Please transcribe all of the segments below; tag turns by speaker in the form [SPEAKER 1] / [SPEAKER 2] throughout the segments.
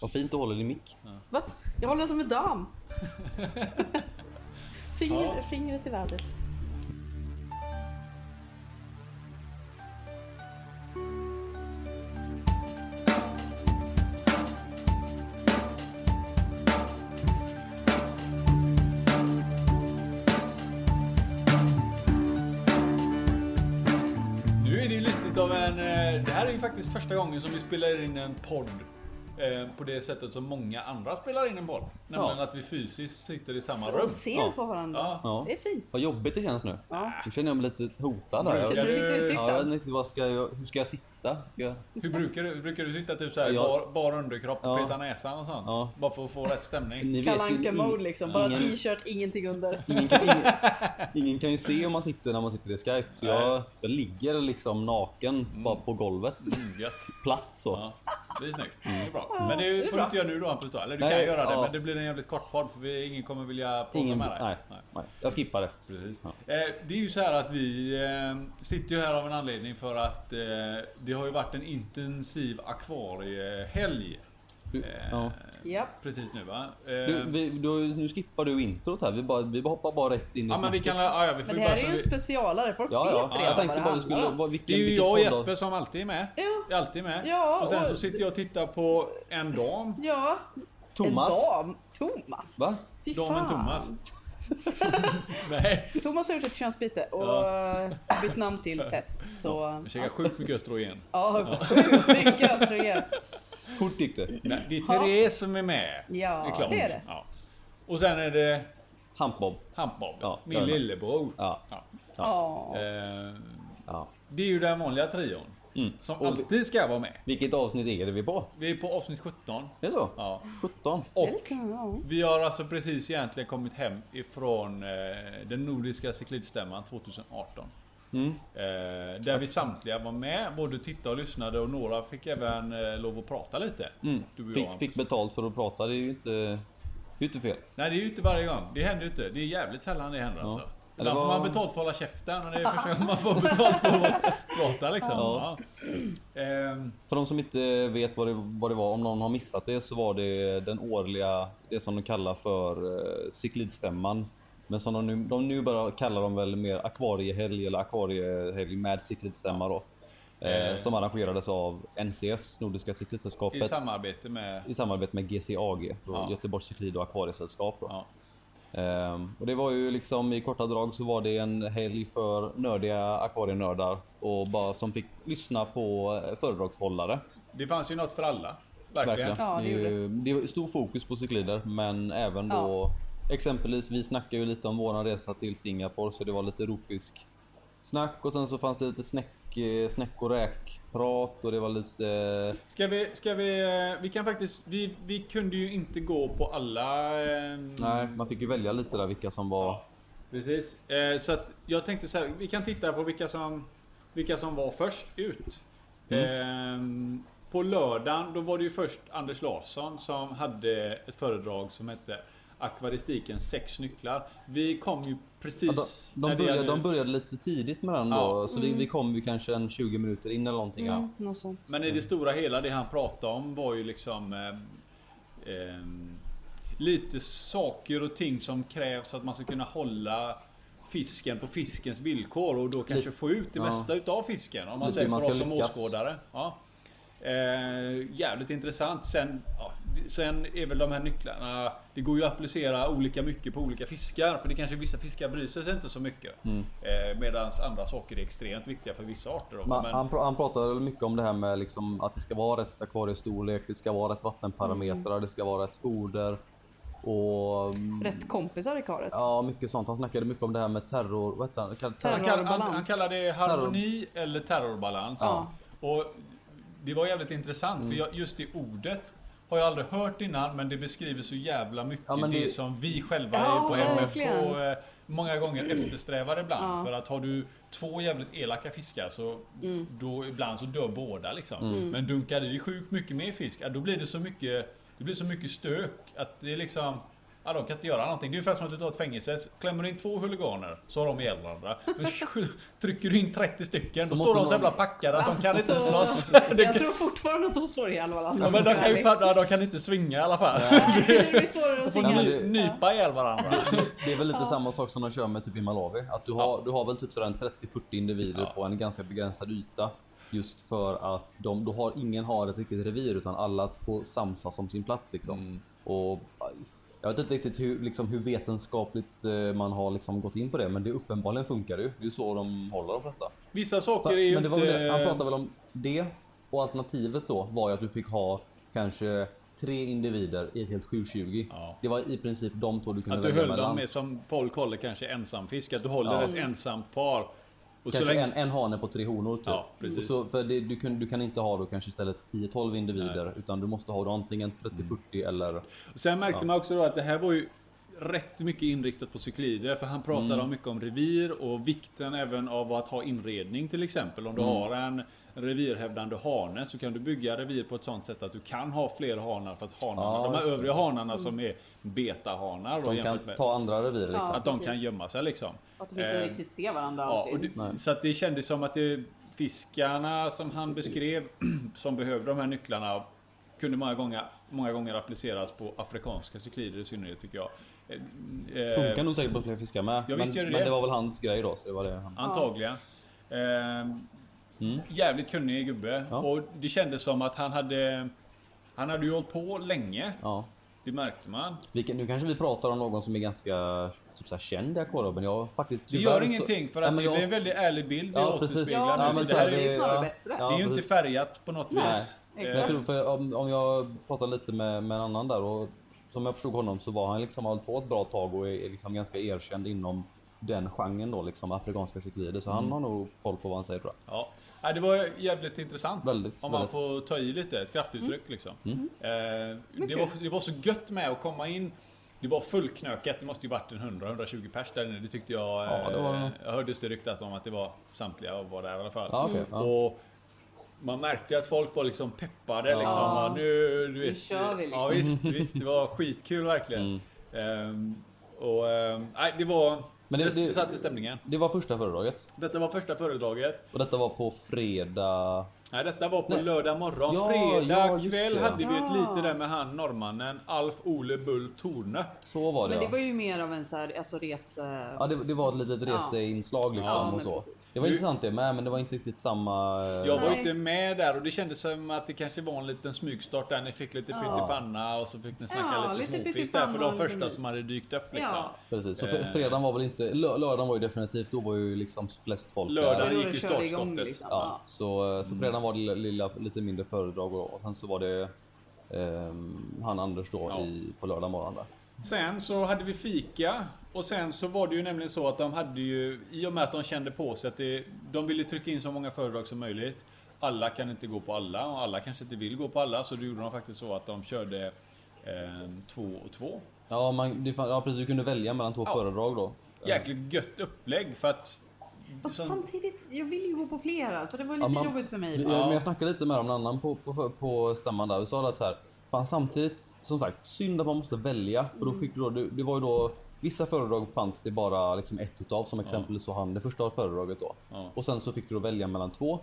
[SPEAKER 1] Vad fint du håller din mick.
[SPEAKER 2] Va? Jag håller den som en dam. Finger,
[SPEAKER 3] Ja.
[SPEAKER 2] Fingret i vädret.
[SPEAKER 3] Nu är det ju lite utav en... eh, Det här är ju faktiskt första gången som vi spelar in en podd eh, på det sättet som många andra spelar in en podd. Nämligen att vi fysiskt sitter i samma
[SPEAKER 2] Så
[SPEAKER 3] rum.
[SPEAKER 2] ser
[SPEAKER 1] Ja.
[SPEAKER 2] på varandra.
[SPEAKER 3] Ja.
[SPEAKER 1] Ja.
[SPEAKER 2] Det är fint.
[SPEAKER 1] Vad jobbigt det känns nu.
[SPEAKER 2] Ja.
[SPEAKER 1] Nu känner jag mig lite hotad här.
[SPEAKER 3] Brukar
[SPEAKER 1] Jag,
[SPEAKER 2] Känner du dig
[SPEAKER 3] du-
[SPEAKER 2] lite
[SPEAKER 3] ja,
[SPEAKER 1] ja, jag vet
[SPEAKER 2] uttittad?
[SPEAKER 1] inte vad ska jag, hur ska jag sitta? Ska jag,
[SPEAKER 3] Hur brukar du? Brukar du sitta typ så här,
[SPEAKER 1] Ja.
[SPEAKER 3] bar, bar underkropp,
[SPEAKER 1] Ja.
[SPEAKER 3] peta näsan och sånt?
[SPEAKER 1] Ja.
[SPEAKER 3] Bara för att få rätt stämning?
[SPEAKER 1] ni
[SPEAKER 2] Kalle
[SPEAKER 1] vet ju
[SPEAKER 2] Anka-mode
[SPEAKER 1] ing-
[SPEAKER 2] liksom. Bara
[SPEAKER 1] ingen,
[SPEAKER 2] t-shirt, ingenting under.
[SPEAKER 1] ingen, kan, ingen, ingen kan ju se om man sitter när man sitter i Skype. Så jag, jag ligger liksom naken bara på golvet.
[SPEAKER 3] Mm, Gött.
[SPEAKER 1] Platt så.
[SPEAKER 3] Ja, det är snyggt. Det är bra. Men det
[SPEAKER 2] det är
[SPEAKER 3] får du
[SPEAKER 2] bra.
[SPEAKER 3] inte göra nu då Hampus då. Eller du
[SPEAKER 1] Mm. Nej,
[SPEAKER 3] kan göra det
[SPEAKER 1] ja.
[SPEAKER 3] men det blir en jävligt kort podd för vi, ingen kommer vilja prata
[SPEAKER 1] Ingen,
[SPEAKER 3] med dig.
[SPEAKER 1] nej,
[SPEAKER 3] Nej,
[SPEAKER 1] nej, jag skippar det.
[SPEAKER 3] precis.
[SPEAKER 1] Ja.
[SPEAKER 3] Eh, det är ju så här att vi eh, sitter ju här av en anledning för att eh, det har ju varit en intensiv akvariehelg.
[SPEAKER 1] Du,
[SPEAKER 3] Eh,
[SPEAKER 1] ja.
[SPEAKER 2] Japp.
[SPEAKER 3] Precis nu va? Eh,
[SPEAKER 1] du, vi, du, nu skippar du introt här. Vi, bara, vi hoppar bara rätt in i
[SPEAKER 3] ja men vi
[SPEAKER 1] snacket.
[SPEAKER 3] kan... Ja, ja, vi får
[SPEAKER 2] Men
[SPEAKER 3] ju
[SPEAKER 2] det
[SPEAKER 3] bara,
[SPEAKER 2] här är ju en
[SPEAKER 3] så vi,
[SPEAKER 2] specialare. Folk
[SPEAKER 1] Ja,
[SPEAKER 2] vet
[SPEAKER 1] ja.
[SPEAKER 2] redan
[SPEAKER 1] Jag
[SPEAKER 2] vad
[SPEAKER 1] tänkte
[SPEAKER 2] det
[SPEAKER 1] bara du
[SPEAKER 2] handlar
[SPEAKER 1] skulle...
[SPEAKER 2] om.
[SPEAKER 1] Vad, vilken,
[SPEAKER 3] det är ju
[SPEAKER 1] vilken
[SPEAKER 3] jag och
[SPEAKER 1] podd då?
[SPEAKER 3] Jesper som alltid är med.
[SPEAKER 2] Ja.
[SPEAKER 3] Jag är alltid med.
[SPEAKER 2] Ja,
[SPEAKER 3] och sen
[SPEAKER 2] och
[SPEAKER 3] så sitter jag och tittar på en dam.
[SPEAKER 2] Ja.
[SPEAKER 1] Thomas?
[SPEAKER 2] En dam. Thomas.
[SPEAKER 1] Va?
[SPEAKER 2] Fy
[SPEAKER 3] Damen
[SPEAKER 2] fan.
[SPEAKER 3] Thomas. Nej.
[SPEAKER 2] Thomas har gjort ett könsbyte och eh, bytt namn till Tess. Så...
[SPEAKER 3] Jag käkar sjukt mycket östrogen.
[SPEAKER 2] Ja, sjukt mycket östrogen.
[SPEAKER 1] Fort gick det.
[SPEAKER 3] Nej, det är
[SPEAKER 2] Ja.
[SPEAKER 3] Therese som är med.
[SPEAKER 2] Ja,
[SPEAKER 3] klart.
[SPEAKER 2] det är det.
[SPEAKER 3] Ja. Och sen är det
[SPEAKER 1] Hampbob.
[SPEAKER 3] Hampbob,
[SPEAKER 1] Ja, jag
[SPEAKER 3] min
[SPEAKER 1] är med.
[SPEAKER 3] lillebror.
[SPEAKER 1] Ja.
[SPEAKER 3] Ja.
[SPEAKER 2] Ja.
[SPEAKER 3] Eh,
[SPEAKER 1] ja.
[SPEAKER 3] Det är ju den vanliga trion.
[SPEAKER 1] Mm.
[SPEAKER 3] Som
[SPEAKER 1] Och vi-
[SPEAKER 3] alltid ska vara med.
[SPEAKER 1] Vilket avsnitt är det vi är på?
[SPEAKER 3] Vi är på avsnitt 17.
[SPEAKER 1] Är det så?
[SPEAKER 3] Ja.
[SPEAKER 1] 17?
[SPEAKER 2] Det är
[SPEAKER 3] Och
[SPEAKER 2] lite- ja.
[SPEAKER 3] vi har alltså precis egentligen kommit hem ifrån eh, den nordiska cyklidstämman 2018.
[SPEAKER 1] Mm.
[SPEAKER 3] Eh, där vi samtliga var med, både tittade och lyssnade och några fick även eh, lov att prata lite.
[SPEAKER 1] Mm.
[SPEAKER 3] Du och jag,
[SPEAKER 1] Fick,
[SPEAKER 3] Hampus.
[SPEAKER 1] fick betalt för att prata, det är ju inte, det är ju inte fel.
[SPEAKER 3] Nej det är ju inte varje gång. Det händer ju inte. Det är jävligt sällan det händer alltså.
[SPEAKER 1] Ja,
[SPEAKER 3] Ibland
[SPEAKER 1] det
[SPEAKER 3] får
[SPEAKER 1] var-
[SPEAKER 3] man betalt för att hålla käften och det är första gången man får betalt för att prata liksom. Ja.
[SPEAKER 1] Ja.
[SPEAKER 3] Ehm,
[SPEAKER 1] För de som inte vet vad det, vad det var, om någon har missat det, så var det den årliga, det som de kallar för eh, cyklidstämman. Men som de nu, de nu bara kallar de väl mer akvariehelg eller akvariehelg med cyklidstämma då. Eh,
[SPEAKER 3] Eh.
[SPEAKER 1] som arrangerades av NCS, Nordiska cyklidsällskapet.
[SPEAKER 3] I samarbete med...
[SPEAKER 1] i samarbete med GCAG, så
[SPEAKER 3] Ja.
[SPEAKER 1] Göteborgs cyklid och akvariesällskap. Då.
[SPEAKER 3] Ja.
[SPEAKER 1] Ehm, och det var ju liksom i korta drag så var det en helg för nördiga akvarienördar och bara som fick lyssna på eh, föredragshållare.
[SPEAKER 3] Det fanns ju något för alla. Verkligen.
[SPEAKER 2] Ja, det
[SPEAKER 1] är ju- det var stor fokus på cyklider, men även då exempelvis vi snackade ju lite om våran resa till Singapore, så det var lite rovfisk snack och sen så fanns det lite snäck, eh, snäck och räkprat och det var lite eh,
[SPEAKER 3] Ska vi, ska vi, eh, vi kan faktiskt, vi, vi kunde ju inte gå på alla... ehm,
[SPEAKER 1] Nej, man fick ju välja lite där vilka som var
[SPEAKER 3] Precis. Eh, så att jag tänkte så här, vi kan titta på vilka som, vilka som var först ut.
[SPEAKER 1] Mm.
[SPEAKER 3] Ehm, på lördagen, då var det ju först Anders Larsson som hade ett föredrag som hette Akvaristiken sex nycklar. Vi kom ju
[SPEAKER 1] Ja,
[SPEAKER 3] precis...
[SPEAKER 1] de,
[SPEAKER 3] när
[SPEAKER 1] de,
[SPEAKER 3] det
[SPEAKER 1] började,
[SPEAKER 3] gällde-
[SPEAKER 1] de började lite tidigt med den
[SPEAKER 3] Ja.
[SPEAKER 1] då, så vi, vi kom ju kanske en 20 minuter in eller någonting. ja.
[SPEAKER 2] Mm, något sånt.
[SPEAKER 3] Men i det stora hela, det han pratade om var ju liksom ehm, ehm, lite saker och ting som krävs för att man ska kunna hålla fisken på fiskens villkor och då kanske få ut det
[SPEAKER 1] ja.
[SPEAKER 3] mesta utav fisken. Om man
[SPEAKER 1] Lite
[SPEAKER 3] säger
[SPEAKER 1] hur man
[SPEAKER 3] för oss
[SPEAKER 1] ska
[SPEAKER 3] som
[SPEAKER 1] lyckas.
[SPEAKER 3] åskådare. Ja. Eh, jävligt intressant. Sen, ja, det- sen är väl de här nycklarna, det går ju att applicera olika mycket på olika fiskar. För det kanske vissa fiskar bryr sig inte så mycket.
[SPEAKER 1] Mm.
[SPEAKER 3] Eh, Medan andra saker är extremt viktiga för vissa arter. Då.
[SPEAKER 1] Man,
[SPEAKER 3] Men-
[SPEAKER 1] han, pr- han pratade väl mycket om det här med liksom att det ska vara rätt akvariestorlek, det ska vara rätt vattenparametrar,
[SPEAKER 2] Mm.
[SPEAKER 1] det ska vara rätt foder och mm,
[SPEAKER 2] Rätt kompisar i karet.
[SPEAKER 1] ja, mycket sånt. Han snackade mycket om det här med terror. Vad heter han? Kall-
[SPEAKER 2] Terror.
[SPEAKER 3] Han, kall, han, han
[SPEAKER 2] Balans.
[SPEAKER 3] kallar det harmoni eller terrorbalans.
[SPEAKER 2] Ja.
[SPEAKER 3] Och det var jävligt intressant
[SPEAKER 1] Mm.
[SPEAKER 3] för jag, just det ordet har jag aldrig hört innan men det beskriver så jävla mycket
[SPEAKER 1] Ja, men
[SPEAKER 3] det
[SPEAKER 1] det-
[SPEAKER 3] som vi själva
[SPEAKER 2] Ja,
[SPEAKER 3] är på MFK
[SPEAKER 2] verkligen.
[SPEAKER 3] eh, många gånger eftersträvar ibland.
[SPEAKER 2] Mm. Ja.
[SPEAKER 3] För att har du två jävligt elaka fiskar så
[SPEAKER 2] Mm.
[SPEAKER 3] då ibland så dör båda liksom.
[SPEAKER 1] Mm.
[SPEAKER 3] Men dunkar du i sjukt mycket mer fisk, ja, då blir det så mycket, det blir så mycket stök att det är liksom Ja, de kan inte göra någonting. Det är ungefär som att du tar ett fängelse. Klämmer du in två huliganer så har de ihjäl varandra. Men trycker du in 30 stycken
[SPEAKER 1] Så
[SPEAKER 3] då
[SPEAKER 1] måste
[SPEAKER 3] står de så
[SPEAKER 1] man-
[SPEAKER 3] jävla packade att de kan inte
[SPEAKER 2] Alltså,
[SPEAKER 3] slåss. Det
[SPEAKER 2] Jag
[SPEAKER 3] kan,
[SPEAKER 2] tror fortfarande att de slår ihjäl varandra.
[SPEAKER 3] ja, men de
[SPEAKER 2] ska
[SPEAKER 3] kan, ju,
[SPEAKER 2] jag
[SPEAKER 3] fan- ja, de kan inte svinga i alla fall.
[SPEAKER 2] ärlig. Det blir svårare att
[SPEAKER 3] De får
[SPEAKER 1] Nej,
[SPEAKER 2] svinga.
[SPEAKER 1] men
[SPEAKER 3] ny,
[SPEAKER 1] det-
[SPEAKER 3] nypa ihjäl varandra.
[SPEAKER 1] Det är väl lite samma sak som de kör med typ i Malawi. Att du har, du har väl typ sådär en 30-40 individer på en ganska begränsad yta. Just för att de, du har, ingen har ett riktigt revir utan alla får samsas om sin plats liksom.
[SPEAKER 3] Mm.
[SPEAKER 1] Och aj, jag vet inte riktigt hur, liksom, hur vetenskapligt eh, man har liksom gått in på det, men det uppenbarligen funkar ju. Det är ju så de håller de flesta.
[SPEAKER 3] Vissa saker är ju
[SPEAKER 1] Men det var väl det. Han pratade
[SPEAKER 3] inte...
[SPEAKER 1] väl om det och alternativet då var ju att du fick ha kanske tre individer i ett helt 720.
[SPEAKER 3] Ja.
[SPEAKER 1] Det var i princip de två du kunde
[SPEAKER 3] Att du
[SPEAKER 1] välja
[SPEAKER 3] höll
[SPEAKER 1] mellan.
[SPEAKER 3] dem med som folk håller kanske ensamfisk. Att du håller
[SPEAKER 1] Ja.
[SPEAKER 3] ett ensamt par. Och så
[SPEAKER 1] Kanske
[SPEAKER 3] länge,
[SPEAKER 1] en, en hane på tre honor typ.
[SPEAKER 3] Ja, precis.
[SPEAKER 1] Och Så, för det, du, kan, du kan inte ha då kanske istället 10-12 individer utan du måste ha då antingen
[SPEAKER 3] Mm.
[SPEAKER 1] 30-40 eller...
[SPEAKER 3] Sen märkte man också då att det här var ju rätt mycket inriktat på cyklider för han pratade
[SPEAKER 1] Mm.
[SPEAKER 3] om mycket om revir och vikten även av att ha inredning till exempel. Om du
[SPEAKER 1] Mm.
[SPEAKER 3] har en revirhävdande hane så kan du bygga revir på ett sånt sätt att du kan ha fler hanar för att hanarna,
[SPEAKER 1] Ja,
[SPEAKER 3] de
[SPEAKER 1] just
[SPEAKER 3] här
[SPEAKER 1] det. Mm.
[SPEAKER 3] övriga hanarna som är betahanar då,
[SPEAKER 1] De kan
[SPEAKER 3] jämfört med,
[SPEAKER 1] ta andra revir liksom.
[SPEAKER 2] Ja.
[SPEAKER 3] att de
[SPEAKER 2] precis.
[SPEAKER 3] kan gömma sig liksom.
[SPEAKER 2] Att de inte
[SPEAKER 3] Eh,
[SPEAKER 2] riktigt ser varandra
[SPEAKER 3] Ja, och
[SPEAKER 2] alltid.
[SPEAKER 1] Nej.
[SPEAKER 3] det, så att det kändes som att det, fiskarna som han beskrev som behövde de här nycklarna kunde många gånger, många gånger appliceras på afrikanska cyklider i synnerhet tycker jag. Eh, eh,
[SPEAKER 1] Funkar nog säkert på fler fiskar med.
[SPEAKER 3] Ja,
[SPEAKER 1] men,
[SPEAKER 3] visst gör det
[SPEAKER 1] men
[SPEAKER 3] det.
[SPEAKER 1] det var väl hans grej då. Så det var det han...
[SPEAKER 3] Antagligen. Ehm, Jävligt kunnig gubbe.
[SPEAKER 1] Mm. Ja.
[SPEAKER 3] Och det kändes som att han hade han hade ju hållit på länge.
[SPEAKER 1] ja.
[SPEAKER 3] Det märkte man.
[SPEAKER 1] Vi kan, nu kanske vi pratar om någon som är ganska typ så här, känd i Aquarob, men jag har faktiskt...
[SPEAKER 3] Det
[SPEAKER 1] tyvärr
[SPEAKER 3] gör ingenting för
[SPEAKER 1] Ja,
[SPEAKER 3] att
[SPEAKER 1] men
[SPEAKER 3] det
[SPEAKER 1] jag-
[SPEAKER 3] är en väldigt ärlig bild vi
[SPEAKER 1] Ja, precis.
[SPEAKER 3] återspeglar
[SPEAKER 2] Ja,
[SPEAKER 3] nu.
[SPEAKER 2] men
[SPEAKER 3] så
[SPEAKER 2] så
[SPEAKER 3] det, här,
[SPEAKER 2] är
[SPEAKER 3] är-
[SPEAKER 2] det ju snarare bättre.
[SPEAKER 3] det är ju inte
[SPEAKER 1] precis.
[SPEAKER 3] färgat på något
[SPEAKER 1] Nej.
[SPEAKER 3] vis.
[SPEAKER 2] Nej,
[SPEAKER 1] Men Jag
[SPEAKER 3] Eh,
[SPEAKER 1] tror för om, om jag pratar lite med, med en annan där och som jag förstod honom så var han liksom har hållit på ett bra tag och är liksom ganska erkänd inom den genren då liksom afrikanska cyklider så
[SPEAKER 3] Mm.
[SPEAKER 1] han har nog koll på vad han säger tror jag.
[SPEAKER 3] Ja. Nej, det var jävligt intressant.
[SPEAKER 1] Väldigt,
[SPEAKER 3] om man
[SPEAKER 1] väldigt. Mm.
[SPEAKER 3] får ta i lite, ett kraftuttryck
[SPEAKER 2] Mm.
[SPEAKER 3] liksom. Eh, det,
[SPEAKER 2] kul.
[SPEAKER 3] var, det var så gött med att komma in. Det var fullknökat, det måste ju varit en 100-120 pers där inne. Det tyckte jag. eh,
[SPEAKER 1] Ja, det var det nog.
[SPEAKER 3] jag hördes det ryktas om att det var samtliga och var där i alla fall.
[SPEAKER 1] Ja, okej, ja.
[SPEAKER 3] Och man märkte att folk var liksom peppade. Liksom.
[SPEAKER 2] Ja.
[SPEAKER 3] Ja, nu, du vet,
[SPEAKER 2] kör vi, liksom.
[SPEAKER 3] Ja, visst, visst, det var skitkul
[SPEAKER 1] Mm.
[SPEAKER 3] verkligen. Eh, och, eh, nej, det var...
[SPEAKER 1] Men
[SPEAKER 3] Men
[SPEAKER 1] det-
[SPEAKER 3] det,
[SPEAKER 1] det-
[SPEAKER 3] satte stämningen.
[SPEAKER 1] Det var första föredraget
[SPEAKER 3] Detta var första föredraget.
[SPEAKER 1] och detta var på fredag.
[SPEAKER 3] Nej, detta var på
[SPEAKER 1] Nej.
[SPEAKER 3] lördag morgon.
[SPEAKER 1] Ja,
[SPEAKER 3] Fredag
[SPEAKER 1] ja, just
[SPEAKER 3] kväll
[SPEAKER 1] det.
[SPEAKER 3] hade vi ett
[SPEAKER 2] Ja.
[SPEAKER 3] lite där med han norrmannen Alf Ole Bull Torne.
[SPEAKER 1] Så var det.
[SPEAKER 2] Men det
[SPEAKER 1] ja.
[SPEAKER 2] var ju mer av en så här, alltså rese...
[SPEAKER 1] Ja, det, det var ett litet
[SPEAKER 2] Ja.
[SPEAKER 1] reseinslag liksom
[SPEAKER 2] Ja,
[SPEAKER 1] och
[SPEAKER 2] men
[SPEAKER 1] så.
[SPEAKER 2] precis.
[SPEAKER 1] Det var
[SPEAKER 3] Du-
[SPEAKER 1] intressant det med men det var inte riktigt samma... eh,
[SPEAKER 3] Jag var
[SPEAKER 2] Nej.
[SPEAKER 3] inte med där och det kändes som att det kanske var en liten smygstart där. Ni fick lite pyttipanna och så fick ni snacka
[SPEAKER 2] Ja,
[SPEAKER 3] lite,
[SPEAKER 2] lite
[SPEAKER 3] småfisk där för
[SPEAKER 2] pyttipanna och
[SPEAKER 3] de
[SPEAKER 2] lite
[SPEAKER 3] första
[SPEAKER 2] mys.
[SPEAKER 3] som hade dykt upp liksom.
[SPEAKER 2] Ja.
[SPEAKER 1] Precis, så fre- fredagen var väl inte... lö- Lördagen var ju definitivt, då var ju liksom flest folk där.
[SPEAKER 3] Lördagen
[SPEAKER 2] Det var
[SPEAKER 3] gick ju
[SPEAKER 2] det körde igång,
[SPEAKER 3] startskottet.
[SPEAKER 2] liksom.
[SPEAKER 1] Ja, så, eh, så
[SPEAKER 3] Mm.
[SPEAKER 1] fredagen var det lilla, lilla lite mindre föredrag och, och sen så var det ehm, han Anders då
[SPEAKER 3] Ja.
[SPEAKER 1] i, på lördag morgon där.
[SPEAKER 3] Sen så hade vi fika och sen så var det ju nämligen så att de hade ju i och med att de kände på sig att det, de ville trycka in så många föredrag som möjligt. Alla kan inte gå på alla och alla kanske inte vill gå på alla så då gjorde de faktiskt så att de körde eh, två och två.
[SPEAKER 1] Ja, man, det, fan- ja precis, du kunde välja mellan två
[SPEAKER 3] Ja.
[SPEAKER 1] föredrag då.
[SPEAKER 3] Jäkligt gött upplägg för att
[SPEAKER 2] Fast
[SPEAKER 3] som-
[SPEAKER 2] samtidigt, jag vill ju gå på flera så det var ju
[SPEAKER 1] Ja,
[SPEAKER 2] lite
[SPEAKER 1] man-
[SPEAKER 2] jobbigt för mig.
[SPEAKER 1] Vi-
[SPEAKER 2] bara.
[SPEAKER 1] Men jag snackade lite med någon annan på, på, på stämman där och sa att så här, fan samtidigt, som sagt, synd att man måste välja. För
[SPEAKER 2] Mm.
[SPEAKER 1] då fick du då, det, det var ju då, vissa föredrag fanns det bara liksom ett utav, som exempelvis så han, det första föredraget då.
[SPEAKER 3] Ja.
[SPEAKER 1] Och sen så fick du då välja mellan två.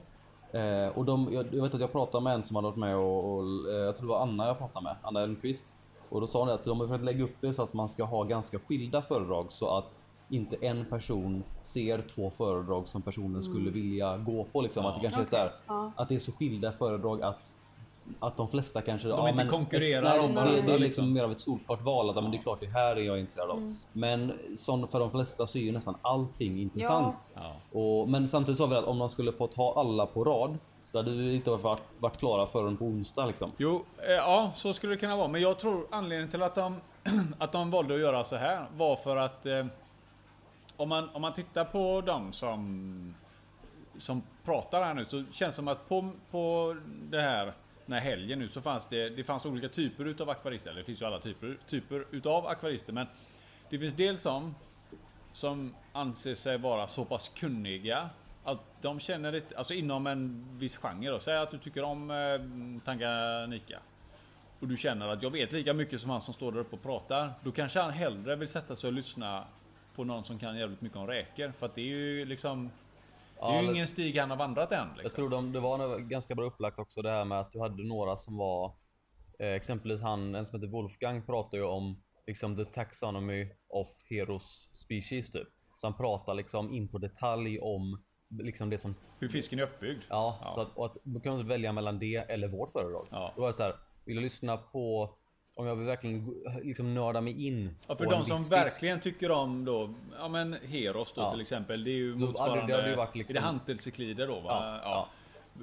[SPEAKER 1] Eh, och de, jag, jag vet att jag pratade med en som hade varit med och, och eh, jag tror det var Anna jag pratade med, Anna Elmqvist. Och då sa hon att de har försökt lägga upp det så att man ska ha ganska skilda föredrag så att inte en person ser två föredrag som personen skulle vilja gå på. Liksom. Att det kanske är så här,
[SPEAKER 2] Mm. Ja.
[SPEAKER 1] att det är så skilda föredrag att, att de flesta kanske...
[SPEAKER 3] inte konkurrerar
[SPEAKER 1] nej,
[SPEAKER 3] om
[SPEAKER 1] det, det
[SPEAKER 3] varandra,
[SPEAKER 1] är liksom
[SPEAKER 3] liksom.
[SPEAKER 1] mer av ett solklart val. Att, ja. men det är klart, det här är jag intresserad
[SPEAKER 2] Mm.
[SPEAKER 1] av. Men som för de flesta så är ju nästan allting intressant.
[SPEAKER 3] Ja.
[SPEAKER 1] Och, men samtidigt sa vi att om de skulle få ta alla på rad, då hade vi inte varit, varit klara förrän på onsdag. Liksom.
[SPEAKER 3] Jo, eh, ja så skulle det kunna vara. Men jag tror anledningen till att de, att de valde att göra så här var för att eh, om, man, om man tittar på de som, som pratar här nu så känns det som att på, på det här den här helgen nu så fanns det, det fanns olika typer utav akvarister. Eller det finns ju alla typer, typer utav akvarister men det finns dels som som anser sig vara så pass kunniga att de känner ett, alltså inom en viss genre då, säg att du tycker om eh, Tanganyika. och du känner att jag vet lika mycket som han som står där uppe och pratar. Då kanske han hellre vill sätta sig och lyssna på någon som kan jävligt mycket om räkor. För att det är ju liksom... Det
[SPEAKER 1] Ja,
[SPEAKER 3] är ju
[SPEAKER 1] det-
[SPEAKER 3] ingen stig han har vandrat än. Liksom.
[SPEAKER 1] Jag tror de, det var nog ganska bra upplagt också det här med att du hade några som var eh, exempelvis han, en som heter Wolfgang pratar ju om liksom the taxonomy of heroes species typ. Så han pratar liksom in på detalj om liksom det som,
[SPEAKER 3] Hur fisken är uppbyggd.
[SPEAKER 1] ja,
[SPEAKER 3] Ja.
[SPEAKER 1] så att, och att då kan man välja mellan det eller vårt föredrag.
[SPEAKER 3] Ja.
[SPEAKER 1] Då var det så här, vill jag lyssna på om jag vill verkligen gå- liksom nörda mig in
[SPEAKER 3] Ja, för
[SPEAKER 1] på en
[SPEAKER 3] de
[SPEAKER 1] viss
[SPEAKER 3] som
[SPEAKER 1] fisk.
[SPEAKER 3] verkligen tycker om då, ja men Heros då
[SPEAKER 1] Ja.
[SPEAKER 3] till exempel. Det är ju
[SPEAKER 1] hade- det
[SPEAKER 3] motsvarande,
[SPEAKER 1] hade ju varit liksom-
[SPEAKER 3] är det hantelcyklider då? Va?
[SPEAKER 1] Ja, ja.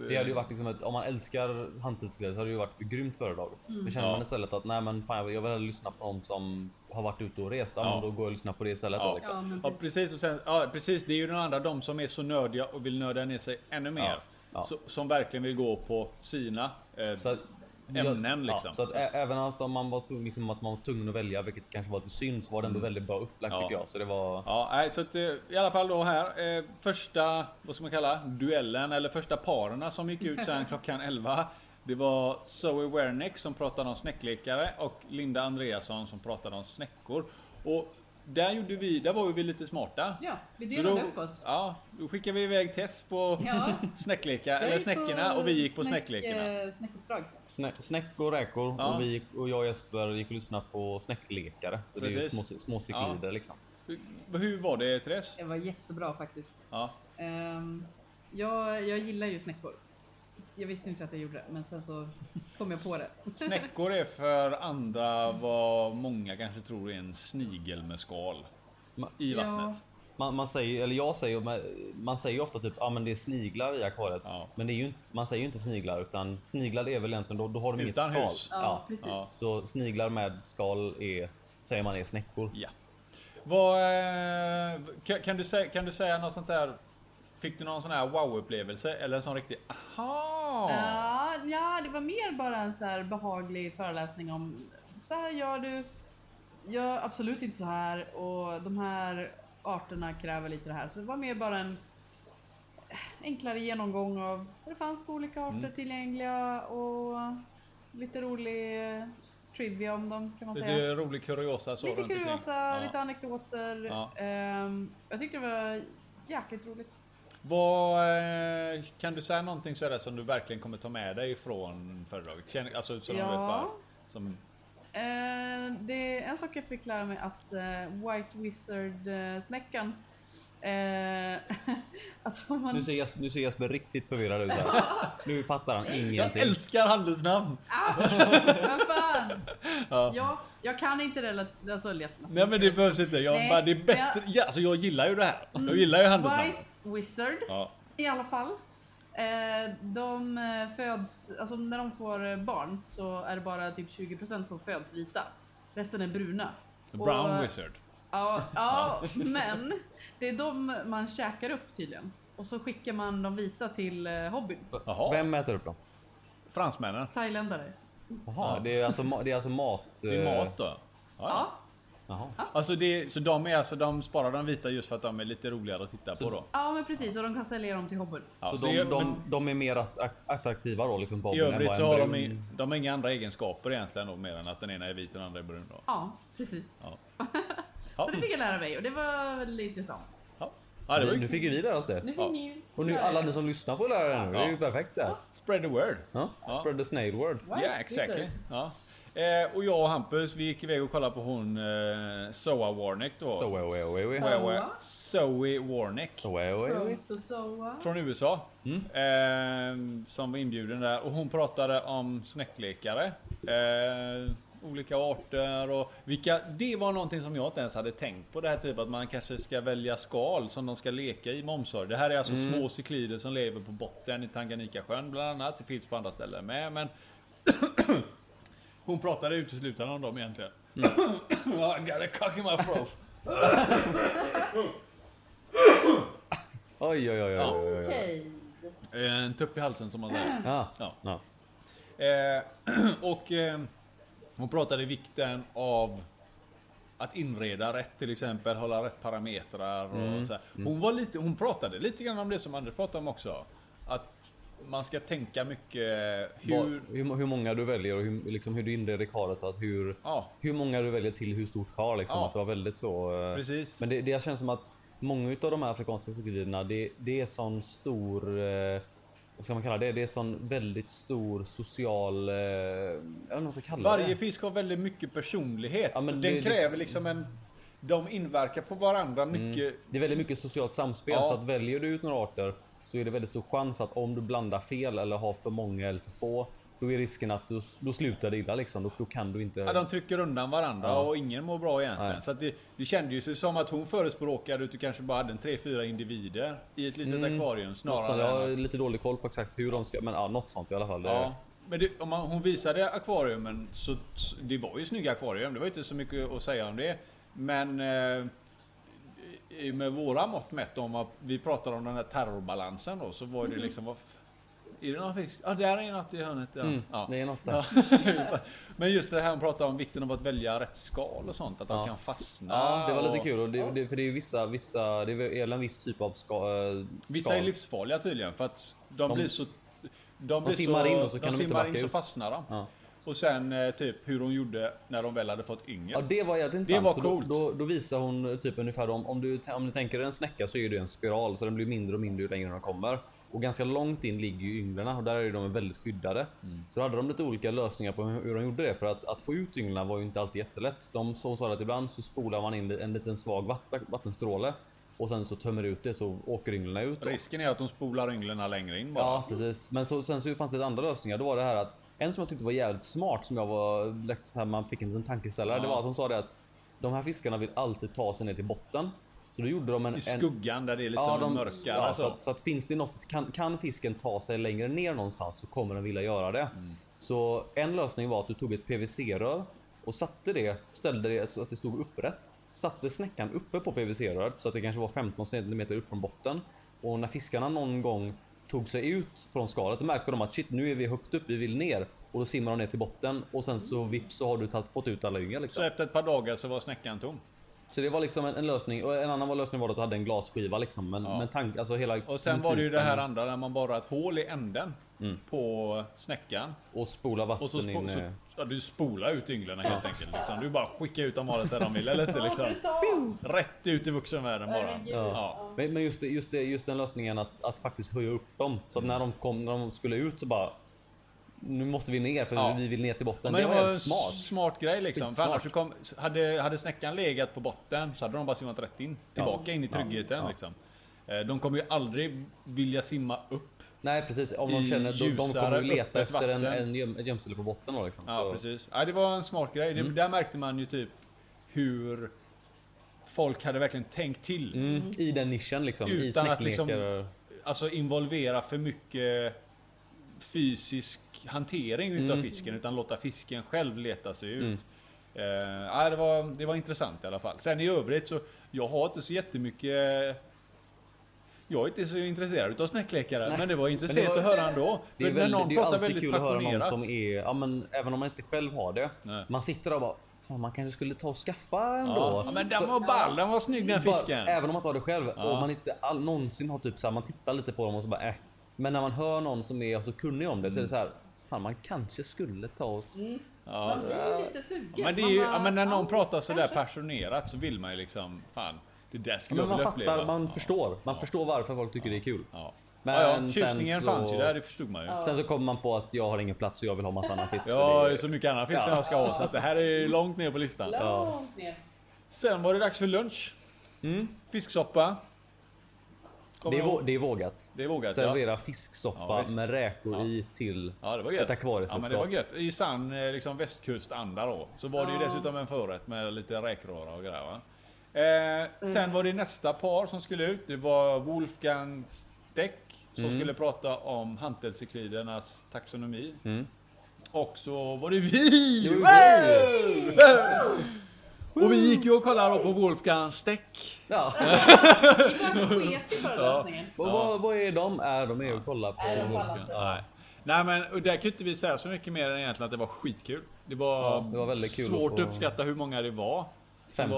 [SPEAKER 1] Det hade ju varit liksom ett, om man älskar hantverksgrejer så hade det ju varit ett grymt föredrag. Men känner
[SPEAKER 3] Ja.
[SPEAKER 1] man istället att nej men fan jag vill, jag vill hellre lyssna på någon som har varit ute och rest. Ja,
[SPEAKER 3] Ja.
[SPEAKER 1] men då går jag och lyssnar på det istället. då,
[SPEAKER 3] Ja.
[SPEAKER 1] liksom.
[SPEAKER 2] men
[SPEAKER 3] Ja
[SPEAKER 2] precis.
[SPEAKER 3] precis, och sen, ja, precis, det är ju den andra, de som är så nördiga och vill nörda ner sig ännu mer.
[SPEAKER 1] ja.
[SPEAKER 3] Så, som verkligen vill gå på sina eh,
[SPEAKER 1] Så att,
[SPEAKER 3] ämnen liksom.
[SPEAKER 1] Ja, så att ä- även att om man var tvungen, liksom, att man var tvungen att välja, vilket kanske var lite synd, så var det ändå väldigt bra upplagt
[SPEAKER 3] Mm. Ja.
[SPEAKER 1] tycker jag. Så det var...
[SPEAKER 3] Ja, nej, så att, eh, i alla fall då här. Eh, första, vad ska man kalla, duellen eller första parerna som gick ut sen klockan 11. Det var Zoe Wernick som pratade om snäcklekare och Linda Andreasson som pratade om snäckor. Och där gjorde vi, där var ju vi lite smarta.
[SPEAKER 2] Ja, vi
[SPEAKER 3] Så
[SPEAKER 2] delade upp oss.
[SPEAKER 3] Ja, då skickade vi iväg Tess på
[SPEAKER 2] Ja.
[SPEAKER 3] snäcklekar,
[SPEAKER 2] Jag
[SPEAKER 3] eller
[SPEAKER 2] gick på
[SPEAKER 3] snäckorna och vi gick på
[SPEAKER 2] snäck-
[SPEAKER 3] snäcklekarna.
[SPEAKER 2] eh, Snäckuppdrag.
[SPEAKER 1] Snä, snäck och räkor
[SPEAKER 3] Ja.
[SPEAKER 1] och, vi, gick- och jag och Jesper gick och lyssnade på snäcklekare. Så det är ju
[SPEAKER 3] Precis.
[SPEAKER 1] små, små cyklider liksom.
[SPEAKER 3] Hur, hur var det Therese?
[SPEAKER 2] Det var jättebra faktiskt.
[SPEAKER 3] Ja,
[SPEAKER 2] Ehm, jag, jag gillar ju snäckor. Jag visste inte att jag gjorde det, men sen så kom jag på det.
[SPEAKER 3] snäckor är för andra vad många kanske tror är en snigel med skal
[SPEAKER 1] Ma-
[SPEAKER 3] i
[SPEAKER 2] Ja.
[SPEAKER 3] vattnet.
[SPEAKER 1] Man, man säger, eller jag säger, man- man säger ju ofta typ ah, men det är sniglar i akvariet.
[SPEAKER 3] Ja.
[SPEAKER 1] Men det är ju, inte- man säger ju inte sniglar utan sniglar är väl egentligen, då, då har de
[SPEAKER 3] Utan
[SPEAKER 1] inget
[SPEAKER 3] hus.
[SPEAKER 1] skal.
[SPEAKER 2] Ja, precis.
[SPEAKER 3] ja.
[SPEAKER 1] Så sniglar med skal är, säger man är snäckor.
[SPEAKER 3] Ja. Vad, eh, kan, kan, du säga, kan du säga något sånt där? Fick du någon sån här wow-upplevelse eller en sån riktig aha?
[SPEAKER 2] Ja, ja, det var mer bara en så här behaglig föreläsning om så här gör du. Gör absolut inte så här och de här arterna kräver lite det här. Så det var mer bara en enklare genomgång av vad det fanns för olika arter tillgängliga och lite rolig eh, trivia om dem kan man säga.
[SPEAKER 3] Lite rolig kuriosa så
[SPEAKER 2] Lite
[SPEAKER 3] runt omkring.
[SPEAKER 2] kuriosa,
[SPEAKER 3] Ja.
[SPEAKER 2] lite anekdoter.
[SPEAKER 3] Ja.
[SPEAKER 2] Ehm, jag tyckte det var jäkligt roligt.
[SPEAKER 3] Vad, eh, kan du säga någonting sådär som du verkligen kommer ta med dig från föredraget? Känn- Alltså, som
[SPEAKER 2] Ja.
[SPEAKER 3] du vet bara, som,
[SPEAKER 2] Ehm, det är en sak jag fick lära mig att eh, White eh, Wizard-snäckan eh, att om man...
[SPEAKER 1] Nu ser, Jesper, nu ser Jesper riktigt förvirrad ut här. Nu fattar han
[SPEAKER 3] jag
[SPEAKER 1] ingenting.
[SPEAKER 3] älskar handelsnamn!
[SPEAKER 2] Ah, vad fan!
[SPEAKER 3] Ja.
[SPEAKER 2] Ja, jag kan inte relatera... Alltså, lätt-
[SPEAKER 3] Nej men det behövs inte. Jag,
[SPEAKER 2] Nej,
[SPEAKER 3] bara, det är bättre.
[SPEAKER 2] men-
[SPEAKER 3] Ja, alltså, jag gillar ju det här. Mm. Jag gillar ju handelsnamnet.
[SPEAKER 2] Mm, White Wizard
[SPEAKER 3] Ja.
[SPEAKER 2] I alla fall. Eh, de eh, föds, alltså när de får eh, barn så är det bara typ 20% som föds vita. Resten är bruna.
[SPEAKER 3] The Brown
[SPEAKER 2] Och, eh,
[SPEAKER 3] Wizard.
[SPEAKER 2] Ja, ja, men det är de man käkar upp tydligen. Och så skickar man de vita till eh, hobbyn.
[SPEAKER 3] Jaha.
[SPEAKER 1] Vem äter upp dem?
[SPEAKER 3] Fransmännen.
[SPEAKER 2] Thailändare.
[SPEAKER 1] Jaha,
[SPEAKER 3] Ja.
[SPEAKER 1] det är alltså, ma- det är alltså mat...
[SPEAKER 3] Det är
[SPEAKER 1] eh,
[SPEAKER 3] mat då. Ja.
[SPEAKER 2] Ja,
[SPEAKER 1] Jaha.
[SPEAKER 3] Alltså det, så de är alltså, de sparar de vita just för att de är lite roligare att titta på då.
[SPEAKER 2] ja men precis. Och de kan sälja dem till hobbyn.
[SPEAKER 3] Ja,
[SPEAKER 1] så
[SPEAKER 3] så
[SPEAKER 1] de,
[SPEAKER 3] i-
[SPEAKER 1] de,
[SPEAKER 3] men
[SPEAKER 1] de är mer att- attraktiva då liksom? på
[SPEAKER 3] I
[SPEAKER 1] hobbyn än
[SPEAKER 3] övrigt
[SPEAKER 1] vad
[SPEAKER 3] så
[SPEAKER 1] en
[SPEAKER 3] har de,
[SPEAKER 1] brun-
[SPEAKER 3] i- de har inga andra egenskaper egentligen då, mer än att den ena är vit och den andra är brun då.
[SPEAKER 2] Ja, precis.
[SPEAKER 3] Ja. mm.
[SPEAKER 2] Så det fick jag lära mig och det var väldigt intressant.
[SPEAKER 3] Ja. Ja, det var
[SPEAKER 1] Nu
[SPEAKER 3] ju
[SPEAKER 1] fick ju vi lära oss det.
[SPEAKER 2] Nu fick
[SPEAKER 3] Ja.
[SPEAKER 2] ni
[SPEAKER 1] Och nu alla ni som lyssnar får lära er nu. Det är ju
[SPEAKER 3] Ja.
[SPEAKER 1] perfekt det.
[SPEAKER 3] Spread the word.
[SPEAKER 1] Ja.
[SPEAKER 3] Ja.
[SPEAKER 1] Spread the snail word.
[SPEAKER 2] Wow,
[SPEAKER 3] yeah, exactly.
[SPEAKER 2] wizard.
[SPEAKER 3] Ja. Eh, och jag och Hampus, vi gick iväg och kollade på hon eh, Zoa Warnick då.
[SPEAKER 1] So away, away, away.
[SPEAKER 3] Zoe- Zoe- eh, Zoe Warnick.
[SPEAKER 1] So away, away, away.
[SPEAKER 2] Protozoa.
[SPEAKER 3] Från USA. Eh, som var inbjuden där. Och hon pratade om snäcklekare. Eh, olika arter och vilka. Det var någonting som jag inte ens hade tänkt på. Det här typ att man kanske ska välja skal som de ska leka i med omsorg. Det här är alltså små cyklider som lever på botten i Tanganyikasjön bland annat. Det finns på andra ställen med. Men hon pratade uteslutande om dem egentligen. I got a cock in my throat.
[SPEAKER 1] Oj, oj, oj, oj,
[SPEAKER 3] Ja.
[SPEAKER 1] oj, oj.
[SPEAKER 2] Okej.
[SPEAKER 3] Eh, En tupp i halsen som man säger.
[SPEAKER 1] Ja.
[SPEAKER 3] Ja.
[SPEAKER 1] Ja.
[SPEAKER 3] Eh, och eh, hon pratade vikten av att inreda rätt till exempel, hålla rätt
[SPEAKER 1] Mm.
[SPEAKER 3] parametrar och så här. Hon, var lite, hon pratade lite grann om det som Anders pratade om också. Att man ska tänka mycket hur...
[SPEAKER 1] Hur, hur, hur många du väljer och hur, liksom, hur du inreder karet. Att hur,
[SPEAKER 3] Ja,
[SPEAKER 1] hur många du väljer till hur stort kar. Liksom,
[SPEAKER 3] Ja.
[SPEAKER 1] Att det var väldigt så. eh,
[SPEAKER 3] precis.
[SPEAKER 1] Men det, det känns som att många av de här afrikanska cykelriderna, det, det är sån stor, eh, vad ska man kalla det? Det är sån väldigt stor social, eh, jag vet inte vad man ska kalla
[SPEAKER 3] Varje
[SPEAKER 1] det.
[SPEAKER 3] fisk har väldigt mycket personlighet.
[SPEAKER 1] Mm. Ja, men
[SPEAKER 3] Den
[SPEAKER 1] det-
[SPEAKER 3] kräver liksom en... De inverkar på varandra
[SPEAKER 1] Mm.
[SPEAKER 3] mycket.
[SPEAKER 1] Det är väldigt mycket socialt samspel
[SPEAKER 3] Ja.
[SPEAKER 1] så att väljer du ut några arter så är det väldigt stor chans att om du blandar fel eller har för många eller för få, då är risken att du, då slutar det illa liksom. Då, då kan du inte.
[SPEAKER 3] Ja, de trycker undan varandra
[SPEAKER 1] Ja.
[SPEAKER 3] och ingen mår bra egentligen.
[SPEAKER 1] Nej.
[SPEAKER 3] Så att det, det kändes ju sig som att hon förespråkade att du kanske bara hade en 3-4 individer i ett litet
[SPEAKER 1] Mm.
[SPEAKER 3] akvarium
[SPEAKER 1] Något sånt.
[SPEAKER 3] snarare
[SPEAKER 1] jag
[SPEAKER 3] än att-
[SPEAKER 1] har lite dålig koll på exakt hur de ska, men ja, något sånt i alla fall. Det-
[SPEAKER 3] Ja. Men det, om man, hon visade akvariumen så så- det var ju snygga akvarium. Det var inte så mycket att säga om det. Men eh, i- med våra mått mätt om att vi pratar om den här terrorbalansen då så var det
[SPEAKER 1] Mm.
[SPEAKER 3] liksom vad f- är det någon fisk? Ja, ah, där är något i hörnet. Ja.
[SPEAKER 1] Mm,
[SPEAKER 3] Ja.
[SPEAKER 1] Det är något där.
[SPEAKER 3] Ja. Men just det här hon pratar om vikten av att välja rätt skal och sånt. Att de
[SPEAKER 1] Ja.
[SPEAKER 3] kan fastna.
[SPEAKER 1] Ja, det var
[SPEAKER 3] och-
[SPEAKER 1] lite kul. Och det,
[SPEAKER 2] Ja.
[SPEAKER 1] det, för det är ju vissa, vissa, det är väl en viss typ av ska, eh,
[SPEAKER 3] Vissa
[SPEAKER 1] skal.
[SPEAKER 3] är livsfarliga tydligen för att de,
[SPEAKER 1] De-
[SPEAKER 3] blir så... De, blir
[SPEAKER 1] simmar
[SPEAKER 3] så,
[SPEAKER 1] in och så
[SPEAKER 3] de
[SPEAKER 1] kan de inte
[SPEAKER 3] simmar
[SPEAKER 1] backa
[SPEAKER 3] in så
[SPEAKER 1] ut.
[SPEAKER 3] fastnar de.
[SPEAKER 1] Ja.
[SPEAKER 3] Och sen eh, typ hur hon gjorde när de väl hade fått yngel.
[SPEAKER 1] ja, det var jävligt intressant.
[SPEAKER 3] var
[SPEAKER 1] för då-
[SPEAKER 3] coolt.
[SPEAKER 1] Då, då visar hon typ ungefär om, om du, om du tänker dig en snäcka så är det en spiral så den blir mindre och mindre ju längre de kommer. Och ganska långt in ligger ju ynglarna och där är ju de väldigt skyddade.
[SPEAKER 3] Mm.
[SPEAKER 1] Så då hade de lite olika lösningar på hur, hur de gjorde det för att, att få ut ynglarna var ju inte alltid jättelätt. De så sa att ibland så spolar man in en liten svag vatten, vattenstråle och sen så tömmer ut det så åker ynglarna ut. då.
[SPEAKER 3] Risken är att de spolar ynglen längre in bara.
[SPEAKER 1] Ja, precis. Men så, sen så fanns det andra lösningar. Då var det här att en som jag tyckte var jävligt smart som jag var lätt så här, man fick en liten tankeställare. Det
[SPEAKER 3] Ja.
[SPEAKER 1] var att hon sa det att de här fiskarna vill alltid ta sig ner till botten. Så då gjorde de en...
[SPEAKER 3] I
[SPEAKER 1] en
[SPEAKER 3] skuggan där det är lite
[SPEAKER 1] ja, de,
[SPEAKER 3] mörkare. alltså.
[SPEAKER 1] ja, så, att, så att finns det något, kan, kan fisken ta sig längre ner någonstans så kommer den vilja göra det.
[SPEAKER 3] Mm.
[SPEAKER 1] Så en lösning var att du tog ett PVC-rör och satte det, ställde det så att det stod upprätt. Satte snäckan uppe på PVC-röret så att det kanske var 15 centimeter upp från botten. Och när fiskarna någon gång tog sig ut från skalet, då märkte de att shit, nu är vi högt upp, vi vill ner. Och då simmar de ner till botten och sen så vips så har du tagit, fått ut alla yngel. Liksom.
[SPEAKER 3] så efter ett par dagar så var snäckan tom.
[SPEAKER 1] Så det var liksom en, en lösning. Och en annan var lösning var att du hade en glasskiva liksom. Men,
[SPEAKER 3] Ja.
[SPEAKER 1] men tank, alltså hela
[SPEAKER 3] Och sen var det ju det här
[SPEAKER 1] principen-
[SPEAKER 3] andra där man bara har ett hål i änden
[SPEAKER 1] Mm.
[SPEAKER 3] på snäckan.
[SPEAKER 1] Och spola vatten
[SPEAKER 3] Och så, spo-
[SPEAKER 1] in.
[SPEAKER 3] så
[SPEAKER 1] eh,
[SPEAKER 3] ja, du spolar ut ynglen helt enkelt. Liksom. Du bara skickar ut dem vare sig de vill eller inte. Liksom.
[SPEAKER 2] Brutalt!
[SPEAKER 3] Rätt ut i vuxenvärlden bara.
[SPEAKER 2] Herregud.
[SPEAKER 3] Ja.
[SPEAKER 1] Men, men just, det, just, det, just den lösningen att, att faktiskt höja upp dem. Så att när de kom, när de skulle ut så bara. Nu måste vi ner för
[SPEAKER 3] Ja.
[SPEAKER 1] vi vill ner till botten.
[SPEAKER 3] Men det, var en
[SPEAKER 1] jävligt smart.
[SPEAKER 3] smart grej liksom. För
[SPEAKER 1] Skitsmart.
[SPEAKER 3] annars så kom, hade, hade snäckan legat på botten så hade de bara simmat rätt in. Tillbaka in i
[SPEAKER 1] Ja.
[SPEAKER 3] tryggheten
[SPEAKER 1] Ja.
[SPEAKER 3] liksom. Eh, De kommer ju aldrig vilja simma upp.
[SPEAKER 1] Nej precis. Om
[SPEAKER 3] I
[SPEAKER 1] de känner de, de kommer
[SPEAKER 3] ljusare,
[SPEAKER 1] ju leta
[SPEAKER 3] öppet
[SPEAKER 1] efter en,
[SPEAKER 3] vatten.
[SPEAKER 1] en göm, ett gömställe på botten då liksom.
[SPEAKER 3] Ja,
[SPEAKER 1] så. Mm.
[SPEAKER 3] precis. Ja, det var en smart grej. Det, Där märkte man ju typ hur folk hade verkligen tänkt till.
[SPEAKER 1] Mm, I den nischen liksom. I
[SPEAKER 3] Utan att
[SPEAKER 1] snäcklekar.
[SPEAKER 3] liksom- Alltså involvera för mycket fysisk hantering utav
[SPEAKER 1] Mm.
[SPEAKER 3] fisken utan låta fisken själv leta sig ut. Eh, ja, det, var, det var intressant i alla fall. Sen i övrigt så jag har inte så jättemycket jag är inte så intresserad utav snäcklekare men det var intressant
[SPEAKER 1] var-
[SPEAKER 3] att höra ändå.
[SPEAKER 1] Det är,
[SPEAKER 3] För när
[SPEAKER 1] väl,
[SPEAKER 3] någon
[SPEAKER 1] det är ju
[SPEAKER 3] pratar
[SPEAKER 1] alltid
[SPEAKER 3] väldigt
[SPEAKER 1] kul att höra någon
[SPEAKER 3] passionerat.
[SPEAKER 1] som är, ja, men, även om man inte själv har det.
[SPEAKER 3] Nej.
[SPEAKER 1] Man sitter där och bara, Fan, man kanske skulle ta och skaffa ändå.
[SPEAKER 3] Ja, ja, men den var ball, den var snygg den
[SPEAKER 1] Bara-
[SPEAKER 3] fisken.
[SPEAKER 1] Även om man tar det själv
[SPEAKER 3] Ja.
[SPEAKER 1] och man inte all, någonsin har typ så här, man tittar lite på dem och så bara äh. Men när man hör någon som är så kunnig om det så är det
[SPEAKER 3] Mm.
[SPEAKER 1] så här. Fan man kanske skulle ta oss.
[SPEAKER 3] Ja.
[SPEAKER 2] Man blir ju lite sugen.
[SPEAKER 3] Ja, Men, det är
[SPEAKER 2] Man
[SPEAKER 3] ju,
[SPEAKER 2] bara,
[SPEAKER 3] ja, men när någon
[SPEAKER 2] ja,
[SPEAKER 3] pratar sådär
[SPEAKER 2] kanske.
[SPEAKER 3] passionerat så vill man ju liksom, fan, det där skulle
[SPEAKER 1] Men
[SPEAKER 3] jag
[SPEAKER 1] man
[SPEAKER 3] vilja
[SPEAKER 1] fattar,
[SPEAKER 3] uppleva.
[SPEAKER 1] man
[SPEAKER 3] ja.
[SPEAKER 1] förstår. Man förstår varför folk tycker det är kul.
[SPEAKER 3] Ja.
[SPEAKER 1] Men
[SPEAKER 3] ja, ja,
[SPEAKER 1] sen
[SPEAKER 3] tjusningen
[SPEAKER 1] så-
[SPEAKER 3] fanns ju där, det förstod man ju. Ja,
[SPEAKER 1] Sen så kommer man på att jag har ingen plats och jag vill ha massa annan fisk.
[SPEAKER 3] det
[SPEAKER 1] så
[SPEAKER 3] är
[SPEAKER 1] det,
[SPEAKER 3] så mycket annat fisk som
[SPEAKER 1] Ja.
[SPEAKER 3] jag ska ha så att det här är långt ner på listan.
[SPEAKER 2] Långt ner.
[SPEAKER 3] Sen var det dags för lunch. Fisksoppa. Kommer
[SPEAKER 1] Mm. det, är,
[SPEAKER 3] du
[SPEAKER 1] vå-
[SPEAKER 3] ihåg?
[SPEAKER 1] det är vågat.
[SPEAKER 3] det är vågat ja.
[SPEAKER 1] Servera fisksoppa
[SPEAKER 3] Ja, visst.
[SPEAKER 1] med räkor
[SPEAKER 3] Ja.
[SPEAKER 1] i till.
[SPEAKER 3] Ja det var gött.
[SPEAKER 1] Ett akvariesällskap.
[SPEAKER 3] Ja men det var gött. I sann eh, liksom, västkustanda då. Så var det ju
[SPEAKER 2] Ja.
[SPEAKER 3] dessutom en förrätt med lite räkröra och grejer va. Eh, Sen var det nästa par som skulle ut. Det var Wolfgang Steck som
[SPEAKER 1] Mm.
[SPEAKER 3] skulle prata om hantelcyklidernas taxonomi.
[SPEAKER 1] Mm.
[SPEAKER 3] Och så var det vi!
[SPEAKER 1] Jo, vi!
[SPEAKER 3] Och vi gick ju och kollade då på Wolfgang Steck.
[SPEAKER 1] Ja.
[SPEAKER 2] Vi kanske sket i föreläsningen.
[SPEAKER 1] Och Vad, vad är de? Är de är och kollar på.
[SPEAKER 2] Är de på alla
[SPEAKER 1] Ja.
[SPEAKER 2] sätt?
[SPEAKER 3] Nej. Nej men och där kan ju inte vi säga så mycket mer än egentligen att det var skitkul. Det var,
[SPEAKER 1] Ja, det var väldigt kul
[SPEAKER 3] svårt
[SPEAKER 1] att
[SPEAKER 3] att,
[SPEAKER 1] få-
[SPEAKER 3] uppskatta hur många det var. Som
[SPEAKER 1] 50.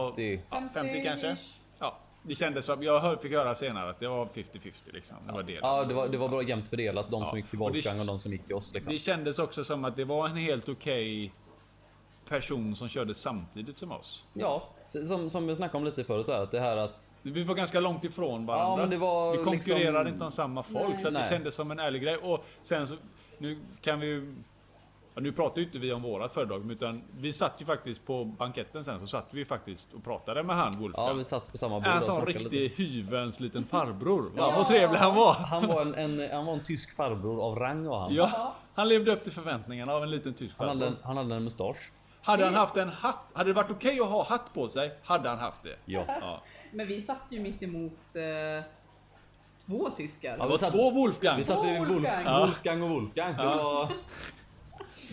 [SPEAKER 3] Var, ja, 50 kanske.
[SPEAKER 2] ish.
[SPEAKER 3] Ja. Det kändes som, jag hör- fick höra senare att det var 50-50 liksom. Det var det.
[SPEAKER 1] Ja, det var, det var bra jämnt fördelat. De
[SPEAKER 3] Ja,
[SPEAKER 1] som gick till
[SPEAKER 3] och det-
[SPEAKER 1] Wolfgang och de som gick till oss. Liksom.
[SPEAKER 3] Det kändes också som att det var en helt okej person som körde samtidigt som oss.
[SPEAKER 1] Ja, s- som, som vi snackade om lite förut där, att det här att...
[SPEAKER 3] Vi var ganska långt ifrån varandra.
[SPEAKER 1] Ja, men det var
[SPEAKER 3] vi konkurrerade
[SPEAKER 1] liksom-
[SPEAKER 3] inte om samma folk,
[SPEAKER 2] Nej.
[SPEAKER 3] så att det
[SPEAKER 1] Nej.
[SPEAKER 3] kändes som en ärlig grej. Och sen så, nu kan vi ju... Ja, nu pratar ju inte vi om vårat föredrag, utan vi satt ju faktiskt på banketten sen, så satt vi ju faktiskt och pratade med han Wolfgang.
[SPEAKER 1] Ja, vi satt på samma bord
[SPEAKER 3] en
[SPEAKER 1] och
[SPEAKER 3] sån
[SPEAKER 1] snackade
[SPEAKER 3] riktig
[SPEAKER 1] lite.
[SPEAKER 3] hyvens liten farbror. Ja. Vad trevlig han var!
[SPEAKER 1] Han var en, en, han var en tysk farbror av rang var han.
[SPEAKER 3] Ja, han levde upp till förväntningarna av en liten tysk
[SPEAKER 1] Han
[SPEAKER 3] farbror.
[SPEAKER 1] hade en, han hade en mustasch.
[SPEAKER 3] Hade han haft en hatt, hade det varit okej att ha hatt på sig, hade han haft det.
[SPEAKER 1] Ja.
[SPEAKER 3] Ja.
[SPEAKER 2] Men vi satt ju mitt emot eh, två tyskar.
[SPEAKER 3] Det
[SPEAKER 1] Ja,
[SPEAKER 3] var
[SPEAKER 1] vi satt-
[SPEAKER 3] två Wolfgang.
[SPEAKER 1] Vi satt bredvid Wolf,
[SPEAKER 2] Wolfgang.
[SPEAKER 1] Wolfgang och Wolfgang. Det var...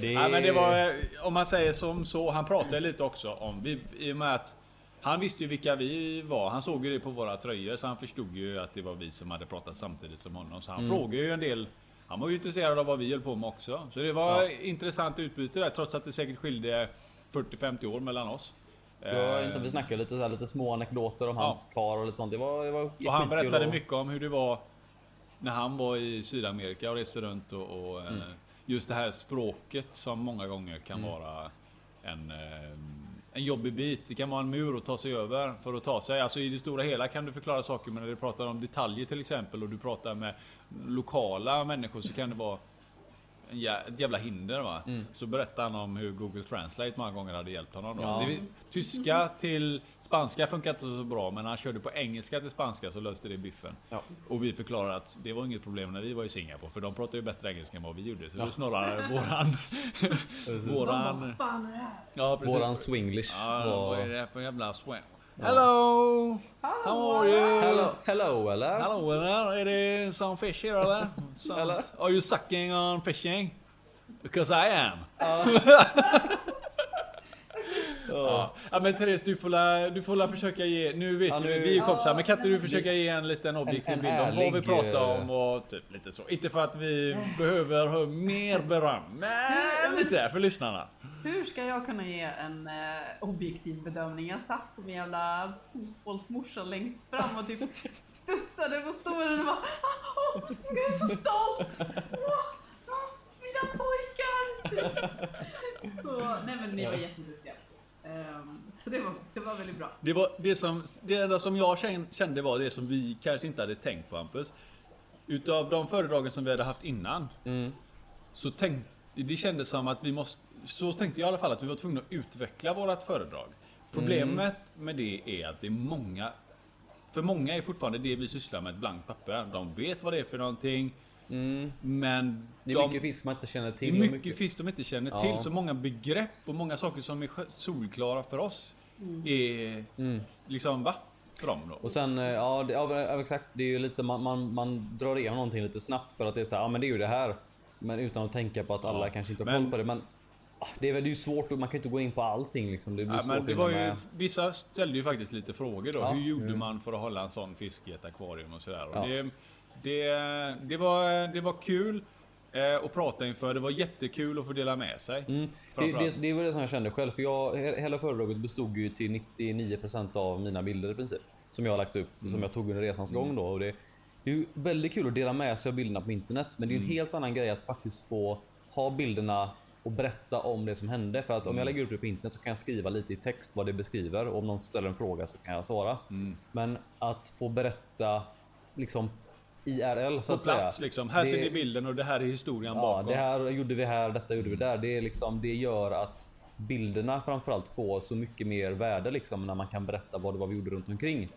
[SPEAKER 1] Det...
[SPEAKER 3] Nej, men det var, eh, om man säger som så, han pratade lite också om, vi, i och med att han visste ju vilka vi var. Han såg ju det på våra tröjor, så han förstod ju att det var vi som hade pratat samtidigt som honom. Så han
[SPEAKER 1] Mm.
[SPEAKER 3] frågade ju en del. Han var ju intresserad av vad vi höll på med också. Så det var
[SPEAKER 1] Ja.
[SPEAKER 3] intressant utbyte där, trots att det säkert skilde 40-50 år mellan oss.
[SPEAKER 1] Det var
[SPEAKER 3] Eh,
[SPEAKER 1] inte, vi snackade lite, så här, lite små anekdoter om
[SPEAKER 3] Ja.
[SPEAKER 1] hans kar och lite sånt. Det var, det var
[SPEAKER 3] Och han
[SPEAKER 1] skitkul
[SPEAKER 3] berättade
[SPEAKER 1] och-
[SPEAKER 3] mycket om hur det var när han var i Sydamerika och reste runt och, och eh, just det här språket som många gånger kan vara en, eh, en jobbig bit. Det kan vara en mur att ta sig över för att ta sig. Alltså i det stora hela kan du förklara saker men när du pratar om detaljer till exempel och du pratar med lokala människor så kan det vara en jä- ett jävla hinder va. Så berättade han om hur Google Translate många gånger hade hjälpt honom. Då.
[SPEAKER 1] Ja.
[SPEAKER 3] Det, tyska till spanska funkar inte så bra men han körde på engelska till spanska så löste det biffen.
[SPEAKER 1] Ja.
[SPEAKER 3] Och vi förklarade att det var inget problem när vi var i Singapore för de pratade ju bättre engelska än vad vi gjorde. Så det var snarare våran... våran...
[SPEAKER 2] fan är det här?
[SPEAKER 3] Ja, precis.
[SPEAKER 1] Våran swinglish
[SPEAKER 3] Ja, vad är
[SPEAKER 1] var...
[SPEAKER 3] det här för jävla swang? Hello! How are you?
[SPEAKER 1] Hello, hello eller?
[SPEAKER 3] Hello there, är det some fish here eller? Some,
[SPEAKER 1] Eller?
[SPEAKER 3] Are you sucking on fishing? Because I am! ja. ja men Therese du får, la, du får la försöka ge, nu vet
[SPEAKER 1] Ja,
[SPEAKER 3] du,
[SPEAKER 1] nu-
[SPEAKER 3] vi är ju kompisar men kan inte du försöka ge en liten objektiv
[SPEAKER 1] en
[SPEAKER 3] bild om vad vi
[SPEAKER 1] ärlig,
[SPEAKER 3] pratar
[SPEAKER 1] eh,
[SPEAKER 3] om och typ lite så. Inte för att vi behöver ha mer beröm, men lite för lyssnarna.
[SPEAKER 2] Hur ska jag kunna ge en eh, objektiv bedömning? Jag satt som en jävla fotbollsmorsa längst fram och typ studsade på stolen och bara "Ah, åh, jag är så stolt! Åh, åh, mina pojkar! Typ. Så, nej men ni var jätteduktiga. Ehm, så det var, det var väldigt bra.
[SPEAKER 3] Det, var det, som, det enda som jag kän- kände var det som vi kanske inte hade tänkt på Hampus. Utav de föredragen som vi hade haft innan.
[SPEAKER 1] Mm.
[SPEAKER 3] Så tänk, det kändes som att vi måste, så tänkte jag i alla fall, att vi var tvungna att utveckla vårat föredrag. Problemet
[SPEAKER 1] Mm.
[SPEAKER 3] med det är att det är många, för många är fortfarande det vi sysslar med ett blankt papper. De vet vad det är för någonting. Men
[SPEAKER 1] Mm, Det är
[SPEAKER 3] de,
[SPEAKER 1] mycket fisk man inte känner
[SPEAKER 3] det är
[SPEAKER 1] till. och
[SPEAKER 3] mycket, fisk de inte känner
[SPEAKER 1] Ja.
[SPEAKER 3] till. Så många begrepp och många saker som är sj- solklara för oss är liksom va? För dem då.
[SPEAKER 1] Mm. Och sen, eh, ja, det, ja men, ja, exakt. Det är ju lite, man, man, man drar igenom någonting lite snabbt för att det är så här, ja men det är ju det här. Men utan att tänka på att alla
[SPEAKER 3] Ja,
[SPEAKER 1] kanske inte har
[SPEAKER 3] men-
[SPEAKER 1] koll på det. Men ah, det är väl det är ju svårt, och man kan ju inte gå in på allting liksom. Det blir
[SPEAKER 3] Ja,
[SPEAKER 1] svårt
[SPEAKER 3] men det
[SPEAKER 1] att
[SPEAKER 3] var
[SPEAKER 1] hinna
[SPEAKER 3] ju,
[SPEAKER 1] med.
[SPEAKER 3] vissa ställde ju faktiskt lite frågor då.
[SPEAKER 1] Ja. Mm.
[SPEAKER 3] Hur gjorde man för att hålla en sån fisk i ett akvarium och sådär. Och
[SPEAKER 1] Ja.
[SPEAKER 3] det, det, det, var, det var kul eh, att prata inför. Det var jättekul att få dela med sig.
[SPEAKER 1] Mm. Det,
[SPEAKER 3] framförallt.
[SPEAKER 1] det, det var det som jag kände själv, för jag, he- hela föredraget bestod ju till 99% av mina bilder i princip. Som jag har lagt upp,
[SPEAKER 3] Mm.
[SPEAKER 1] som jag tog under resans gång då. Och det, det är ju väldigt kul att dela med sig av bilderna på internet, men det är ju en
[SPEAKER 3] Mm.
[SPEAKER 1] helt annan grej att faktiskt få ha bilderna och berätta om det som hände. För att om
[SPEAKER 3] Mm.
[SPEAKER 1] jag lägger upp det på internet så kan jag skriva lite i text vad det beskriver och om någon ställer en fråga så kan jag svara.
[SPEAKER 3] Mm.
[SPEAKER 1] Men att få berätta liksom IRL så
[SPEAKER 3] På
[SPEAKER 1] att
[SPEAKER 3] plats
[SPEAKER 1] säga.
[SPEAKER 3] liksom. Här ser
[SPEAKER 1] det-
[SPEAKER 3] ni bilden och det här är historien
[SPEAKER 1] Ja,
[SPEAKER 3] bakom.
[SPEAKER 1] det här gjorde vi här, detta gjorde vi där. Det, är liksom, det gör att bilderna framförallt får så mycket mer värde liksom, när man kan berätta vad det var vi gjorde runt omkring.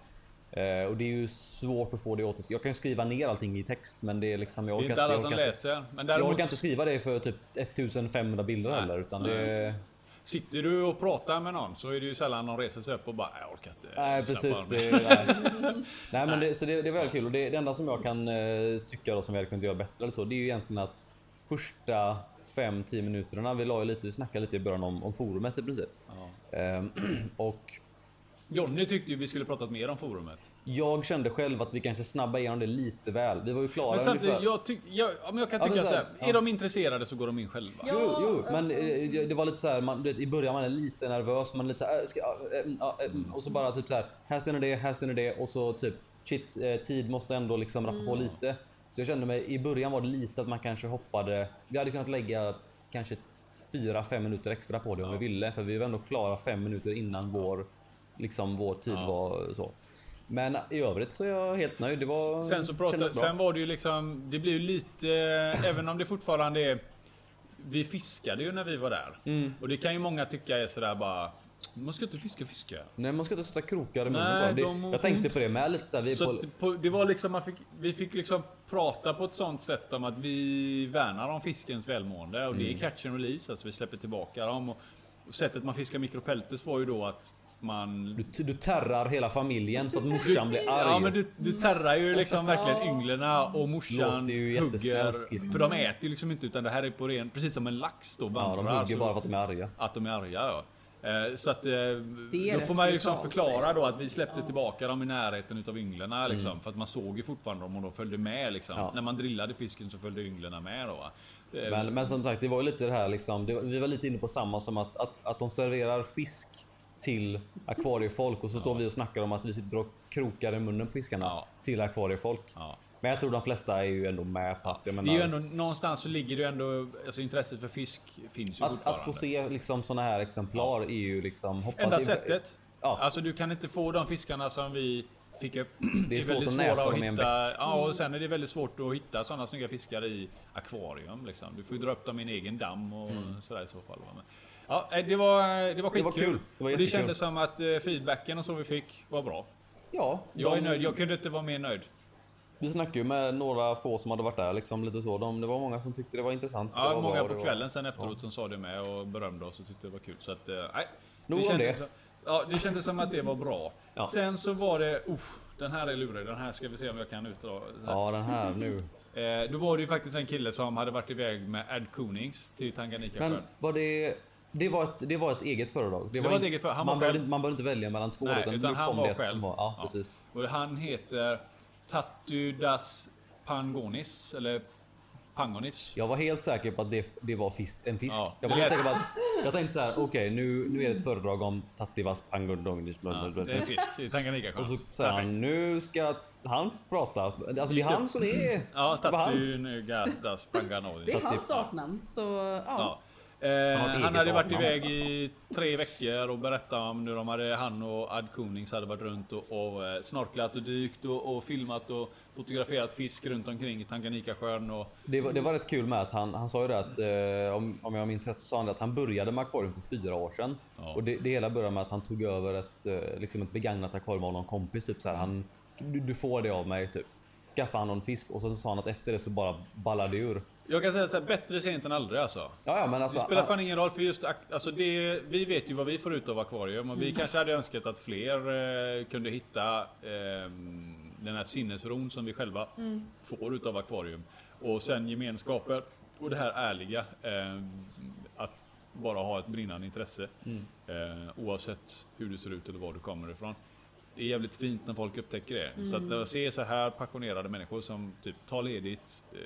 [SPEAKER 1] Eh, och det är ju svårt att få det åter. Jag kan ju skriva ner allting i text, men det är liksom... Jag
[SPEAKER 3] det är
[SPEAKER 1] orkar
[SPEAKER 3] inte alla
[SPEAKER 1] jag
[SPEAKER 3] som
[SPEAKER 1] orkar inte-
[SPEAKER 3] läser. Men
[SPEAKER 1] Jag
[SPEAKER 3] däremot
[SPEAKER 1] orkar inte skriva det för typ 1500 bilder
[SPEAKER 3] Nej.
[SPEAKER 1] heller, utan
[SPEAKER 3] Nej.
[SPEAKER 1] det...
[SPEAKER 3] Sitter du och pratar med någon så är det ju sällan någon reser sig upp och bara "Nej, jag orkar inte.
[SPEAKER 1] Nej,
[SPEAKER 3] Slappar
[SPEAKER 1] precis.
[SPEAKER 3] av nu."
[SPEAKER 1] Det, nej. nej, men det, så det, det är väl kul. Och det, det enda som jag kan eh, tycka då, som vi hade kunnat göra bättre eller så, det är ju egentligen att första 5-10 minuterna, vi, la ju lite, vi snackade lite i början om, om forumet i princip.
[SPEAKER 3] Ja.
[SPEAKER 1] Ehm, och
[SPEAKER 3] Jonny tyckte ju vi skulle pratat mer om forumet.
[SPEAKER 1] Jag kände själv att vi kanske snabbade igenom det lite väl. Vi var ju klara
[SPEAKER 3] Men samtidigt,
[SPEAKER 1] ungefär-
[SPEAKER 3] jag, tyck, jag, ja, men jag kan
[SPEAKER 1] Ja,
[SPEAKER 3] tycka
[SPEAKER 1] men
[SPEAKER 3] så
[SPEAKER 1] så här, ja.
[SPEAKER 3] här. Är de intresserade så går de in själva.
[SPEAKER 4] Ja.
[SPEAKER 1] Jo, jo, men
[SPEAKER 4] alltså.
[SPEAKER 1] eh, det det var lite så här, man, du vet, i början man är lite nervös, man är lite så här, äh, ska, äh, äh, äh, och så bara typ så här, här ständer det, här ständer det och så typ shit, eh, tid måste ändå liksom rappa på
[SPEAKER 3] Mm.
[SPEAKER 1] lite. Så jag kände mig, i början var det lite att man kanske hoppade, vi hade kunnat lägga kanske fyra, fem minuter extra på det om vi ville, för vi var ändå klara fem minuter innan vår, liksom vår tid
[SPEAKER 3] Ja.
[SPEAKER 1] var så. Men eh, i övrigt så är jag helt nöjd. Det var,
[SPEAKER 3] Sen så
[SPEAKER 1] kändes
[SPEAKER 3] pratade,
[SPEAKER 1] bra.
[SPEAKER 3] sen var det ju liksom, det blev ju lite, eh, även om det fortfarande är, vi fiskade ju när vi var där.
[SPEAKER 1] Mm.
[SPEAKER 3] Och det kan ju många tycka är sådär bara, man ska inte fiska fiska.
[SPEAKER 1] Nej, man ska inte sätta krokar i munnen
[SPEAKER 3] Nej,
[SPEAKER 1] på det,
[SPEAKER 3] de-
[SPEAKER 1] Jag tänkte på det med lite så här, vi är
[SPEAKER 3] Så
[SPEAKER 1] på,
[SPEAKER 3] att på, det var liksom, man fick, vi fick liksom prata på ett sånt sätt om att vi värnar om fiskens välmående och det
[SPEAKER 1] Mm.
[SPEAKER 3] är catch and release, alltså vi släpper tillbaka dem. Och, och sättet man fiskar mikropeltes var ju då att man
[SPEAKER 1] Du, du terrar hela familjen så att morsan blir arg.
[SPEAKER 3] Ja men du, du terrar ju liksom verkligen
[SPEAKER 4] Ja.
[SPEAKER 3] ynglena och morsan
[SPEAKER 1] Låter ju
[SPEAKER 3] hugger.
[SPEAKER 1] jättesnällt, liksom.
[SPEAKER 3] För de äter ju liksom inte utan det här är på ren, precis som en lax då
[SPEAKER 1] ja,
[SPEAKER 3] vandrar.
[SPEAKER 1] de hugger
[SPEAKER 3] så-
[SPEAKER 1] bara för att de är arga.
[SPEAKER 3] att de är arga ja. Eh, Så att eh, då
[SPEAKER 4] rätt
[SPEAKER 3] får man ju liksom
[SPEAKER 4] brutalt,
[SPEAKER 3] förklara
[SPEAKER 4] säger
[SPEAKER 3] då att vi släppte tillbaka dem i närheten utav ynglena liksom. För att man såg ju fortfarande dem och de följde med liksom.
[SPEAKER 1] Mm. Ja.
[SPEAKER 3] När man drillade fisken så följde ynglena med då. va. Eh,
[SPEAKER 1] Men, men som sagt, det var ju lite det här liksom. Det, var- vi var lite inne på samma som att, att, att de serverar fisk till akvariefolk och så står vi och snackar om att vi sitter och krokar i munnen på fiskarna
[SPEAKER 3] Ja.
[SPEAKER 1] till akvariefolk.
[SPEAKER 3] Ja.
[SPEAKER 1] Men jag tror de flesta är ju ändå med på att, jag
[SPEAKER 3] Det är
[SPEAKER 1] menar,
[SPEAKER 3] ju ändå någonstans så ligger det ju ändå, alltså intresset för fisk finns ju
[SPEAKER 1] att,
[SPEAKER 3] fortfarande.
[SPEAKER 1] att få se liksom såna här exemplar är ju liksom hoppas
[SPEAKER 3] Enda
[SPEAKER 1] det-
[SPEAKER 3] sättet.
[SPEAKER 1] Ja.
[SPEAKER 3] Alltså du kan inte få de fiskarna som vi fick upp.
[SPEAKER 1] Det är svårt
[SPEAKER 3] väldigt
[SPEAKER 1] att
[SPEAKER 3] svåra
[SPEAKER 1] näta dem i en
[SPEAKER 3] hitta. Ja, och sen är det väldigt svårt att hitta sådana snygga fiskar i akvarium. Liksom. Du får ju dra upp dem i en egen damm och sådär i så fall. va. Men, ja, nej, det var, det var
[SPEAKER 1] Mm. Det var
[SPEAKER 3] skitkul.
[SPEAKER 1] kul. Det var
[SPEAKER 3] och det
[SPEAKER 1] jättekul.
[SPEAKER 3] kändes som att eh, feedbacken och så vi fick var bra.
[SPEAKER 1] Ja,
[SPEAKER 3] Jag är
[SPEAKER 1] de-
[SPEAKER 3] nöjd. Jag kunde inte vara mer nöjd.
[SPEAKER 1] Vi snackade ju med några få som hade varit där liksom lite så. De, det var många som tyckte det var intressant. det
[SPEAKER 3] Ja,
[SPEAKER 1] var bra
[SPEAKER 3] många
[SPEAKER 1] och det
[SPEAKER 3] på
[SPEAKER 1] var-
[SPEAKER 3] kvällen sen efteråt som sa det med och berömde oss och tyckte det var kul. Så att, eh, nej.
[SPEAKER 1] Nog om det.
[SPEAKER 3] kändes Som, ja, det kändes som att det var bra.
[SPEAKER 1] Ja.
[SPEAKER 3] Sen så var det, uff, den här är lurig, den här ska vi se om jag kan utdra.
[SPEAKER 1] Ja, den här nu.
[SPEAKER 3] Eh, då var det ju faktiskt en kille som hade varit iväg med Ed Koonings till Tanganyika
[SPEAKER 1] Men
[SPEAKER 3] sjön.
[SPEAKER 1] var det... Det var, ett, det var ett eget föredrag.
[SPEAKER 3] Det var ett
[SPEAKER 1] inte-
[SPEAKER 3] eget föredrag. Han
[SPEAKER 1] man,
[SPEAKER 3] var
[SPEAKER 1] behövde,
[SPEAKER 3] själv.
[SPEAKER 1] inte- man behövde inte välja mellan två.
[SPEAKER 3] Nej,
[SPEAKER 1] nu
[SPEAKER 3] utan han
[SPEAKER 1] kom
[SPEAKER 3] var
[SPEAKER 1] det ett som
[SPEAKER 3] själv.
[SPEAKER 1] Var, ja,
[SPEAKER 3] Ja.
[SPEAKER 1] precis.
[SPEAKER 3] Och han heter Tatu das Pangonis, eller Pangonis.
[SPEAKER 1] Jag var helt säker på att det, det var fisk, en fisk.
[SPEAKER 3] Ja,
[SPEAKER 1] jag,
[SPEAKER 3] det
[SPEAKER 1] var helt
[SPEAKER 3] lät-
[SPEAKER 1] säker på att, jag tänkte så här, okej nu, nu är det ett föredrag om Tattivas Pangondongnis.
[SPEAKER 3] Ja,
[SPEAKER 1] Ja,
[SPEAKER 3] det är en fisk i Tanganyika sjön.
[SPEAKER 1] och så säger han, nu ska han prata. Alltså det är han som är...
[SPEAKER 3] Ja,
[SPEAKER 1] det var han.
[SPEAKER 3] Tatu das Pangonis.
[SPEAKER 4] Det är
[SPEAKER 1] Så att
[SPEAKER 4] hans
[SPEAKER 1] det-
[SPEAKER 4] saknamn. Så ja.
[SPEAKER 3] Ja. Eh,
[SPEAKER 1] har ett
[SPEAKER 3] han
[SPEAKER 1] eget
[SPEAKER 3] hade varit
[SPEAKER 1] namn.
[SPEAKER 3] iväg i tre veckor och berättat om hur de hade, han och Ad Konings hade varit runt och, och eh, snorklat och dykt och, och filmat och fotograferat fisk runt omkring i Tanganyikasjön. Och,
[SPEAKER 1] Det var, det var rätt kul med att han, han sa ju det att, eh, om, om jag minns rätt, så sa han det att han började med akvarium för fyra år sedan.
[SPEAKER 3] Ja.
[SPEAKER 1] Och det, det hela började med att han tog över ett, eh, liksom ett begagnat akvarium av någon kompis. Typ så här, han, du, du får det av mig, typ. Skaffade han någon fisk och så sa han att efter det så bara ballade det ur.
[SPEAKER 3] jag kan säga så här, bättre sent än aldrig alltså.
[SPEAKER 1] Ja, ja, men alltså,
[SPEAKER 3] Det spelar
[SPEAKER 1] han,
[SPEAKER 3] fan ingen roll för just ak- alltså det, vi vet ju vad vi får ut av akvarium och vi
[SPEAKER 1] Mm.
[SPEAKER 3] kanske hade önskat att fler eh, kunde hitta ehm, den här sinnesron som vi själva får ut av akvarium. Och sen gemenskapen och det här ärliga. ehm, att bara ha ett brinnande intresse.
[SPEAKER 1] Mm.
[SPEAKER 3] Eh, oavsett hur du ser ut eller var du kommer ifrån. Det är jävligt fint när folk upptäcker det. Så att när jag ser så här passionerade människor som typ tar ledigt, eh,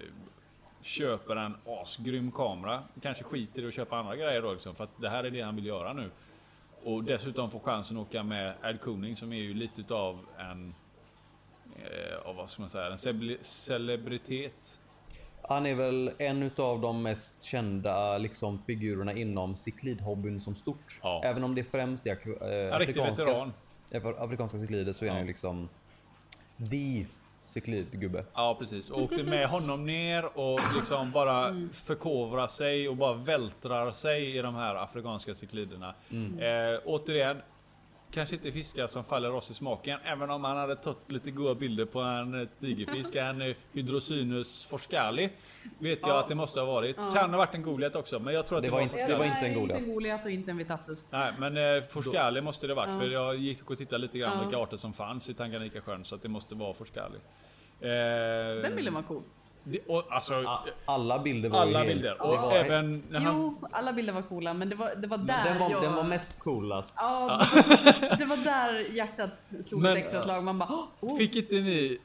[SPEAKER 3] köper en asgrym kamera. Kanske skiter i att köpa andra grejer då liksom, för att det här är det han vill göra nu. Och dessutom får chansen att åka med Ed Cooning som är ju lite utav en, eh, ja, vad ska man säga, en cele- celebritet.
[SPEAKER 1] han är väl en av de mest kända liksom, figurerna inom cichlidhobbyn som stort.
[SPEAKER 3] Ja.
[SPEAKER 1] Även om det främst är ak- eh,
[SPEAKER 3] riktig veteran.
[SPEAKER 1] afrikanska, eh, för afrikanska cichlider så är han ju liksom the cichlidgubbe.
[SPEAKER 3] Ja precis, och åkte med honom ner och liksom bara förkovrar sig och bara vältrar sig i de här afrikanska cikliderna.
[SPEAKER 1] Mm.
[SPEAKER 3] Eh, återigen, kanske inte fiskar som faller oss i smaken, även om han hade tagit lite goda bilder på en eh, tigerfisk, en eh, hydrosynus forskali. Vet jag att det måste ha varit. Kan ha varit en goliat också, men jag tror att det,
[SPEAKER 1] Det
[SPEAKER 3] var,
[SPEAKER 1] var
[SPEAKER 3] en
[SPEAKER 1] inte-
[SPEAKER 3] forskali.
[SPEAKER 1] det var inte en
[SPEAKER 2] Inte
[SPEAKER 1] Goliat.
[SPEAKER 2] en Goliat och inte en Vitatus.
[SPEAKER 3] Nej, men eh, forskali måste det varit för jag gick och tittade lite grann vilka arter som fanns i Tanganyika sjön så att det måste vara forskali. Eh,
[SPEAKER 2] Den bilden var cool.
[SPEAKER 3] Det, och, alltså,
[SPEAKER 1] A- Alla bilder var ju
[SPEAKER 3] alla
[SPEAKER 1] helt...
[SPEAKER 3] bilder.
[SPEAKER 1] det
[SPEAKER 3] Och
[SPEAKER 1] var-
[SPEAKER 3] även när han...
[SPEAKER 2] Jo, alla bilder var coola, men det var, det var där
[SPEAKER 1] Men den, var,
[SPEAKER 2] jag...
[SPEAKER 1] den var mest coolast.
[SPEAKER 2] Ja, det var, det var där hjärtat slog
[SPEAKER 3] Men-
[SPEAKER 2] ett extra slag. Man bara... "Åh,
[SPEAKER 3] Fick inte ni...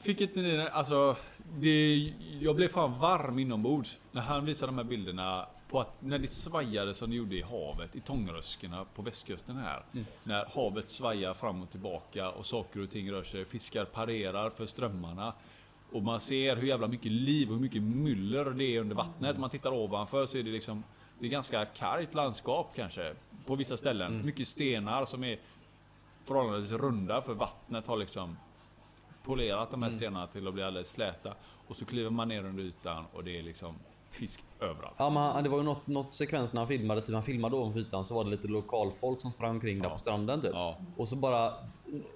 [SPEAKER 3] Fick inte ni... Alltså... Det, jag blev fan varm inombords när han visade de här bilderna på att när det svajade som det gjorde i havet, i tångröskorna på västkusten här. När havet svajar fram och tillbaka och saker och ting rör sig. Fiskar parerar för strömmarna. Och man ser hur jävla mycket liv och hur mycket myller det är under vattnet. Om man tittar ovanför så är det liksom det är ganska kargt landskap kanske. På vissa ställen. Mycket stenar som är förhållandevis runda för vattnet har liksom polerat de här
[SPEAKER 1] Mm.
[SPEAKER 3] stenarna till att bli alldeles släta. Och så kliver man ner under ytan och det är liksom fisk överallt.
[SPEAKER 1] Ja, men han- det var ju något, något sekvens när han filmade, typ han filmade ovanför ytan så var det lite lokalfolk som sprang omkring där
[SPEAKER 3] Ja.
[SPEAKER 1] på stranden typ.
[SPEAKER 3] Ja.
[SPEAKER 1] Och så bara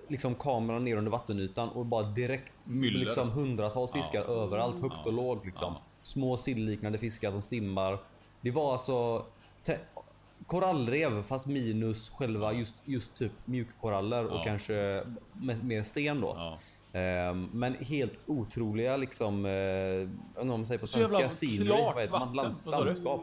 [SPEAKER 1] liksom kameran ner under vattenytan och bara direkt
[SPEAKER 3] Myller.
[SPEAKER 1] liksom hundratals fiskar
[SPEAKER 3] Ja.
[SPEAKER 1] överallt, högt
[SPEAKER 3] Ja.
[SPEAKER 1] och lågt liksom.
[SPEAKER 3] Ja.
[SPEAKER 1] Små sillliknande fiskar som stimmar. Det var alltså te- korallrev fast minus själva just, just typ mjukkoraller
[SPEAKER 3] Ja.
[SPEAKER 1] och kanske med, mer sten då.
[SPEAKER 3] Ja.
[SPEAKER 1] Ehm, men helt otroliga liksom, eh, jag vet inte vad man säger på
[SPEAKER 3] Så jävla
[SPEAKER 1] svenska, scenery,
[SPEAKER 3] klart
[SPEAKER 1] vad heter man?
[SPEAKER 3] vatten.
[SPEAKER 1] Lands-
[SPEAKER 3] Vad sa du?
[SPEAKER 1] landskap.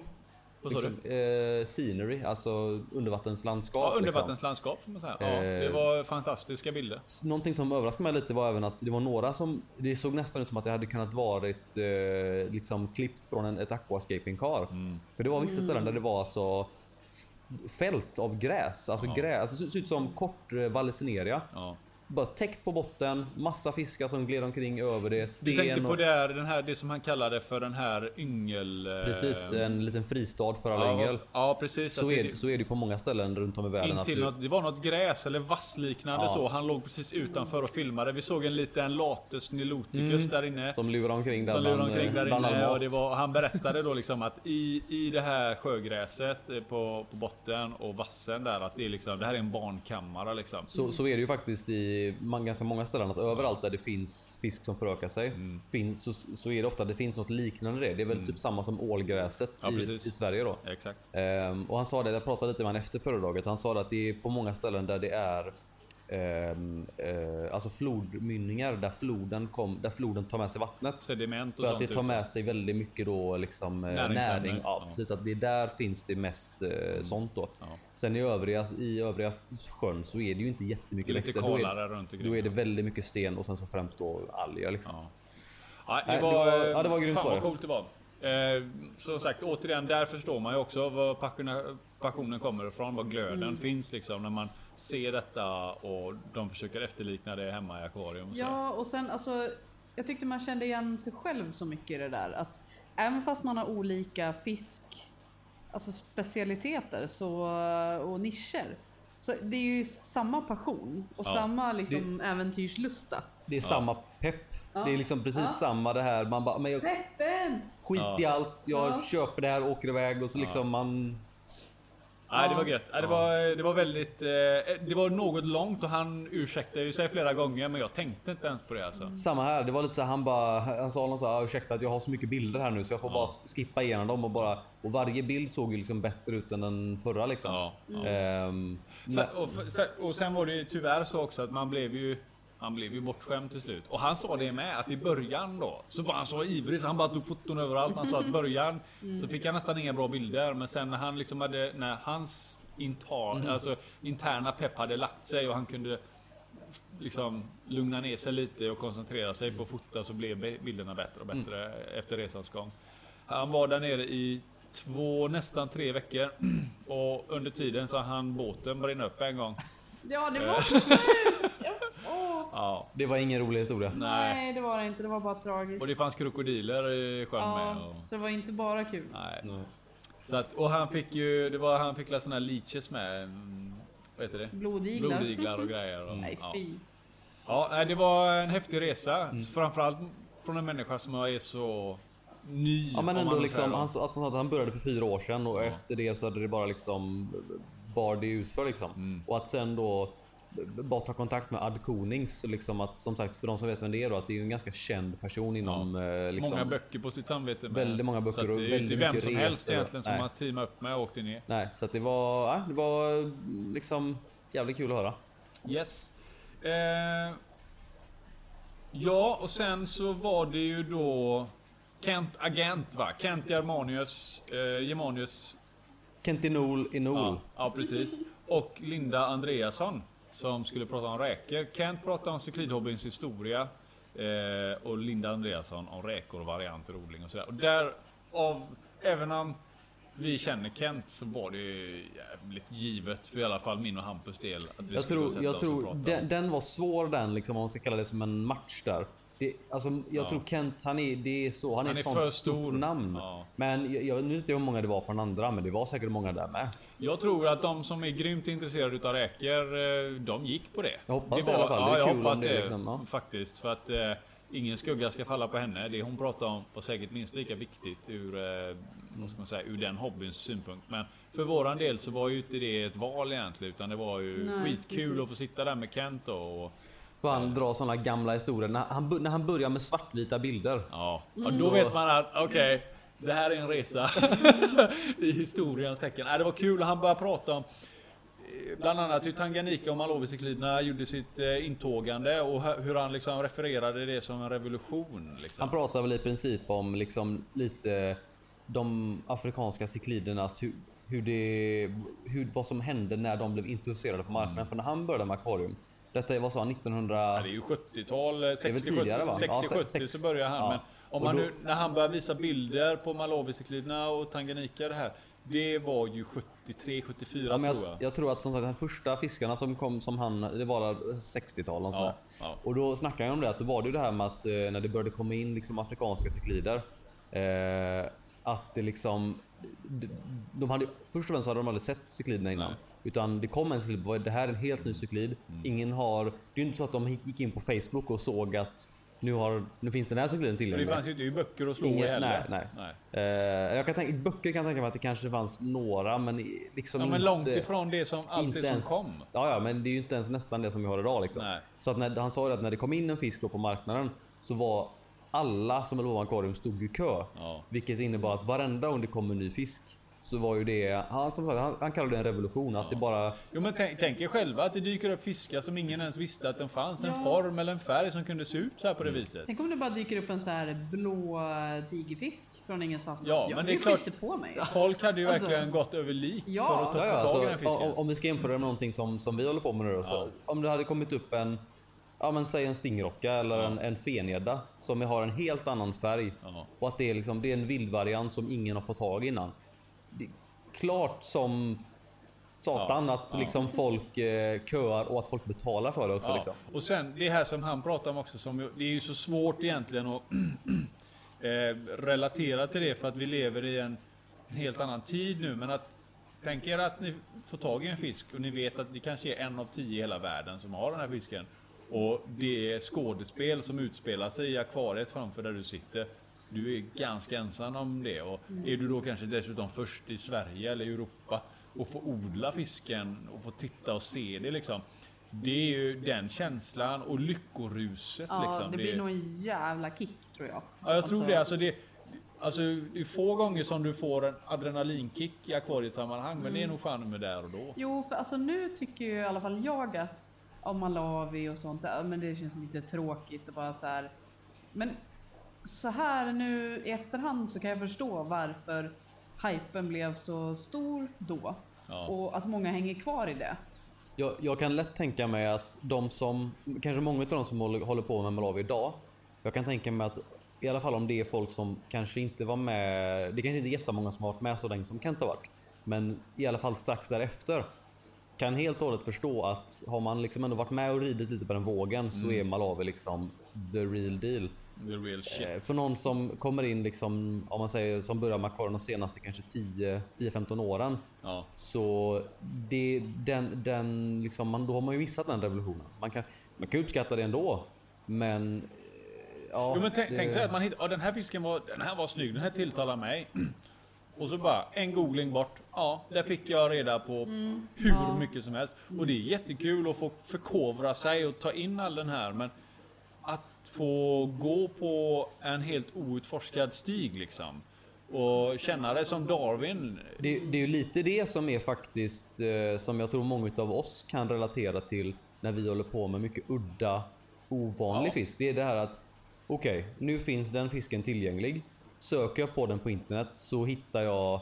[SPEAKER 3] Vad sa du?
[SPEAKER 1] Liksom, eh, scenery, alltså undervattenslandskap.
[SPEAKER 3] Ja,
[SPEAKER 1] Liksom.
[SPEAKER 3] undervattenslandskap. som man säger. Ja, det
[SPEAKER 1] Eh.
[SPEAKER 3] var fantastiska bilder.
[SPEAKER 1] S- Någonting som överraskade mig lite var även att det var några som, det såg nästan ut som att det hade kunnat varit eh, liksom klippt från en, ett aquascaping car.
[SPEAKER 3] Mm.
[SPEAKER 1] För det var vissa ställen där det var alltså f- fält av gräs, alltså
[SPEAKER 3] Ja.
[SPEAKER 1] gräs, alltså, det ser ut som kort eh, vallisneria.
[SPEAKER 3] Ja.
[SPEAKER 1] Bara täckt på botten, massa fiskar som gled omkring över det, sten
[SPEAKER 3] Du tänkte på
[SPEAKER 1] och...
[SPEAKER 3] det, här, den här, det som han kallade för den här yngel... eh,
[SPEAKER 1] Precis, en liten fristad för alla
[SPEAKER 3] ja,
[SPEAKER 1] yngel.
[SPEAKER 3] ja, precis.
[SPEAKER 1] Så
[SPEAKER 3] att
[SPEAKER 1] är, det- så är det ju på många ställen runt om i världen.
[SPEAKER 3] Intill
[SPEAKER 1] du-
[SPEAKER 3] något, det var något gräs eller vassliknande
[SPEAKER 1] Ja.
[SPEAKER 3] så. Han låg precis utanför och filmade. Vi såg en liten lates niloticus
[SPEAKER 1] Mm.
[SPEAKER 3] där inne.
[SPEAKER 1] Som lurar omkring där
[SPEAKER 3] Som lurade
[SPEAKER 1] bland,
[SPEAKER 3] omkring där
[SPEAKER 1] bland all
[SPEAKER 3] inne och
[SPEAKER 1] mat.
[SPEAKER 3] det var, han berättade då liksom att i, i det här sjögräset eh, på, på botten och vassen där att det är liksom, det här är en barnkammare liksom.
[SPEAKER 1] Så, så är det ju faktiskt i man, ganska många ställen att överallt där det finns fisk som förökar sig
[SPEAKER 3] Mm.
[SPEAKER 1] finns, så, så är det ofta det finns något liknande det. Det är väl typ samma som ålgräset
[SPEAKER 3] Ja,
[SPEAKER 1] i, i
[SPEAKER 3] precis.
[SPEAKER 1] Sverige då.
[SPEAKER 3] Exakt.
[SPEAKER 1] Ehm, och han sa det, jag pratade lite med honom efter föredraget. Han sa det att det är på många ställen där det är ehm, eh, alltså flodmynningar där floden, kom, där floden tar med sig vattnet.
[SPEAKER 3] Sediment och
[SPEAKER 1] För att
[SPEAKER 3] sånt.
[SPEAKER 1] det tar
[SPEAKER 3] ut.
[SPEAKER 1] med sig väldigt mycket då liksom eh,
[SPEAKER 3] Näringsämnen.
[SPEAKER 1] näring. Ja,
[SPEAKER 3] Ja. Mm.
[SPEAKER 1] precis. Att det är där finns det mest eh, sånt då.
[SPEAKER 3] Ja.
[SPEAKER 1] Sen i övriga, i övriga sjön så är det ju inte
[SPEAKER 3] Det är
[SPEAKER 1] jättemycket
[SPEAKER 3] lite
[SPEAKER 1] växter. Då är,
[SPEAKER 3] kalare runt omkring.
[SPEAKER 1] då är det väldigt mycket sten och sen så främst då alger. Liksom.
[SPEAKER 3] Ja. Ja, det,
[SPEAKER 1] Nej,
[SPEAKER 3] var, eh,
[SPEAKER 1] det var- ja, det var grymt
[SPEAKER 3] Fan
[SPEAKER 1] var
[SPEAKER 3] vad
[SPEAKER 1] det.
[SPEAKER 3] coolt det var. Eh, som sagt, återigen, där förstår man ju också var passiona- passionen kommer ifrån, var glöden finns liksom när man ser detta och de försöker efterlikna det hemma i akvarium. och så.
[SPEAKER 2] Ja, och sen alltså, jag tyckte man kände igen sig själv så mycket i det där. Att även fast man har olika fisk, alltså specialiteter så, och nischer, så det är ju samma passion och
[SPEAKER 3] Ja,
[SPEAKER 2] samma liksom, äventyrslusta.
[SPEAKER 1] Det är samma pepp.
[SPEAKER 2] Ja.
[SPEAKER 1] Det är liksom precis
[SPEAKER 2] Ja.
[SPEAKER 1] samma det här. Man bara, men jag
[SPEAKER 2] Peppen!
[SPEAKER 1] skit i
[SPEAKER 3] Ja.
[SPEAKER 1] allt. Jag
[SPEAKER 2] Ja.
[SPEAKER 1] köper det här, åker iväg och så liksom man...
[SPEAKER 3] Nej, det
[SPEAKER 2] Ja.
[SPEAKER 3] var gött. Nej, Det var, det var väldigt... eh, Det var något långt och han ursäktade ju sig flera gånger men jag tänkte inte ens på det alltså.
[SPEAKER 1] Samma här. Det var lite så här, han bara, han sa något så här, "Ah, ursäkta att jag har så mycket bilder här nu så jag får bara skippa igenom dem och bara... Och varje bild såg ju liksom bättre ut än den förra liksom.
[SPEAKER 3] Ja, ja.
[SPEAKER 1] Ehm,
[SPEAKER 3] Sen, och, f- sen, och sen var det ju tyvärr så också att man blev ju... Han blev ju bortskämd till slut. Och han sa det med att i början då så var han så ivrig så han bara tog foton överallt. Han sa att i början så fick han nästan inga bra bilder men sen när han liksom hade... När hans intar, alltså, interna pepp hade lagt sig och han kunde liksom lugna ner sig lite och koncentrera sig på att fota så blev bi- bilderna bättre och bättre efter resans gång. Han var där nere i två, nästan tre veckor och under tiden så han båten brann upp en gång.
[SPEAKER 2] Ja, det var så sjukt! Ja, åh.
[SPEAKER 3] Ja,
[SPEAKER 1] Det var ingen rolig historia.
[SPEAKER 3] nej.
[SPEAKER 2] Nej, det var det inte. Det var bara tragiskt.
[SPEAKER 3] Och det fanns krokodiler i sjön med.
[SPEAKER 2] ja,
[SPEAKER 3] Och,
[SPEAKER 2] så det var inte bara kul.
[SPEAKER 3] nej. Så att, och han fick ju, det var, han fick sådana här leeches med. mm, Vad heter det?
[SPEAKER 2] Blodiglar.
[SPEAKER 3] Blodiglar och grejer. Och,
[SPEAKER 2] Nej,
[SPEAKER 3] ja.
[SPEAKER 2] fy.
[SPEAKER 3] Ja, nej, det var en häftig resa.
[SPEAKER 1] Mm.
[SPEAKER 3] Framförallt från en människa som är så ny.
[SPEAKER 1] Ja men
[SPEAKER 3] om
[SPEAKER 1] ändå
[SPEAKER 3] man
[SPEAKER 1] liksom,
[SPEAKER 3] säger.
[SPEAKER 1] han, sa- att han, sa att han började för fyra år sedan och efter det så hade det bara liksom bar det utför liksom.
[SPEAKER 3] Mm.
[SPEAKER 1] Och att sen då b- bara ta kontakt med Ad Konings, liksom att som sagt för de som vet vem det är då, att det är ju en ganska känd person inom eh, liksom.
[SPEAKER 3] Många böcker på sitt samvete. Med.
[SPEAKER 1] Väldigt många
[SPEAKER 3] Så
[SPEAKER 1] böcker
[SPEAKER 3] att
[SPEAKER 1] och
[SPEAKER 3] det är ju inte
[SPEAKER 1] väldigt
[SPEAKER 3] vem
[SPEAKER 1] mycket
[SPEAKER 3] som helst
[SPEAKER 1] resor.
[SPEAKER 3] egentligen som
[SPEAKER 1] Nej.
[SPEAKER 3] man teamar upp med och åkte ner.
[SPEAKER 1] Nej, så att det var, ja, det var eh, liksom jävligt kul att höra.
[SPEAKER 3] Yes. Eh, Ja, och sen så var det ju då Kent Agent va? Kent Germanius, eh, Germanius
[SPEAKER 1] Kentinol Inol.
[SPEAKER 3] Ja, ja, precis. Och Linda Andreasson som skulle prata om räkor. Kent pratade om cyklidhobbyns historia eh, och Linda Andreasson om räkor och varianter och odling och sådär. Och där, av, även om vi känner Kent så var det ju jävligt givet för i alla fall min och Hampus del att vi
[SPEAKER 1] Jag
[SPEAKER 3] skulle
[SPEAKER 1] tror,
[SPEAKER 3] sätta
[SPEAKER 1] jag
[SPEAKER 3] oss
[SPEAKER 1] tror
[SPEAKER 3] och prata.
[SPEAKER 1] den, den var svår den liksom om man ska kalla det som en match där. Det, alltså, jag
[SPEAKER 3] Ja.
[SPEAKER 1] tror Kent, han är, det är så, han,
[SPEAKER 3] Han
[SPEAKER 1] är ett
[SPEAKER 3] är
[SPEAKER 1] sånt
[SPEAKER 3] för
[SPEAKER 1] stort
[SPEAKER 3] stor.
[SPEAKER 1] namn.
[SPEAKER 3] Ja.
[SPEAKER 1] Men jag, jag nu vet inte hur många det var på den andra, men det var säkert många där med.
[SPEAKER 3] Jag tror att de som är grymt intresserade utav räkor, eh, de gick på det.
[SPEAKER 1] Jag hoppas det i alla fall. Det är
[SPEAKER 3] Ja, jag
[SPEAKER 1] kul om
[SPEAKER 3] hoppas
[SPEAKER 1] det
[SPEAKER 3] det,
[SPEAKER 1] liksom, ja.
[SPEAKER 3] faktiskt. För att eh, ingen skugga ska falla på henne. Det hon pratar om var säkert minst lika viktigt ur, eh, vad ska man säga, ur den hobbyns synpunkt. Men för våran del så var ju inte det ett val egentligen, utan det var ju
[SPEAKER 2] Nej,
[SPEAKER 3] skitkul
[SPEAKER 2] precis.
[SPEAKER 3] att få sitta där med Kent då, och
[SPEAKER 1] För han drar sådana gamla historier. När han, bör- när han börjar med svartvita bilder.
[SPEAKER 3] Ja, och då vet man att okej, det här är en resa i historiens tecken. Nej, det var kul och han började prata om eh, bland annat hur Tanganyika och Malawi-cykliderna gjorde sitt eh, intågande och hö- hur han liksom refererade det som en revolution.
[SPEAKER 1] Han
[SPEAKER 3] Liksom.
[SPEAKER 1] pratar väl i princip om liksom lite de afrikanska cyklidernas hur, hur det, hur, vad som hände när de blev introducerade på marknaden. För när han började med akvarium, detta var så
[SPEAKER 3] Mm. Ja,
[SPEAKER 1] 1900...
[SPEAKER 3] det är ju 70-tal, eh,
[SPEAKER 1] väl tidigare, va?
[SPEAKER 3] 60-70
[SPEAKER 1] Ja,
[SPEAKER 3] 60-70 så
[SPEAKER 1] sex-
[SPEAKER 3] börjar han.
[SPEAKER 1] ja.
[SPEAKER 3] Men om
[SPEAKER 1] Och
[SPEAKER 3] man
[SPEAKER 1] då-
[SPEAKER 3] nu, när han börjar visa bilder på Malawi-cykliderna och Tanganyika det här. Det var ju 73-74
[SPEAKER 1] Ja, men
[SPEAKER 3] tror
[SPEAKER 1] jag,
[SPEAKER 3] jag.
[SPEAKER 1] jag tror att som sagt, de första fiskarna som kom som han, det var 60-tal. och sådär.
[SPEAKER 3] ja.
[SPEAKER 1] Och då snackade jag om det, att då var det ju det här med att eh, när det började komma in liksom afrikanska cyklider. Eh, att det liksom, de, de hade, först och främst hade de aldrig sett cykliderna innan.
[SPEAKER 3] Nej. Mm.
[SPEAKER 1] Utan det kom en cyklid, bara, det här är en helt ny cyklid. Ingen har, det är ju inte så att de gick in på Facebook och såg att nu, har, nu finns den här cykliden
[SPEAKER 3] Men det
[SPEAKER 1] tillgänglig.
[SPEAKER 3] fanns ju inte i böcker att slå i
[SPEAKER 1] Inget-
[SPEAKER 3] heller.
[SPEAKER 1] nej, nej.
[SPEAKER 3] nej.
[SPEAKER 1] Eh, jag kan tänka, i böcker kan jag tänka mig att det kanske fanns några men i- liksom
[SPEAKER 3] Ja, men
[SPEAKER 1] inte...
[SPEAKER 3] långt ifrån det som
[SPEAKER 1] Inte
[SPEAKER 3] alltid som
[SPEAKER 1] ens-
[SPEAKER 3] kom.
[SPEAKER 1] Ja, ja, men det är ju inte ens nästan det som vi har idag. Liksom.
[SPEAKER 3] Nej.
[SPEAKER 1] Så att när, han sa ju att när det kom in en fisk då på marknaden så var alla som låg på akvarium stod ju i kö.
[SPEAKER 3] Ja.
[SPEAKER 1] Vilket innebar att varenda gång det kom en ny fisk så var ju det, han, som sagt, han, han kallade det en revolution. Att det bara,
[SPEAKER 3] Jo, men tänk, tänk er själva att det dyker upp fiskar som ingen ens visste att den fanns. En
[SPEAKER 2] Ja.
[SPEAKER 3] form eller en färg som kunde se ut så här på det
[SPEAKER 1] Mm.
[SPEAKER 3] viset.
[SPEAKER 2] Tänk om det bara dyker upp en så här blå tigerfisk från ingenstans.
[SPEAKER 3] Ja, men det är
[SPEAKER 2] vi
[SPEAKER 3] klart-
[SPEAKER 2] skiter på mig.
[SPEAKER 3] Folk hade ju
[SPEAKER 2] Alltså-
[SPEAKER 3] verkligen gått över lik
[SPEAKER 2] Ja.
[SPEAKER 3] för att ta
[SPEAKER 1] ja, ja,
[SPEAKER 3] få tag i den
[SPEAKER 1] alltså,
[SPEAKER 3] fisken.
[SPEAKER 1] om, om vi ska jämföra med någonting som, som vi håller på med nu då, så
[SPEAKER 3] Ja.
[SPEAKER 1] Om det hade kommit upp en, ja, men säg en stingrocka eller
[SPEAKER 3] Ja.
[SPEAKER 1] en, en feneda som har en helt annan färg.
[SPEAKER 3] Ja.
[SPEAKER 1] Och att det är, liksom, det är en vildvariant som ingen har fått tag i innan. Det är klart som satan
[SPEAKER 3] Ja,
[SPEAKER 1] att
[SPEAKER 3] ja.
[SPEAKER 1] liksom folk eh, köar och att folk betalar för det också.
[SPEAKER 3] Ja.
[SPEAKER 1] Liksom.
[SPEAKER 3] Och sen det här som han pratar om också, som, ju- det är ju så svårt egentligen att eh, relatera till det för att vi lever i en helt annan tid nu. Men att tänk er att ni får tag i en fisk och ni vet att det kanske är en av tio i hela världen som har den här fisken. Och det är skådespel som utspelar sig i akvariet framför där du sitter. Du är ganska ensam om det och
[SPEAKER 2] Mm.
[SPEAKER 3] är du då kanske dessutom först i Sverige eller Europa och få odla fisken och få titta och se det liksom. Det är ju den känslan och lyckoruset
[SPEAKER 2] Ja,
[SPEAKER 3] liksom.
[SPEAKER 2] det
[SPEAKER 3] Det-
[SPEAKER 2] blir nog en jävla kick tror jag.
[SPEAKER 3] Ja, jag tror det. Alltså, det. Alltså, det är få gånger som du får en adrenalinkick i akvariesammanhang, men det är nog fan med där och då.
[SPEAKER 2] Jo, för alltså nu tycker ju i alla fall jag att om Malawi och sånt, ja, men det känns lite tråkigt och bara så här. Men så här nu i efterhand så kan jag förstå varför hypen blev så stor då
[SPEAKER 3] Ja.
[SPEAKER 2] och att många hänger kvar i det.
[SPEAKER 1] Jag, jag kan lätt tänka mig att de som, kanske många av de som håller, håller på med Malawi idag. Jag kan tänka mig att i alla fall om det är folk som kanske inte var med. Det kanske inte är jättemånga som har varit med så länge som Kent har varit. Men i alla fall strax därefter. Kan helt och hållet förstå att har man liksom ändå varit med och ridit lite på den vågen så är Malawi liksom the real deal.
[SPEAKER 3] The real shit.
[SPEAKER 1] Eh, För någon som kommer in liksom, om man säger som börjar med akvarium de senaste kanske 10, 10-15 åren.
[SPEAKER 3] Ja.
[SPEAKER 1] Så det, den, den liksom, man, då har man ju missat den revolutionen. Man kan, man kan uppskatta det ändå, men... eh, Ja,
[SPEAKER 3] Jo, men tänk,
[SPEAKER 1] det-
[SPEAKER 3] tänk så här att man hittar, ja, den här fisken var, den här var snygg, den här tilltalar mig. Och så bara en googling bort. Ja, där fick jag reda på hur mycket som helst. Och det är jättekul att få förkovra sig och ta in all den här. Men att få gå på en helt outforskad stig liksom. Och känna dig som Darwin.
[SPEAKER 1] Det, det är ju lite det som är faktiskt eh, som jag tror många av oss kan relatera till när vi håller på med mycket udda ovanlig
[SPEAKER 3] Ja.
[SPEAKER 1] fisk. Det är det här att okej, nu finns den fisken tillgänglig. Söker jag på den på internet så hittar jag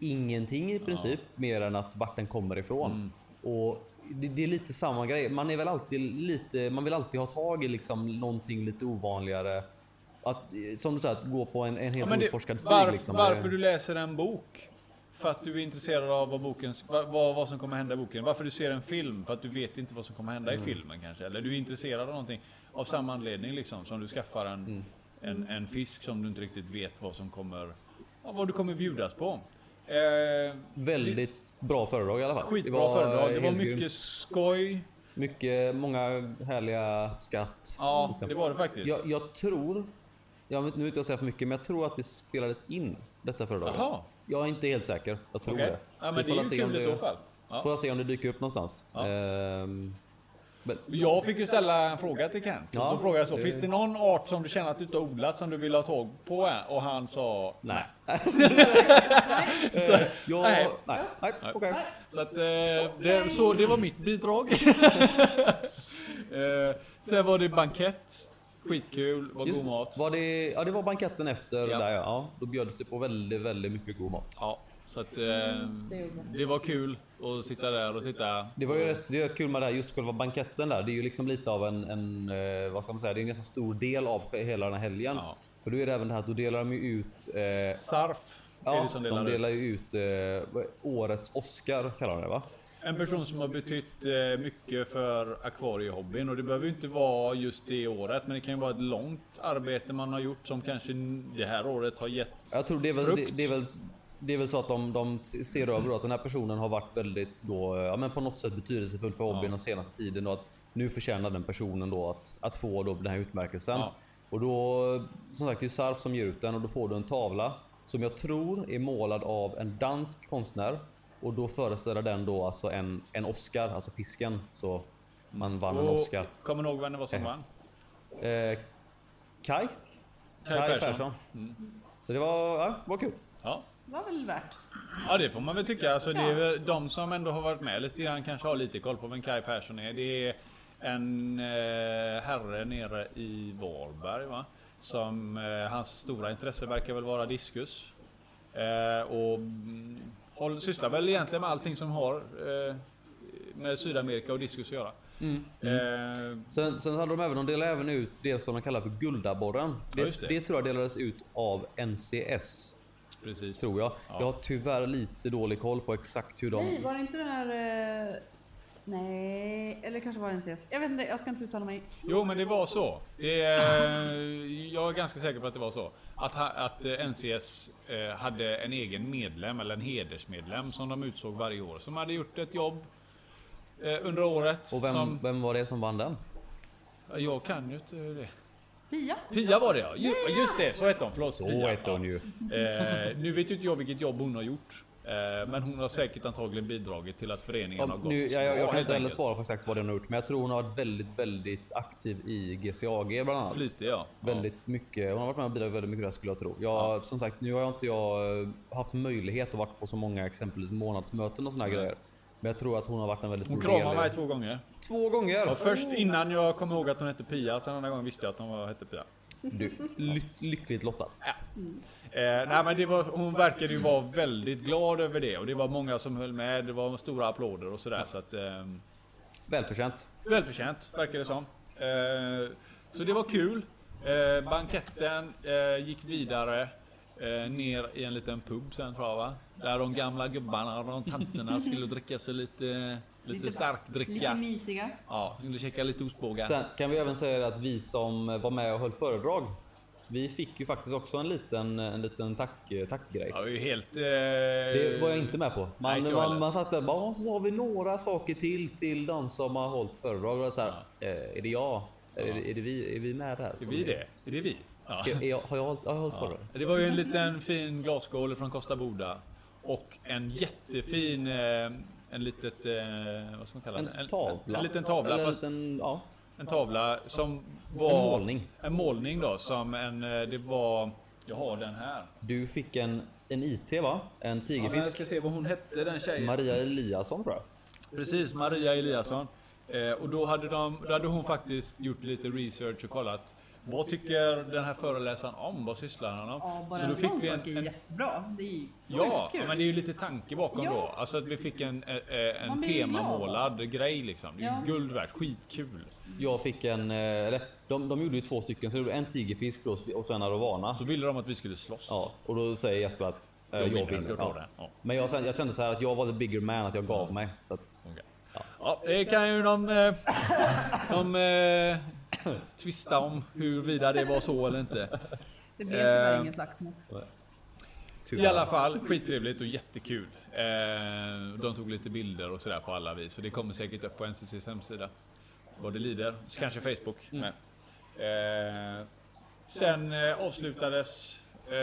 [SPEAKER 1] ingenting i princip mer än att vart den kommer ifrån.
[SPEAKER 3] Mm.
[SPEAKER 1] Och det, det är lite samma grej. Man är väl alltid lite, man vill alltid ha tag i liksom någonting lite ovanligare. Att, eh, som du sa, att gå på en, en
[SPEAKER 3] Ja,
[SPEAKER 1] helt
[SPEAKER 3] men det,
[SPEAKER 1] oforskad stig.
[SPEAKER 3] varför,
[SPEAKER 1] liksom.
[SPEAKER 3] varför du läser en bok? För att du är intresserad av vad, bokens, vad, vad, vad som kommer hända i boken. Varför du ser en film? För att du vet inte vad som kommer hända
[SPEAKER 1] Mm.
[SPEAKER 3] i filmen kanske. Eller du är intresserad av någonting. Av samma anledning liksom som du skaffar en,
[SPEAKER 1] Mm.
[SPEAKER 3] en, en fisk som du inte riktigt vet vad som kommer... ja, Vad du kommer bjudas på. Eh,
[SPEAKER 1] Väldigt bra föredrag i alla fall.
[SPEAKER 3] skitbra föredrag. Det var
[SPEAKER 1] helt
[SPEAKER 3] mycket
[SPEAKER 1] grymt.
[SPEAKER 3] skoj.
[SPEAKER 1] Mycket, många härliga skratt.
[SPEAKER 3] Ja,
[SPEAKER 1] Liksom.
[SPEAKER 3] det var det faktiskt.
[SPEAKER 1] Jag, jag tror, jag vet, nu vill inte jag säga för mycket, men jag tror att det spelades in detta föredraget.
[SPEAKER 3] Jaha,
[SPEAKER 1] Jag är inte helt säker. Jag tror
[SPEAKER 3] okej.
[SPEAKER 1] det.
[SPEAKER 3] Ja,
[SPEAKER 1] Vi
[SPEAKER 3] men det
[SPEAKER 1] får
[SPEAKER 3] är
[SPEAKER 1] väl
[SPEAKER 3] ju
[SPEAKER 1] se om
[SPEAKER 3] kul i
[SPEAKER 1] det-
[SPEAKER 3] så fall.
[SPEAKER 1] Får
[SPEAKER 3] Ja.
[SPEAKER 1] jag se om det dyker upp någonstans.
[SPEAKER 3] Ja.
[SPEAKER 1] Ehm, men,
[SPEAKER 3] Jag fick ju ställa en fråga till Kent.
[SPEAKER 1] Ja,
[SPEAKER 3] så frågade jag så,
[SPEAKER 1] det-
[SPEAKER 3] finns det någon art som du känner att du inte har odlat som du vill ha tag på? än?" Och han sa
[SPEAKER 1] nej.
[SPEAKER 3] nej.
[SPEAKER 1] Så, jag,
[SPEAKER 3] Nej.
[SPEAKER 1] nej. Nej. okej.
[SPEAKER 3] Så, att, eh, det, så det var mitt bidrag. eh, sen var det bankett. Skitkul, var
[SPEAKER 1] Just
[SPEAKER 3] god
[SPEAKER 1] det.
[SPEAKER 3] mat.
[SPEAKER 1] Var det, ja, det var banketten efter
[SPEAKER 3] Ja.
[SPEAKER 1] där ja. ja. Då bjöds det på väldigt, väldigt mycket god mat.
[SPEAKER 3] Ja, så att, eh,
[SPEAKER 2] det gjorde man.
[SPEAKER 3] det var kul att sitta där och titta.
[SPEAKER 1] Det var ju rätt, det är rätt kul med det här, just själva banketten där. Det är ju liksom lite av en, en eh, vad ska man säga, det är en ganska stor del av hela den här helgen.
[SPEAKER 3] Ja.
[SPEAKER 1] För då är det även det här att då delar de ju ut eh,
[SPEAKER 3] Sarf är
[SPEAKER 1] Ja,
[SPEAKER 3] det som
[SPEAKER 1] de
[SPEAKER 3] delar,
[SPEAKER 1] delar
[SPEAKER 3] ut.
[SPEAKER 1] ju ut eh, vad- årets Oscar kallar de det va?
[SPEAKER 3] En person som har betytt eh, mycket för akvariehobbyn och det behöver ju inte vara just det året men det kan ju vara ett långt arbete man har gjort som kanske n- det här året har gett.
[SPEAKER 1] Jag tror det är väl, det,
[SPEAKER 3] Frukt.
[SPEAKER 1] det är väl, det är väl så att de, de ser över då att den här personen har varit väldigt då, eh, ja, men på något sätt betydelsefull för hobbyn den senaste tiden och att nu förtjänar den personen då att, att få då den här utmärkelsen.
[SPEAKER 3] Ja.
[SPEAKER 1] Och då, som sagt, det är Sarf som ger ut den och då får du en tavla som jag tror är målad av en dansk konstnär och då föreställer den då alltså en, en Oscar, alltså fisken. Så man vann en Oscar.
[SPEAKER 3] Och kommer ni ihåg vem det var som
[SPEAKER 1] Eh,
[SPEAKER 3] vann?
[SPEAKER 1] Eh, Kai?
[SPEAKER 3] Kai Persson. Mm.
[SPEAKER 1] Så det var, ja, var kul.
[SPEAKER 3] Ja.
[SPEAKER 2] Det var väl värt.
[SPEAKER 3] ja, det får man väl tycka. Alltså, det är
[SPEAKER 2] Ja.
[SPEAKER 3] väl de som ändå har varit med lite grann kanske har lite koll på vem Kai Persson är. Det är en eh, herre nere i Varberg va? som eh, hans stora intresse verkar väl vara diskus. Eh, och mm, håll, sysslar väl egentligen med allting som har eh, med Sydamerika och diskus att göra. Eh,
[SPEAKER 1] Sen, sen hade de även, de delade även ut det som de kallar för guldabborren.
[SPEAKER 3] Ja,
[SPEAKER 1] Det,
[SPEAKER 3] just
[SPEAKER 1] det.
[SPEAKER 3] det.
[SPEAKER 1] tror jag delades ut av NCS,
[SPEAKER 3] precis.
[SPEAKER 1] tror jag.
[SPEAKER 3] Ja.
[SPEAKER 1] Jag har tyvärr lite dålig koll på exakt hur de...
[SPEAKER 2] Nej, var det inte den här... eh, Nej, eller kanske var det NCS. Jag vet inte, jag ska inte uttala mig.
[SPEAKER 3] Jo, men det var så. Det, eh, jag är ganska säker på att det var så. Att, ha, att eh, NCS eh, hade en egen medlem, eller en hedersmedlem, som de utsåg varje år. Som hade gjort ett jobb eh, under året.
[SPEAKER 1] Och vem,
[SPEAKER 3] Som,
[SPEAKER 1] vem var det som vann den?
[SPEAKER 3] jag kan ju inte det.
[SPEAKER 2] Pia?
[SPEAKER 3] Pia var det ja. Ju- Just det, så hette hon. Förlåt.
[SPEAKER 1] Så
[SPEAKER 3] Pia.
[SPEAKER 1] hette hon ju.
[SPEAKER 3] Eh, nu vet ju inte jag vilket jobb hon har gjort. Eh, men hon har säkert antagligen bidragit till att föreningen har
[SPEAKER 1] Om,
[SPEAKER 3] gått
[SPEAKER 1] nu, jag, jag,
[SPEAKER 3] bra,
[SPEAKER 1] jag kan
[SPEAKER 3] helt
[SPEAKER 1] inte heller
[SPEAKER 3] enkelt.
[SPEAKER 1] svara på exakt vad den har gjort, men jag tror hon har varit väldigt, väldigt aktiv i GCAG bland annat.
[SPEAKER 3] Flitig ja.
[SPEAKER 1] Väldigt mycket. Hon har varit med och bidragit väldigt mycket där skulle jag tro. Jag, Som sagt, nu har jag inte jag eh, haft möjlighet att varit på så många exempelvis månadsmöten och såna här
[SPEAKER 3] Nej.
[SPEAKER 1] grejer. Men jag tror att hon har varit en väldigt
[SPEAKER 3] Hon
[SPEAKER 1] stor del.
[SPEAKER 3] kramade
[SPEAKER 1] i-
[SPEAKER 3] mig två gånger.
[SPEAKER 1] Två gånger!
[SPEAKER 3] Ja, först innan jag kom ihåg att hon hette Pia, sen andra gången visste jag att hon var, hette Pia.
[SPEAKER 1] Du, ly- lyckligt lottad.
[SPEAKER 3] Eh, nej, men det var, hon verkade ju vara väldigt glad över det och det var många som höll med. Det var stora applåder och sådär. Så att, eh,
[SPEAKER 1] Välförtjänt.
[SPEAKER 3] välförtjänt verkar det som. Eh, så det var kul. Eh, banketten eh, gick vidare eh, ner i en liten pub sen tror jag va? Där de gamla gubbarna och de tanterna skulle dricka sig lite, lite
[SPEAKER 2] Lite- Lite
[SPEAKER 3] starkdricka.
[SPEAKER 2] mysiga.
[SPEAKER 3] Ja, skulle käka lite ostbågar.
[SPEAKER 1] Sen kan vi även säga att vi som var med och höll föredrag, vi fick ju faktiskt också en liten, en liten tack, tackgrej.
[SPEAKER 3] Ja, det var ju helt... eh,
[SPEAKER 1] Det var jag inte med på.
[SPEAKER 3] Nej,
[SPEAKER 1] Man,
[SPEAKER 3] inte jag
[SPEAKER 1] man,
[SPEAKER 3] heller.
[SPEAKER 1] man satt där och bara, "Ja, så har vi några saker till till de som har hållit föredrag. Och så här, eh, är det jag? Är, det, är, det vi, är vi med där?
[SPEAKER 3] Är vi det? Är det vi? Ja.
[SPEAKER 1] Ska, är jag, har jag hållit, har jag hållit föredrag?
[SPEAKER 3] Det var ju en liten fin glasskål från Costa Boda. Och en jättefin, eh, en litet, eh, vad ska man kalla det?
[SPEAKER 1] En tavla.
[SPEAKER 3] En, liten tavla,
[SPEAKER 1] Eller en,
[SPEAKER 3] fast
[SPEAKER 1] liten, ja,
[SPEAKER 3] en tavla som var...
[SPEAKER 1] en målning.
[SPEAKER 3] En målning då, som en, eh, det var... Jag har den här.
[SPEAKER 1] Du fick en, en IT va? En
[SPEAKER 3] Ja, men jag
[SPEAKER 1] tigerfisk.
[SPEAKER 3] ska se vad hon hette den tjejen.
[SPEAKER 1] Maria Eliasson tror jag.
[SPEAKER 3] Precis, Maria Eliasson. Eh, och då hade, de, då hade hon faktiskt gjort lite research och kollat vad tycker den här föreläsaren om? Vad sysslar han om?
[SPEAKER 2] Ja, bara
[SPEAKER 3] Så då
[SPEAKER 2] en sån
[SPEAKER 3] fick vi
[SPEAKER 2] sak är ju
[SPEAKER 3] en, en
[SPEAKER 2] jättebra. Det är ju
[SPEAKER 3] Ja,
[SPEAKER 2] sjukt kul.
[SPEAKER 3] men det är ju lite tanke bakom
[SPEAKER 2] Ja.
[SPEAKER 3] då. Alltså att vi fick en, eh, eh, en
[SPEAKER 2] Man blir ju
[SPEAKER 3] temamålad grej liksom. Det är ju
[SPEAKER 2] Ja.
[SPEAKER 3] guld värt, skitkul.
[SPEAKER 1] Jag fick en, eh, eller de, de gjorde ju två stycken, så det blev en tigerfisk då och sen en arovana.
[SPEAKER 3] Så ville de att vi skulle slåss.
[SPEAKER 1] Ja, och då säger Jesper att eh,
[SPEAKER 3] Jag vinner, jag tar
[SPEAKER 1] Ja.
[SPEAKER 3] den. Ja.
[SPEAKER 1] Men jag, sen- jag kände så här att jag var the bigger man, att jag gav mig. Så att,
[SPEAKER 3] Okej. Ja, det kan ju de, eh, de eh, tvista om huruvida det var så eller inte.
[SPEAKER 2] Det blev tyvärr
[SPEAKER 3] Eh,
[SPEAKER 2] ingen slagsmål.
[SPEAKER 1] tyvärr.
[SPEAKER 3] I alla fall skittrevligt och jättekul. Eh, de tog lite bilder och sådär på alla vis. Så det kommer säkert upp på NCCs hemsida. Vad det lider. Så Kanske Facebook
[SPEAKER 1] Mm.
[SPEAKER 3] med. Eh, sen eh, avslutades eh,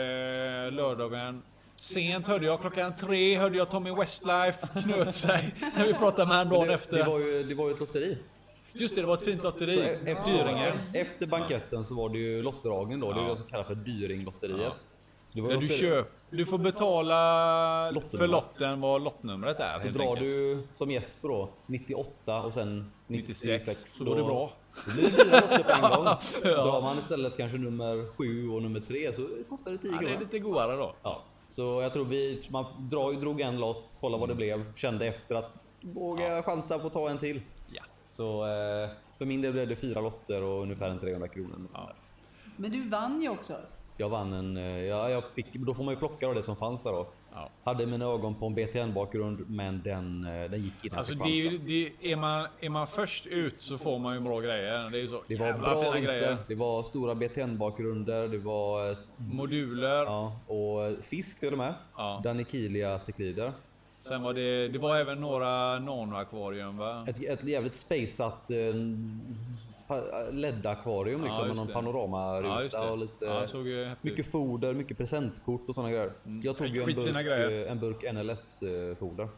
[SPEAKER 3] lördagen. Sent hörde jag, klockan tre hörde jag Tommy Westlife knöt sig när vi pratade med honom dagen
[SPEAKER 1] Det var,
[SPEAKER 3] efter.
[SPEAKER 1] ju, det var ju ett lotteri.
[SPEAKER 3] Just det, det var ett fint lotteri.
[SPEAKER 1] Så e- efter,
[SPEAKER 3] Dyringer.
[SPEAKER 1] efter banketten så var det ju lottdragningen då. Det är
[SPEAKER 3] Ja.
[SPEAKER 1] det som kallas för Dyringlotteriet.
[SPEAKER 3] Ja.
[SPEAKER 1] Så det var
[SPEAKER 3] Där
[SPEAKER 1] ju
[SPEAKER 3] du,
[SPEAKER 1] lotteri-
[SPEAKER 3] köp, du får betala för
[SPEAKER 1] Lottnumret.
[SPEAKER 3] lotten vad lottnumret är.
[SPEAKER 1] Så
[SPEAKER 3] helt
[SPEAKER 1] drar
[SPEAKER 3] enkelt.
[SPEAKER 1] du som Jesper då 98 och sen 96.
[SPEAKER 3] 96, så då är det bra.
[SPEAKER 1] Det blir dyra lotter på en gång.
[SPEAKER 3] Ja.
[SPEAKER 1] Drar man istället kanske nummer 7 och nummer 3 så kostar det 10
[SPEAKER 3] Ja, det är
[SPEAKER 1] kronor.
[SPEAKER 3] lite godare då.
[SPEAKER 1] Ja. Så jag tror vi man drar, drog en lott, kollade vad det blev, kände efter att våga jag chansa på att ta en till.
[SPEAKER 3] Ja.
[SPEAKER 1] Så eh, för min del blev det fyra lotter och ungefär en 300 kronor. eller så
[SPEAKER 3] Ja.
[SPEAKER 1] där.
[SPEAKER 2] Men du vann ju också.
[SPEAKER 1] Jag vann en, eh, ja, jag fick, då får man ju plocka av det som fanns där då.
[SPEAKER 3] Ja.
[SPEAKER 1] Hade mina ögon på en BTN bakgrund men den, eh, den gick inte.
[SPEAKER 3] Alltså
[SPEAKER 1] jag
[SPEAKER 3] det
[SPEAKER 1] fick
[SPEAKER 3] är, ju-
[SPEAKER 1] chansa.
[SPEAKER 3] det är, man, är man först ut så får man ju bra grejer. Det är ju så
[SPEAKER 1] det var
[SPEAKER 3] jävla
[SPEAKER 1] bra
[SPEAKER 3] fina
[SPEAKER 1] vinster.
[SPEAKER 3] grejer.
[SPEAKER 1] Det var stora BTN bakgrunder. Det var eh, s-
[SPEAKER 3] Moduler.
[SPEAKER 1] ja, och eh, fisk till och med.
[SPEAKER 3] Ja.
[SPEAKER 1] Danikilia cyklider.
[SPEAKER 3] Sen var det, det var även några nanoakvarium va?
[SPEAKER 1] Ett, ett jävligt spaceat eh, pa- LED-akvarium
[SPEAKER 3] Ja,
[SPEAKER 1] liksom, med
[SPEAKER 3] just
[SPEAKER 1] någon
[SPEAKER 3] det.
[SPEAKER 1] panoramaruta och lite...
[SPEAKER 3] Ja, det såg ju häftigt ut.
[SPEAKER 1] mycket foder, mycket presentkort och sådana grejer. Jag tog ju en
[SPEAKER 3] Skitfina
[SPEAKER 1] burk,
[SPEAKER 3] grejer.
[SPEAKER 1] eh, en burk NLS-foder.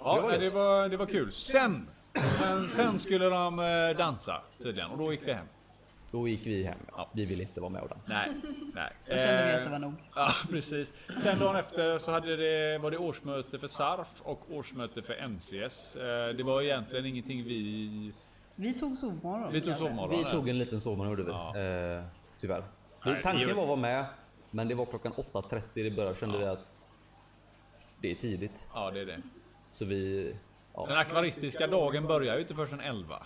[SPEAKER 3] Ja,
[SPEAKER 1] Det var
[SPEAKER 3] nej,
[SPEAKER 1] det.
[SPEAKER 3] det, var, det var kul. Sen, sen, sen skulle de eh, dansa tydligen och då gick vi hem.
[SPEAKER 1] Då gick vi hem.
[SPEAKER 3] Ja.
[SPEAKER 1] Vi ville inte vara med och dansa.
[SPEAKER 3] Nej, nej.
[SPEAKER 2] Då kände vi att det
[SPEAKER 3] Eh,
[SPEAKER 2] var nog.
[SPEAKER 3] Ja, precis. Sen dagen efter så hade det, var det årsmöte för SARF och årsmöte för NCS. Eh, Det var egentligen ingenting vi...
[SPEAKER 2] Vi tog sovmorgon.
[SPEAKER 3] Vi tog sovmorgon.
[SPEAKER 1] Vi
[SPEAKER 3] där.
[SPEAKER 1] tog en liten sovmorgon gjorde vi.
[SPEAKER 3] Ja.
[SPEAKER 1] Eh, tyvärr.
[SPEAKER 3] Nej, det
[SPEAKER 1] Vi- Tanken
[SPEAKER 3] gör
[SPEAKER 1] var att vara med, men det var klockan 8.30 i början kände vi att det är tidigt.
[SPEAKER 3] Ja, det är det.
[SPEAKER 1] Så vi... Ja,
[SPEAKER 3] Den akvaristiska dagen börjar ju inte förrän 11.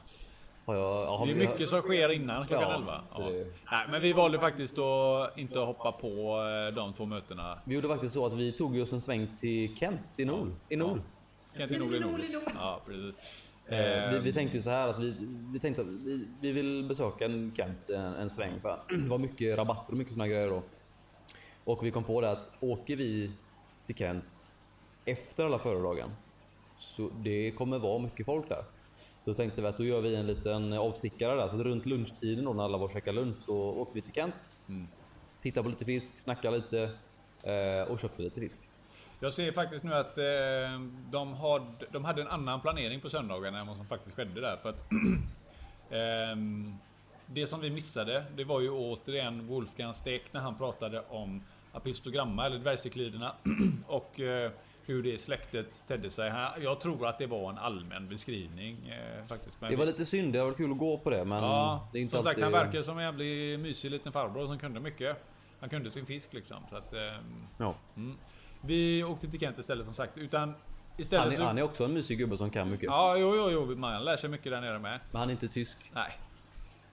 [SPEAKER 1] har jag, ja, har
[SPEAKER 3] Det är
[SPEAKER 1] vi-
[SPEAKER 3] mycket som sker innan klockan
[SPEAKER 1] Ja,
[SPEAKER 3] 11.
[SPEAKER 1] så
[SPEAKER 3] Ja.
[SPEAKER 1] det-
[SPEAKER 3] Nej, men vi valde faktiskt att inte hoppa på eh, de två mötena.
[SPEAKER 1] Vi gjorde faktiskt så att vi tog ju oss en sväng till Kent i Nol. I Nol.
[SPEAKER 3] Kan inte nog bli nog. Ja, precis.
[SPEAKER 1] Eh, vi,
[SPEAKER 3] Eh,
[SPEAKER 1] vi tänkte ju så här att vi, vi tänkte att vi, vi vill besöka en Kent en, en sväng. För att det var mycket rabatter och mycket såna grejer då. Och vi kom på det att åker vi till Kent efter alla föredragen så det kommer vara mycket folk där. Så tänkte vi att då gör vi en liten avstickare där. Så att runt lunchtiden då när alla var och käkade lunch så åkte vi till Kent.
[SPEAKER 3] Mm.
[SPEAKER 1] Tittade på lite fisk, snackade lite eh, och köpte lite fisk.
[SPEAKER 3] Jag ser faktiskt nu att eh, de, har, de hade en annan planering på söndagen än vad som faktiskt skedde där. För att, ehm, det som vi missade, det var ju återigen Wolfgang Stek när han pratade om apistogramma eller dvärgcykliderna och eh, hur det släktet tedde sig. Han- Jag tror att det var en allmän beskrivning eh, faktiskt. Men
[SPEAKER 1] Det var
[SPEAKER 3] vi-
[SPEAKER 1] lite synd, det var kul att gå på det men
[SPEAKER 3] ja,
[SPEAKER 1] det är inte
[SPEAKER 3] som sagt,
[SPEAKER 1] alltid...
[SPEAKER 3] han verkar som en jävligt mysig liten farbror som kunde mycket. Han kunde sin fisk liksom. Så att, ehm,
[SPEAKER 1] Ja.
[SPEAKER 3] Mm. Vi åkte till Kent istället som sagt. Utan istället
[SPEAKER 1] Han är,
[SPEAKER 3] så...
[SPEAKER 1] han är också en mysig gubbe som kan mycket.
[SPEAKER 3] Ja, jo, jo, jo, man lär sig mycket där nere med.
[SPEAKER 1] Men han är inte tysk.
[SPEAKER 3] Nej.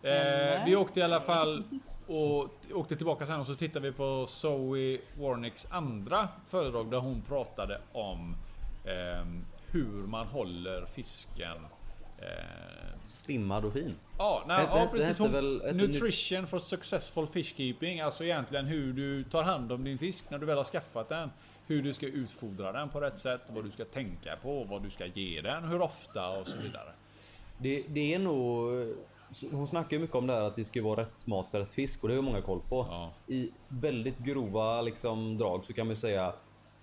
[SPEAKER 2] Nej.
[SPEAKER 3] Eh, vi åkte i alla fall och åkte tillbaka sen och så tittade vi på Zoe Warnicks andra föredrag där hon pratade om ehm, hur man håller fisken. Eh,
[SPEAKER 1] Slimmad och fin.
[SPEAKER 3] Ja, nej,
[SPEAKER 1] Hette-
[SPEAKER 3] ja
[SPEAKER 1] hette-
[SPEAKER 3] precis.
[SPEAKER 1] hette
[SPEAKER 3] Hon,
[SPEAKER 1] väl ett
[SPEAKER 3] nutrition for successful fishkeeping. Alltså egentligen hur du tar hand om din fisk när du väl har skaffat den. Hur du ska utfodra den på rätt sätt, vad du ska tänka på, vad du ska ge den, hur ofta och så vidare.
[SPEAKER 1] Det, det är nog... Hon snackar ju mycket om det här att det ska vara rätt mat för rätt fisk och det har många koll på.
[SPEAKER 3] Ja.
[SPEAKER 1] I väldigt grova liksom, drag så kan man ju säga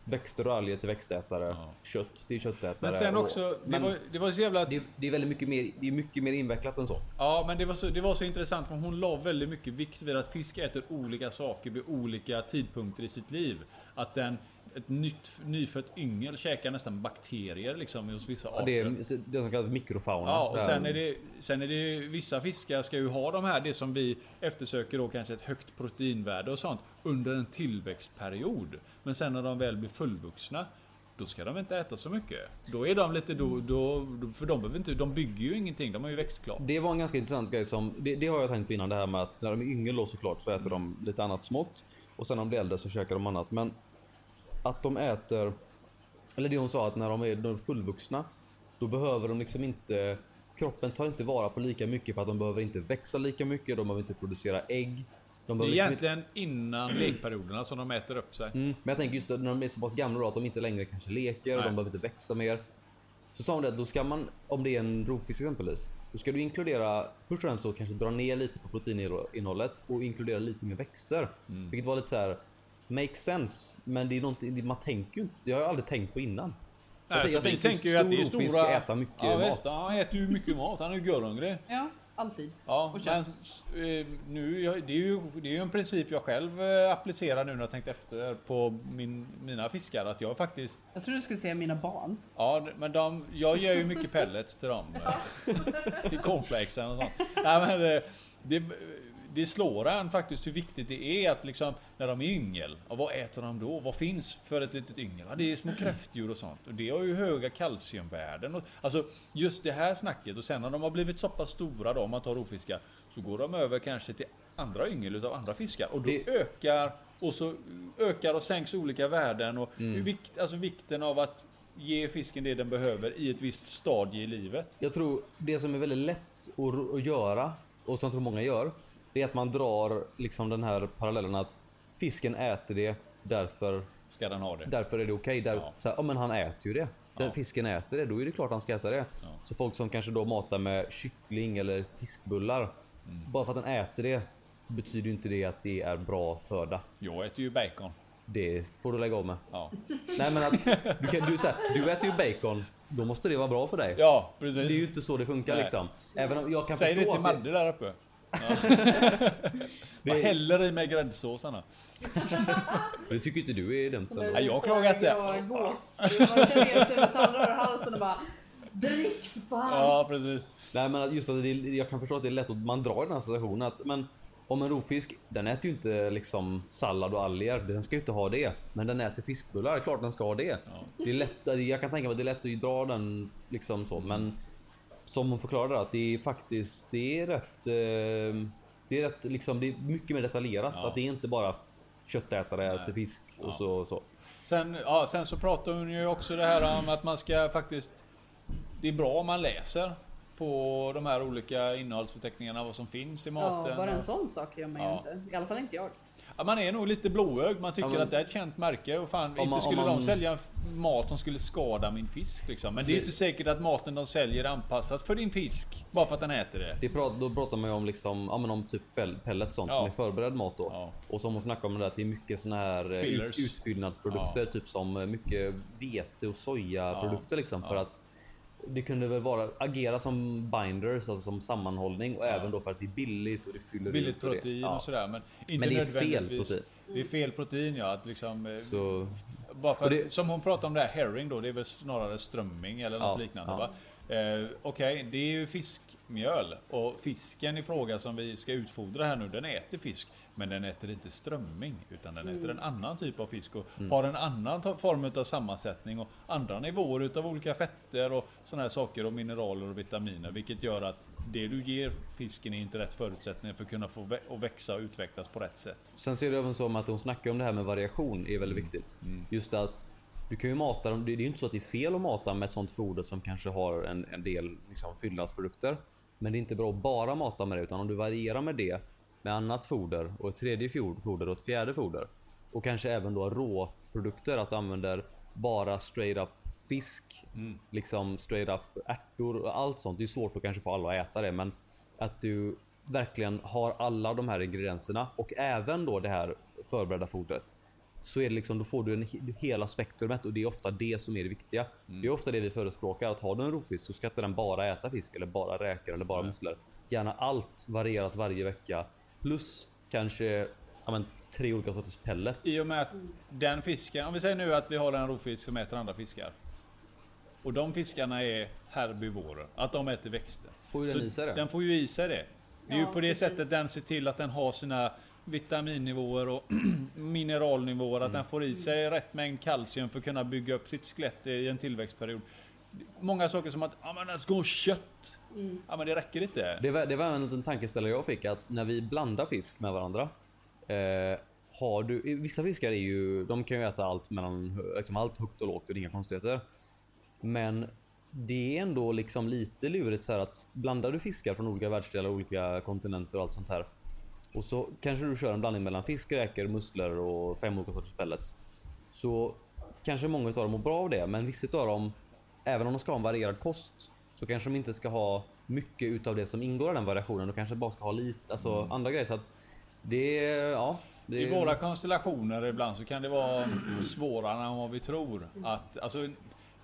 [SPEAKER 1] växter och alger till växtätare,
[SPEAKER 3] Ja.
[SPEAKER 1] kött till köttätare.
[SPEAKER 3] Men sen
[SPEAKER 1] och-
[SPEAKER 3] också, det
[SPEAKER 1] men
[SPEAKER 3] var, det var så jävla...
[SPEAKER 1] det, det är väldigt mycket mer, det är mycket mer invecklat än så.
[SPEAKER 3] Ja, men det var så, det var så intressant för hon la väldigt mycket vikt vid att fisk äter olika saker vid olika tidpunkter i sitt liv. Att den ett nytt, nyfött yngel käkar nästan bakterier liksom hos vissa
[SPEAKER 1] Ja,
[SPEAKER 3] arter.
[SPEAKER 1] det är det som kallas mikrofauna.
[SPEAKER 3] Ja, och
[SPEAKER 1] Där-
[SPEAKER 3] sen är, det, sen är det ju- vissa fiskar ska ju ha de här, det som vi eftersöker då kanske ett högt proteinvärde och sånt under en tillväxtperiod. Men sen när de väl blir fullvuxna, då ska de inte äta så mycket. Då är de lite då, då för de behöver inte, de bygger ju ingenting, de är ju växtklara.
[SPEAKER 1] Det var en ganska intressant grej som, det, det har jag tänkt på innan det här med att när de är yngre då såklart så äter de lite annat smått. Och sen om de blir äldre så käkar de annat. Men att de äter, eller det hon sa att när de är de är fullvuxna, då behöver de liksom inte, kroppen tar inte vara på lika mycket för att de behöver inte växa lika mycket, de behöver inte producera ägg. De
[SPEAKER 3] Det är
[SPEAKER 1] behöver liksom inte,
[SPEAKER 3] egentligen innan lekperioderna som de äter upp sig.
[SPEAKER 1] mm, men jag tänker just när de är så pass gamla då att de inte längre kanske leker,
[SPEAKER 3] Nej.
[SPEAKER 1] de behöver inte växa mer. Så sa hon det att då ska man, om det är en rovfisk exempelvis, då ska du inkludera, först och främst då kanske dra ner lite på proteininnehållet och inkludera lite mer växter.
[SPEAKER 3] Mm.
[SPEAKER 1] Vilket var lite så här, makes sense. Men det är någonting, det- man tänker ju inte, det har jag aldrig tänkt på innan.
[SPEAKER 3] Nej,
[SPEAKER 1] tänk-
[SPEAKER 3] så vi
[SPEAKER 1] tänker
[SPEAKER 3] tänker ju att det är
[SPEAKER 1] stor rovfisk
[SPEAKER 3] stora...
[SPEAKER 1] äta mycket
[SPEAKER 3] ja,
[SPEAKER 1] mat.
[SPEAKER 3] Visst, han äter ju mycket mat, han är ju görhungrig.
[SPEAKER 2] Ja, alltid.
[SPEAKER 3] Ja,
[SPEAKER 2] Och
[SPEAKER 3] men
[SPEAKER 2] kött.
[SPEAKER 3] s- eh, nu, jag- det, är ju, det är ju en princip jag själv eh, applicerar nu när jag tänkt efter på min, mina fiskar. Att jag faktiskt,
[SPEAKER 2] Jag tror du skulle säga mina barn.
[SPEAKER 3] ja d- men de, jag gör ju mycket pellets till dem. I cornflakesen och sånt. Nej, men, eh, det, det slår en faktiskt hur viktigt det är att liksom när de är yngel, ja, vad äter de då? Vad finns för ett litet yngel? Ja, det är små kräftdjur och sånt. Och det har ju höga kalciumvärden. Och, alltså just det här snacket och sen när de har blivit så pass stora då, om man tar rovfiskar, så går de över kanske till andra yngel utav andra fiskar och då
[SPEAKER 1] Det-
[SPEAKER 3] ökar och så ökar och sänks olika värden och vikt, alltså vikten av att ge fisken det den behöver i ett visst stadie i livet.
[SPEAKER 1] Jag tror det som är väldigt lätt att, ro- att göra och som jag tror många gör. Det är att man drar liksom den här parallellen att fisken äter det därför
[SPEAKER 3] Ska den ha det.
[SPEAKER 1] Därför är det okej. Där,
[SPEAKER 3] Ja.
[SPEAKER 1] så här, ja, men han äter ju det. Den
[SPEAKER 3] Ja.
[SPEAKER 1] Fisken äter det, då är det klart han ska äta det. Så folk som kanske då matar med kyckling eller fiskbullar.
[SPEAKER 3] Mm.
[SPEAKER 1] Bara för att den äter det betyder ju inte det att det är bra föda.
[SPEAKER 3] Jag äter ju bacon.
[SPEAKER 1] Det får du lägga av med.
[SPEAKER 3] Ja,
[SPEAKER 1] Nej men att du, kan, du, så här, du äter ju bacon, då måste det vara bra för dig.
[SPEAKER 3] ja
[SPEAKER 1] Det är ju
[SPEAKER 3] precis.
[SPEAKER 1] inte så det funkar
[SPEAKER 3] Nej.
[SPEAKER 1] liksom. Även om jag kan
[SPEAKER 3] Säg det
[SPEAKER 1] förstå
[SPEAKER 3] till
[SPEAKER 1] att
[SPEAKER 3] Madde där uppe.
[SPEAKER 1] det,
[SPEAKER 3] Vad
[SPEAKER 1] det,
[SPEAKER 3] häller i med gräddsåsarna?
[SPEAKER 1] det tycker inte du är dumt.
[SPEAKER 2] Som
[SPEAKER 1] eller?
[SPEAKER 2] en
[SPEAKER 3] Nej, jag har
[SPEAKER 2] liten
[SPEAKER 3] klagat det.
[SPEAKER 2] grå gås. Man känner igen sina tallrikar i halsen och bara Drick för fan!
[SPEAKER 3] Ja, precis.
[SPEAKER 1] Nej men att just att det, jag kan förstå att det är lätt att man drar den här associationen att men om en rovfisk, den äter ju inte liksom sallad och alger. Den ska ju inte ha det. Men den äter fiskbullar, klart den ska ha det. det är lätt, alltså, jag kan tänka mig att det är lätt att dra den liksom så men som hon förklarade att det är faktiskt, det är rätt, eh, det är rätt liksom, det är mycket mer detaljerat.
[SPEAKER 3] Ja.
[SPEAKER 1] Att det är inte bara köttätare äter fisk och
[SPEAKER 3] Ja.
[SPEAKER 1] så. så.
[SPEAKER 3] Sen, ja, sen så pratar hon ju också det här om att man ska faktiskt... Det är bra om man läser på de här olika innehållsförteckningarna vad som finns i maten.
[SPEAKER 2] Ja, bara en sån sak gör man ju
[SPEAKER 3] Ja.
[SPEAKER 2] inte. I alla fall inte jag.
[SPEAKER 3] Ja, man är nog lite blåögd. Man tycker
[SPEAKER 1] Ja, men-
[SPEAKER 3] att det är ett känt märke och fan, inte
[SPEAKER 1] man- om
[SPEAKER 3] skulle de
[SPEAKER 1] man-
[SPEAKER 3] sälja f- mat som skulle skada min fisk liksom. Men det är ju inte säkert att maten de säljer är anpassad för din fisk. Bara för att den äter det.
[SPEAKER 1] Det pratar, då pratar man ju om, liksom, ja, men om typ fäll- pellet sånt
[SPEAKER 3] Ja.
[SPEAKER 1] som är förberedd mat då.
[SPEAKER 3] Ja.
[SPEAKER 1] Och som hon snackade om det där att det är mycket såna här eh,
[SPEAKER 3] Fillers.
[SPEAKER 1] ut, utfyllnadsprodukter. Typ som eh, mycket vete och sojaprodukter liksom. För
[SPEAKER 3] Ja.
[SPEAKER 1] att det kunde väl vara, agera som binders, alltså som sammanhållning. Och även då för att det är billigt och det fyller
[SPEAKER 3] Billigt
[SPEAKER 1] ut och det.
[SPEAKER 3] protein
[SPEAKER 1] Ja.
[SPEAKER 3] och sådär. Men, inte
[SPEAKER 1] Men det är fel
[SPEAKER 3] nödvändigtvis.
[SPEAKER 1] protein.
[SPEAKER 3] Det är fel protein ja. Att liksom, eh,
[SPEAKER 1] Så
[SPEAKER 3] bara för,
[SPEAKER 1] och
[SPEAKER 3] att-
[SPEAKER 1] det-
[SPEAKER 3] Som hon pratade om det här herring då. Det är väl snarare strömming eller något
[SPEAKER 1] Ja,
[SPEAKER 3] liknande.
[SPEAKER 1] ja.
[SPEAKER 3] va? Eh, Okej, det är ju fiskmjöl. Och fisken i fråga som vi ska utfodra här nu. Den äter fisk. Men den äter inte strömming. Utan den äter en annan typ av fisk. Och
[SPEAKER 1] Mm.
[SPEAKER 3] har en annan to- form av sammansättning. Och andra nivåer utav olika fetter. Och sådana här saker. Och mineraler och vitaminer. Vilket gör att det du ger fisken är inte rätt förutsättningar för att kunna få vä- och växa och utvecklas på rätt sätt.
[SPEAKER 1] Sen ser det även som att hon snackar om det här med variation är väldigt viktigt. Just att du kan ju mata dem. Det det är ju inte så att det är fel att mata med ett sånt foder som kanske har en, en del liksom, fyllnadsprodukter. Men det är inte bra att bara mata med det utan om du varierar med det med annat foder och ett tredje fjord- foder och ett fjärde foder. Och kanske även då råprodukter att du använder bara straight up fisk, liksom straight up ärtor och allt sånt. Det är svårt att kanske få alla att äta det men att du verkligen har alla de här ingredienserna och även då det här förberedda fodret. Så är det liksom, då får du en, he- hela spektrumet och det är ofta det som är det viktiga.
[SPEAKER 3] Mm.
[SPEAKER 1] Det är ofta det vi förespråkar att har du en rovfisk så ska inte den bara äta fisk eller bara räkor eller bara musslor. Gärna allt varierat varje vecka plus kanske använt tre olika sorters pellets.
[SPEAKER 3] I och med att den fisken, om vi säger nu att vi har en rovfisk som äter andra fiskar. Och de fiskarna är herbivorer, att de äter växter.
[SPEAKER 1] Får ju den i sig det.
[SPEAKER 3] Den får ju i sig det. Det är
[SPEAKER 2] Ja,
[SPEAKER 3] ju på det
[SPEAKER 2] precis.
[SPEAKER 3] sättet den ser till att den har sina vitaminnivåer och mineralnivåer, att
[SPEAKER 1] Mm.
[SPEAKER 3] den får i sig rätt mängd kalcium för att kunna bygga upp sitt skelett i en tillväxtperiod. Många saker som att ja, men den ska ha kött.
[SPEAKER 2] Mm.
[SPEAKER 3] Ja, men det räcker inte.
[SPEAKER 1] Det var, det var en liten tankeställare jag fick att när vi blandar fisk med varandra. Eh, har du, vissa fiskar är ju, de kan ju äta allt, mellan, liksom allt högt och lågt och det är inga konstigheter. Men det är ändå liksom lite lurigt så här att blandar du fiskar från olika världsdelar, olika kontinenter och allt sånt här. Och så kanske du kör en blandning mellan fisk, räkor, musslor och fem olika sorters pellets. Så kanske många av dem mår bra av det, men vissa av dem, även om de ska ha en varierad kost, så kanske de inte ska ha mycket utav det som ingår i den variationen. De kanske bara ska ha lite, alltså andra grejer. Så att det, är- ja. Det,
[SPEAKER 3] Mm. I
[SPEAKER 1] är-
[SPEAKER 3] våra konstellationer ibland så kan det vara svårare än vad vi tror. Att, alltså,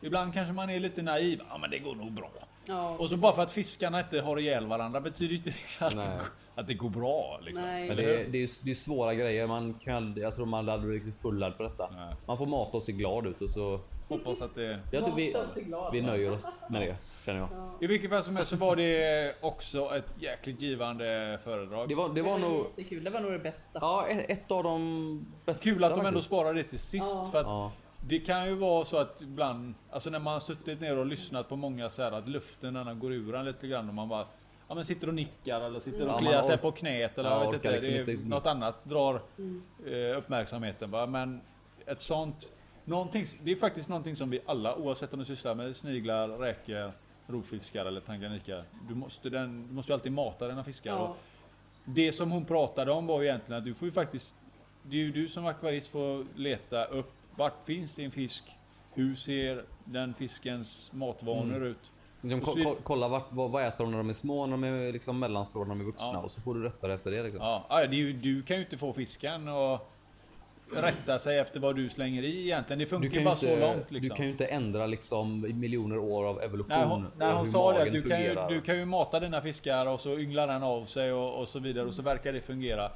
[SPEAKER 3] ibland kanske man är lite naiv. Ja, men det går nog bra.
[SPEAKER 2] Ja,
[SPEAKER 3] Och så bara för att fiskarna inte har ihjäl varandra betyder inte det att,
[SPEAKER 1] Nej.
[SPEAKER 3] det, att det går bra. Liksom.
[SPEAKER 2] Nej.
[SPEAKER 1] Men
[SPEAKER 3] Eller
[SPEAKER 1] det, är-
[SPEAKER 3] hur?
[SPEAKER 1] det, är, ju- det är svåra grejer. Man kan, aldrig- jag tror man hade blivit riktigt fullad på detta.
[SPEAKER 3] Nej.
[SPEAKER 1] Man får mata och se glad ut och så.
[SPEAKER 3] Hoppas att det...
[SPEAKER 1] Jag tror vi,
[SPEAKER 2] Mata och se glad,
[SPEAKER 1] vi
[SPEAKER 2] va?
[SPEAKER 1] nöjer oss med det känner jag.
[SPEAKER 3] I vilket fall som helst så var det också ett jäkligt givande föredrag.
[SPEAKER 1] Det var, det var nog
[SPEAKER 2] jättekul. Det var nog det bästa.
[SPEAKER 1] ja, ett, ett av de bästa.
[SPEAKER 3] Kul att de ändå
[SPEAKER 1] faktiskt.
[SPEAKER 3] sparar det till sist.
[SPEAKER 2] Ja.
[SPEAKER 3] För att
[SPEAKER 1] Ja.
[SPEAKER 3] Det kan ju vara så att ibland, alltså när man har suttit ner och lyssnat på många så här att luften när den går ur en lite grann och man bara Ja men sitter och nickar eller sitter och
[SPEAKER 1] Ja,
[SPEAKER 3] kliar
[SPEAKER 1] man
[SPEAKER 3] sig
[SPEAKER 1] ork-
[SPEAKER 3] på knät eller
[SPEAKER 1] Ja,
[SPEAKER 3] jag vet
[SPEAKER 1] orkar
[SPEAKER 3] inte,
[SPEAKER 1] liksom
[SPEAKER 3] det är
[SPEAKER 1] inte-
[SPEAKER 3] något annat drar
[SPEAKER 2] Mm.
[SPEAKER 3] eh, uppmärksamheten va? Men ett sånt någonting, Det är faktiskt någonting som vi alla oavsett om du sysslar med sniglar, räkor, rovfiskar eller tanganyika Du måste, den, du måste ju alltid mata dina fiskar och
[SPEAKER 2] Ja.
[SPEAKER 3] det som hon pratade om var ju egentligen att du får ju faktiskt Det är ju du som akvarist får leta upp Vart finns din fisk? Hur ser den fiskens matvanor ut?
[SPEAKER 1] Liksom,
[SPEAKER 3] Och
[SPEAKER 1] ko-
[SPEAKER 3] så är-
[SPEAKER 1] ko- kolla vart, vad, vad äter de när de är små, när de är liksom mellanstora, när de är vuxna
[SPEAKER 3] Ja.
[SPEAKER 1] och så får du rätta dig efter det. Liksom.
[SPEAKER 3] Ja, ja, det är ju, du kan ju inte få fisken och rätta sig efter vad du slänger i egentligen. Det
[SPEAKER 1] Du,
[SPEAKER 3] funkar ju
[SPEAKER 1] kan ju
[SPEAKER 3] bara
[SPEAKER 1] inte,
[SPEAKER 3] så långt liksom.
[SPEAKER 1] du kan ju inte ändra liksom i miljoner år av evolution.
[SPEAKER 3] När hon, när
[SPEAKER 1] och
[SPEAKER 3] hon
[SPEAKER 1] hur
[SPEAKER 3] sa det, att
[SPEAKER 1] magen
[SPEAKER 3] du kan, ju,
[SPEAKER 1] fungerar.
[SPEAKER 3] du kan ju mata dina fiskar och så ynglar den av sig och, och så vidare och så verkar det fungera.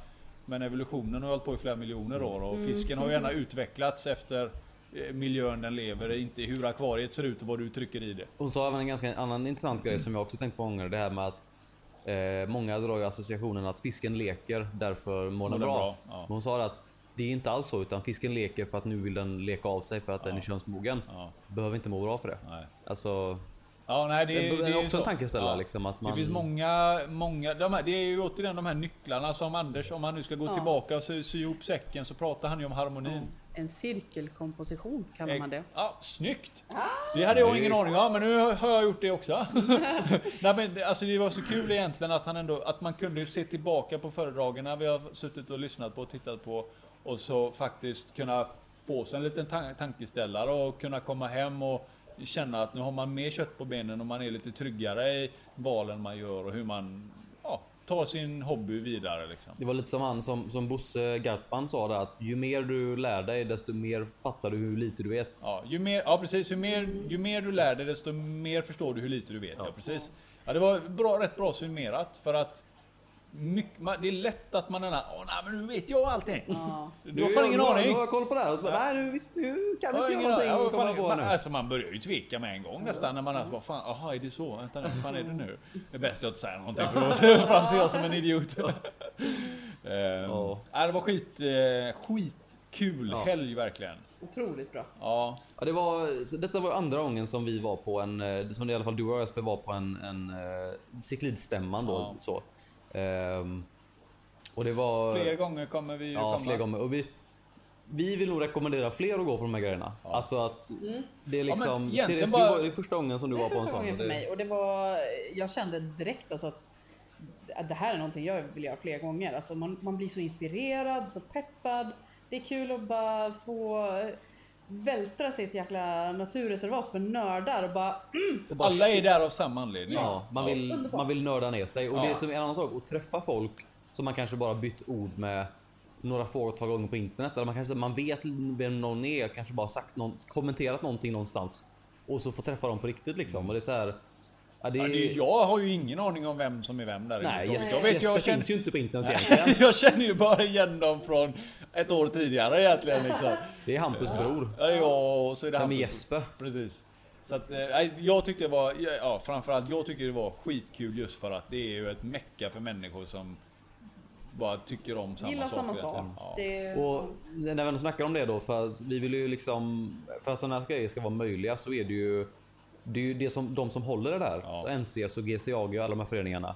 [SPEAKER 3] Men evolutionen har hållit på i flera miljoner år och fisken har ju gärna utvecklats efter eh, miljön den lever i, inte hur akvariet ser ut och vad du trycker i det.
[SPEAKER 1] Hon sa även en ganska annan intressant grej som jag också tänkt på många gånger. Det här med att eh, många drar ju associationen att fisken leker, därför mår den
[SPEAKER 3] Mår den
[SPEAKER 1] bra.
[SPEAKER 3] bra, ja.
[SPEAKER 1] Men hon sa det att det är inte alls så, utan fisken leker för att nu vill den leka av sig för att den är könsmogen.
[SPEAKER 3] Ja,
[SPEAKER 1] Behöver inte må bra för det.
[SPEAKER 3] nej.
[SPEAKER 1] Alltså,
[SPEAKER 3] Ja, nej, det,
[SPEAKER 1] det,
[SPEAKER 3] det
[SPEAKER 1] är,
[SPEAKER 3] ju
[SPEAKER 1] också en
[SPEAKER 3] så.
[SPEAKER 1] tankeställare.
[SPEAKER 3] Ja.
[SPEAKER 1] Liksom, att man,
[SPEAKER 3] Det finns många, många, de här, det är ju återigen de här nycklarna som Anders, om han nu ska gå
[SPEAKER 2] Ja.
[SPEAKER 3] tillbaka och sy, sy ihop säcken så pratar han ju om harmonin.
[SPEAKER 2] En cirkelkomposition kallar man det. Ah.
[SPEAKER 3] Ja, snyggt! Det hade jag ingen
[SPEAKER 1] Snyggt.
[SPEAKER 3] aning om, men nu har jag gjort det också. Nej, men, det- alltså, det var så kul egentligen att, han ändå, att man kunde se tillbaka på föredragen när vi har suttit och lyssnat på och tittat på och så faktiskt kunna få sig en liten tan- tankeställare och kunna komma hem och känna att nu har man mer kött på benen och man är lite tryggare i valen man gör och hur man ja, tar sin hobby vidare. Liksom.
[SPEAKER 1] Det var lite som han som, som Bosse Gartman sa där, att ju mer du lär dig, desto mer fattar du hur lite du vet.
[SPEAKER 3] Ja, ju mer, ja precis. Ju mer, ju mer du lär dig, desto mer förstår du hur lite du vet. Ja, precis. Ja, det var bra, rätt bra summerat. För att mycket, man, det är lätt att man är där, Åh, nej, men nu vet jag allting.
[SPEAKER 2] Ja.
[SPEAKER 3] Du har fan ingen
[SPEAKER 1] Mm. nu,
[SPEAKER 3] aning.
[SPEAKER 1] Nu har jag koll på det här. Och så bara, Nej, nu, visst, nu kan vi
[SPEAKER 3] Jag har
[SPEAKER 1] inte
[SPEAKER 3] ingen
[SPEAKER 1] göra
[SPEAKER 3] aning.
[SPEAKER 1] någonting.
[SPEAKER 3] Ja, vad
[SPEAKER 1] kommer jag
[SPEAKER 3] fan,
[SPEAKER 1] på
[SPEAKER 3] man,
[SPEAKER 1] nu.
[SPEAKER 3] alltså man börjar ju tveka med en gång nästan när man alltså, bara, fan, aha, är det så? Vänta nu, vad fan är det nu? Det är bäst att inte säga någonting för då ser- framstår jag som en idiot. Ehm,
[SPEAKER 1] Ja.
[SPEAKER 3] ja, det var skit, eh, skitkul
[SPEAKER 1] Ja.
[SPEAKER 3] helg verkligen.
[SPEAKER 2] Otroligt bra.
[SPEAKER 3] Ja,
[SPEAKER 1] Ja, det var, så detta var andra gången som vi var på en, eh, som i alla fall du och jag Jesper var på en, en eh, cyklidstämman då.
[SPEAKER 3] Ja.
[SPEAKER 1] Så. Ehm, och det var...
[SPEAKER 3] fler gånger kommer vi ju
[SPEAKER 1] ja,
[SPEAKER 3] komma.
[SPEAKER 1] fler gånger. Och vi, vi vill nog rekommendera fler att gå på de här grejerna. Alltså att det är
[SPEAKER 3] men
[SPEAKER 1] liksom...
[SPEAKER 3] egentligen
[SPEAKER 1] Therese,
[SPEAKER 3] bara-
[SPEAKER 1] du var, det är första gången som du
[SPEAKER 2] Mm. Det
[SPEAKER 1] var
[SPEAKER 2] var
[SPEAKER 1] på en
[SPEAKER 2] första
[SPEAKER 1] sån.
[SPEAKER 2] gången
[SPEAKER 1] och det-
[SPEAKER 2] för mig och det var, jag kände direkt alltså att att det här är någonting jag vill göra fler gånger. Alltså man, man blir så inspirerad, så peppad. Det är kul att bara få vältra sig i ett jäkla naturreservat för nördar och bara
[SPEAKER 1] och bara-
[SPEAKER 3] Alla är där av samma anledning.
[SPEAKER 1] Ja, man vill,
[SPEAKER 2] underbart.
[SPEAKER 1] man vill nörda ner sig. Och det
[SPEAKER 3] Ja.
[SPEAKER 1] är som en annan sak, att träffa folk som man kanske bara bytt ord med några fåtal gånger på internet. Eller man kanske man vet vem någon är, kanske bara sagt någon, kommenterat någonting någonstans. Och så få träffa dem på riktigt liksom. Och det är så här, Ja, det
[SPEAKER 3] Ja, Mm. det,
[SPEAKER 1] är,
[SPEAKER 3] jag har ju ingen aning om vem som är vem där
[SPEAKER 1] nej,
[SPEAKER 3] överhuvudtaget.
[SPEAKER 1] Jesper,
[SPEAKER 3] jag, vet, ju-
[SPEAKER 1] Jesper
[SPEAKER 3] jag, känner,
[SPEAKER 1] finns ju inte på internet egentligen.
[SPEAKER 3] Nej, jag känner ju bara igen dem från ett år tidigare egentligen. Liksom.
[SPEAKER 1] Det är Hampus bror.
[SPEAKER 3] Ja, det är jag och så är det
[SPEAKER 1] Ja, men
[SPEAKER 3] Hampus.
[SPEAKER 1] Jesper.
[SPEAKER 3] Precis. Så att, eh, nej, jag tyckte det var, ja framförallt jag tycker det var skitkul just för att det är ju ett mecka för människor som bara tycker om samma
[SPEAKER 2] Gillar
[SPEAKER 3] sak.
[SPEAKER 2] samma
[SPEAKER 3] egentligen.
[SPEAKER 2] sak.
[SPEAKER 3] Ja.
[SPEAKER 2] Det är...
[SPEAKER 1] Och när vi ändå snackar om det då, för att vi vill ju liksom, för att sådana här grejer ska vara möjliga så är det ju, det är ju det som, de som håller det där.
[SPEAKER 3] Ja.
[SPEAKER 1] Så NCS och GCAG och alla de här föreningarna.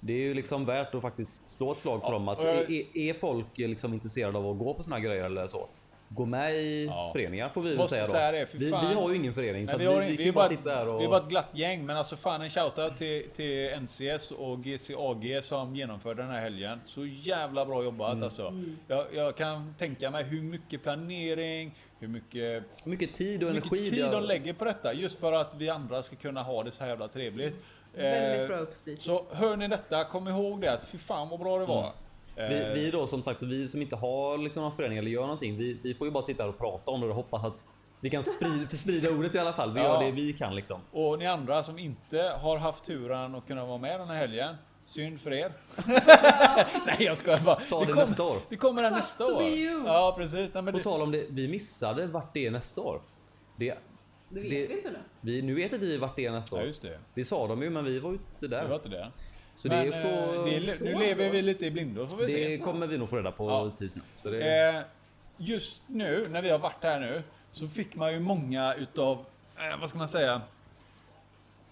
[SPEAKER 1] Det är ju liksom värt att faktiskt slå ett slag för
[SPEAKER 3] Ja,
[SPEAKER 1] dem. Att
[SPEAKER 3] och jag-
[SPEAKER 1] är, är- är folk liksom intresserade av att gå på sådana här grejer eller så? Gå med i
[SPEAKER 3] Ja.
[SPEAKER 1] föreningar får vi väl
[SPEAKER 3] Måste
[SPEAKER 1] säga då.
[SPEAKER 3] säga det, för
[SPEAKER 1] vi, vi
[SPEAKER 3] fan.
[SPEAKER 1] har ju ingen förening så
[SPEAKER 3] Nej,
[SPEAKER 1] att
[SPEAKER 3] vi,
[SPEAKER 1] vi,
[SPEAKER 3] har,
[SPEAKER 1] vi,
[SPEAKER 3] vi,
[SPEAKER 1] kan
[SPEAKER 3] är
[SPEAKER 1] ju
[SPEAKER 3] bara,
[SPEAKER 1] bara sitta här och...
[SPEAKER 3] vi är bara ett glatt gäng, men alltså fan en shoutout till, till NCS och GCAG som genomförde den här helgen. Så jävla bra jobbat
[SPEAKER 1] Mm.
[SPEAKER 3] alltså.
[SPEAKER 2] Mm.
[SPEAKER 3] Jag, jag kan tänka mig hur mycket planering, hur mycket
[SPEAKER 1] Mycket tid och
[SPEAKER 3] hur
[SPEAKER 1] energi.
[SPEAKER 3] mycket tid
[SPEAKER 1] där-
[SPEAKER 3] de lägger på detta just för att vi andra ska kunna ha det så här jävla trevligt.
[SPEAKER 2] Väldigt bra
[SPEAKER 3] Eh,
[SPEAKER 2] uppstyrt.
[SPEAKER 3] Så hör ni detta, kom ihåg det. Fy fan vad bra det var.
[SPEAKER 1] Vi,
[SPEAKER 3] Eh,
[SPEAKER 1] Mm. vi då som sagt, vi som inte har liksom någon förening eller gör någonting, vi, vi får ju bara sitta här och prata om det och hoppas att vi kan sprida, sprida ordet i alla fall. Vi
[SPEAKER 3] Ja.
[SPEAKER 1] gör det vi kan liksom.
[SPEAKER 3] Och ni andra som inte har haft turen att kunna vara med den här helgen. Synd för er. Nej jag skojar bara.
[SPEAKER 1] Ta det nästa år.
[SPEAKER 3] Vi kommer där
[SPEAKER 2] Sucks
[SPEAKER 3] nästa
[SPEAKER 2] to
[SPEAKER 3] år.
[SPEAKER 2] be you.
[SPEAKER 3] Ja precis. Nej, men
[SPEAKER 1] På
[SPEAKER 3] det,
[SPEAKER 1] tal om det, vi missade vart det är nästa år. Det,
[SPEAKER 2] Det vet
[SPEAKER 1] det-
[SPEAKER 2] vi inte nu.
[SPEAKER 1] vi, nu vet inte vi vart det är nästa
[SPEAKER 3] ja,
[SPEAKER 1] år.
[SPEAKER 3] just det.
[SPEAKER 1] Det sa de ju, men vi var ju inte
[SPEAKER 3] Det var
[SPEAKER 1] där.
[SPEAKER 3] inte det.
[SPEAKER 1] Så
[SPEAKER 3] men,
[SPEAKER 1] det, är
[SPEAKER 3] eh,
[SPEAKER 1] får,
[SPEAKER 3] det är, nu lever vi lite i blindo får vi se.
[SPEAKER 1] det kommer vi nog få reda på
[SPEAKER 3] Ja.
[SPEAKER 1] tids nog. Så det,
[SPEAKER 3] Eh, just nu, när vi har varit här nu, så fick man ju många utav, eh, vad ska man säga?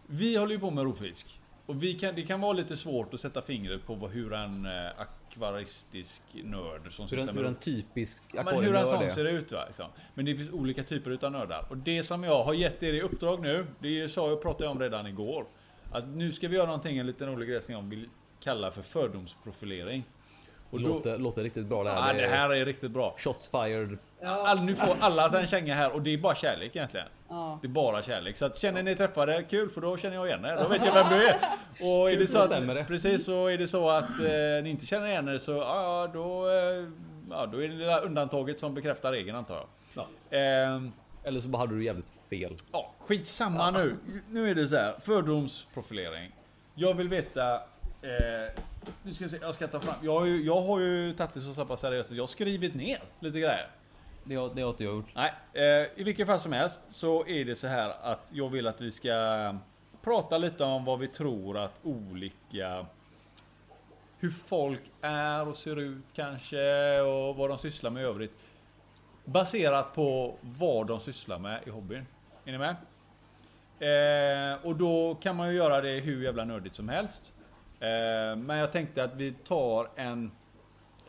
[SPEAKER 3] Vi håller ju på med rovfisk. Och vi kan, det kan vara lite svårt att sätta fingret på vad, hur en eh, akvaristisk nörd som
[SPEAKER 1] hur,
[SPEAKER 3] sysslar
[SPEAKER 1] en,
[SPEAKER 3] med
[SPEAKER 1] hur en typisk
[SPEAKER 3] Ja, men hur en
[SPEAKER 1] akvarium
[SPEAKER 3] sån
[SPEAKER 1] gör
[SPEAKER 3] ser
[SPEAKER 1] det.
[SPEAKER 3] ut va? Liksom. Men det finns olika typer utav nördar. Och det som jag har gett er i uppdrag nu, det sa jag pratade jag om redan igår. Att nu ska vi göra någonting, en liten rolig grej som jag vill kalla för fördomsprofilering. Och då,
[SPEAKER 1] Låter, låter riktigt bra det här.
[SPEAKER 3] ja,
[SPEAKER 1] är
[SPEAKER 3] det här är riktigt bra.
[SPEAKER 1] Shots fired.
[SPEAKER 2] Ja.
[SPEAKER 3] All, nu får alla en känga här och det är bara kärlek egentligen.
[SPEAKER 2] Ja.
[SPEAKER 3] Det är bara kärlek. Så att, känner ni träffade, kul för då känner jag igen er. Då vet jag vem du är. Och är
[SPEAKER 1] Kul,
[SPEAKER 3] det så
[SPEAKER 1] då
[SPEAKER 3] att,
[SPEAKER 1] stämmer det.
[SPEAKER 3] Precis, så är det så att eh, ni inte känner igen er så ja, ja, då, eh, ja, då är det lilla undantaget som bekräftar regeln antar jag.
[SPEAKER 1] Ja.
[SPEAKER 3] Ehm,
[SPEAKER 1] Eller så bara hade du jävligt fel.
[SPEAKER 3] Ja, skitsamma nu. Nu är det så här. Fördomsprofilering. Jag vill veta... Eh, nu ska jag se, jag ska ta fram. Jag har ju, jag har ju tagit det så, så pass seriöst att jag har skrivit ner lite grejer.
[SPEAKER 1] Det har, det har inte jag gjort.
[SPEAKER 3] Nej, eh, i vilket fall som helst så är det så här att jag vill att vi ska eh, prata lite om vad vi tror att olika hur folk är och ser ut kanske och vad de sysslar med i övrigt. Baserat på vad de sysslar med i hobbyn. Är ni med? Eh, och då kan man ju göra det hur jävla nördigt som helst. Eh, men jag tänkte att vi tar en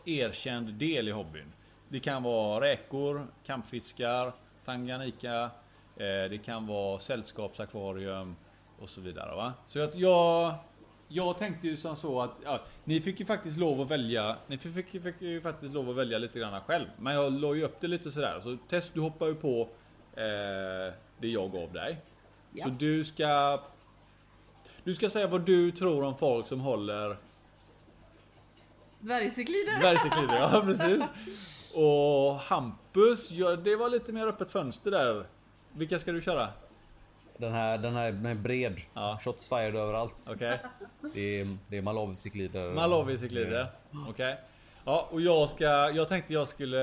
[SPEAKER 3] erkänd del i hobbyn. Det kan vara räkor, kampfiskar, Tanganyika, eh, det kan vara sällskapsakvarium och så vidare. Va? Så att jag, jag tänkte ju som så att ja, ni fick ju faktiskt lov att välja. Ni fick, fick, fick ju faktiskt lov att välja lite grann själv, men jag la ju upp det lite sådär. Så test, du hoppar ju på eh, det jag gav dig.
[SPEAKER 2] Ja.
[SPEAKER 3] Så du ska. Du ska säga vad du tror om folk som håller
[SPEAKER 2] Dvärgcyklidare.
[SPEAKER 3] Dvärgcyklider, ja precis. Och Hampus, ja, det var lite mer öppet fönster där. Vilka ska du köra?
[SPEAKER 1] Den här, den här, den här är bred.
[SPEAKER 3] Ja.
[SPEAKER 1] Shots fired överallt.
[SPEAKER 3] Okej.
[SPEAKER 1] Det är, det är Malawi-cyklider.
[SPEAKER 3] Malawi-cyklider.
[SPEAKER 1] Mm.
[SPEAKER 3] Okej. Ja, och jag ska, jag tänkte jag skulle,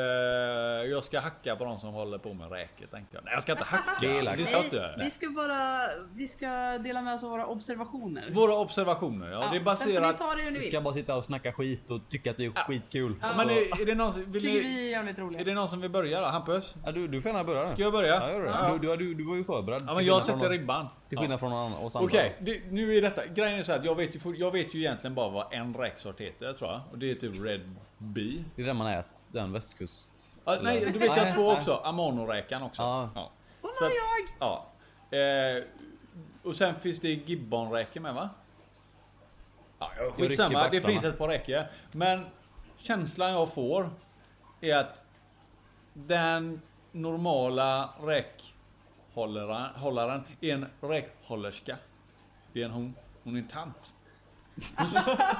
[SPEAKER 3] jag ska hacka på de som håller på med räket tänkte jag. Nej jag ska inte hacka.
[SPEAKER 1] Det är elakt.
[SPEAKER 3] det ska jag inte göra.
[SPEAKER 2] vi ska bara vi ska dela med oss av våra observationer.
[SPEAKER 3] Våra observationer, ja, det är baserat.
[SPEAKER 2] Sen får ni ta det hur ni
[SPEAKER 1] Vi
[SPEAKER 2] vill.
[SPEAKER 1] ska bara sitta och snacka skit och tycka att det är skitkul.
[SPEAKER 3] Ja,
[SPEAKER 1] Så-
[SPEAKER 3] Men är, är det någon som, vill
[SPEAKER 2] Tycker
[SPEAKER 3] ni,
[SPEAKER 2] vi är jävligt roliga.
[SPEAKER 3] är det någon som vill börja då? Hampus?
[SPEAKER 1] Ja, du, du får gärna börja nu.
[SPEAKER 3] Ska jag börja?
[SPEAKER 1] Ja, gör det.
[SPEAKER 3] Ja.
[SPEAKER 1] Du, du, du, du var ju förberedd.
[SPEAKER 3] Ja men
[SPEAKER 1] till
[SPEAKER 3] jag
[SPEAKER 1] skillnad från
[SPEAKER 3] sätter
[SPEAKER 1] någon-
[SPEAKER 3] ribban.
[SPEAKER 1] Till
[SPEAKER 3] Ja.
[SPEAKER 1] skillnad från någon annan oss andra.
[SPEAKER 3] Okej, det- nu är detta. Grejen är så här att jag vet ju, fort- jag vet ju egentligen bara vad en räksort heter tror jag. Och det är typ Red Bee.
[SPEAKER 1] Det är den man äter. Den västkust.
[SPEAKER 3] Ah, nej,
[SPEAKER 1] Eller-
[SPEAKER 3] du vet
[SPEAKER 1] Nej,
[SPEAKER 3] jag två
[SPEAKER 1] nej.
[SPEAKER 3] också. Amanoräkan också.
[SPEAKER 1] Ja.
[SPEAKER 3] Ja.
[SPEAKER 2] Såna
[SPEAKER 3] Så att-
[SPEAKER 2] är jag.
[SPEAKER 3] ja. Eh, och sen finns det gibbonräkor med va? Ja,
[SPEAKER 1] rycker
[SPEAKER 3] skitsamma,
[SPEAKER 1] på
[SPEAKER 3] det
[SPEAKER 1] axlarna.
[SPEAKER 3] finns ett par räkor. Men känslan jag får är att den normala räkhållaren hållaren är en räkhållerska. Det är en hon. Hon är en tant. Hon,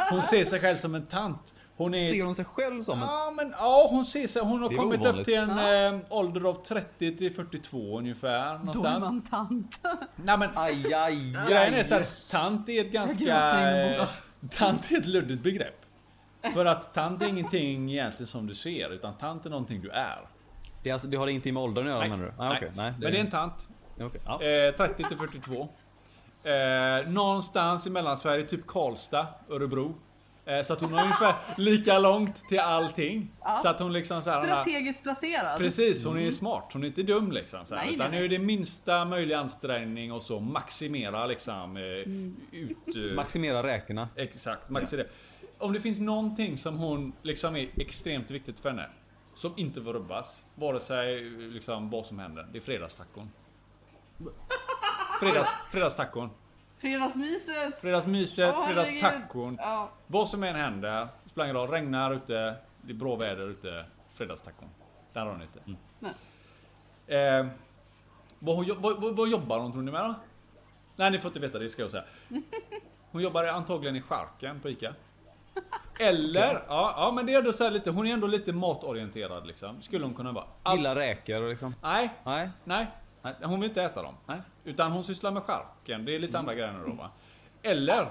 [SPEAKER 3] hon ser sig själv som en tant.
[SPEAKER 1] Hon är...
[SPEAKER 4] Ser hon sig själv som en...
[SPEAKER 3] Ja, men ja, hon ser sig. Hon har
[SPEAKER 1] Det var
[SPEAKER 3] kommit upp
[SPEAKER 1] ovanligt.
[SPEAKER 3] till en
[SPEAKER 2] Ja.
[SPEAKER 3] eh, ålder av 30 till 42 ungefär.
[SPEAKER 2] Då är
[SPEAKER 3] Någonstans.
[SPEAKER 2] man tant.
[SPEAKER 3] Nej, men
[SPEAKER 1] Aj, aj,
[SPEAKER 3] grejen är
[SPEAKER 1] aj.
[SPEAKER 3] så här, tant är ett ganska...
[SPEAKER 2] gråter inombords.
[SPEAKER 3] eh, Tant är ett luddigt begrepp. För att tant är ingenting egentligen som du ser, utan tant är någonting du är.
[SPEAKER 1] Det, är alltså, det har ingenting med åldern att göra menar du? Nej, okej, nej,
[SPEAKER 3] Men det är en tant.
[SPEAKER 1] ja, okej, ja.
[SPEAKER 3] Eh, 30 till 42. Eh, någonstans i Mellansverige, typ Karlstad, Örebro. Eh, så att hon har ungefär lika långt till allting.
[SPEAKER 2] Ja.
[SPEAKER 3] Så att hon liksom så här, hon har,
[SPEAKER 2] Strategiskt placerad.
[SPEAKER 3] Precis, hon är smart. Hon är inte dum liksom. Så här,
[SPEAKER 2] Mm. Nej,
[SPEAKER 3] utan
[SPEAKER 2] nej.
[SPEAKER 3] nu är det minsta möjliga ansträngning och så maximera liksom eh,
[SPEAKER 2] Mm.
[SPEAKER 3] ut... eh,
[SPEAKER 1] Maximera räkorna.
[SPEAKER 3] Exakt, maximera. Om det finns någonting som hon liksom är extremt viktigt för henne. Som inte får rubbas. Vare sig liksom vad som händer. Det är fredagstacon. Fredags, fredagstacon.
[SPEAKER 2] Fredagsmyset.
[SPEAKER 3] Fredagsmyset,
[SPEAKER 2] Åh, herregud.
[SPEAKER 3] fredagstacon.
[SPEAKER 2] Ja.
[SPEAKER 3] Vad som än händer. Spelar ingen roll. Regnar ute. Det är bra väder ute. Fredagstacon. Där har hon inte.
[SPEAKER 2] Nej.
[SPEAKER 3] Eh, vad, hon, jo- vad, vad, vad jobbar hon tror ni med då? Nej ni får inte veta det ska jag säga. Hon jobbar antagligen i charken på Ica. Eller, ja, ja men det är ändå så här lite, hon är ändå lite matorienterad liksom. Skulle hon kunna vara. All,
[SPEAKER 1] Gillar räkor och liksom.
[SPEAKER 3] nej,
[SPEAKER 1] Nej.
[SPEAKER 3] nej.
[SPEAKER 1] Nej.
[SPEAKER 3] Hon vill inte äta dem.
[SPEAKER 1] Nej.
[SPEAKER 3] Utan hon sysslar med charken. Det är lite andra grejer nu då va. Eller,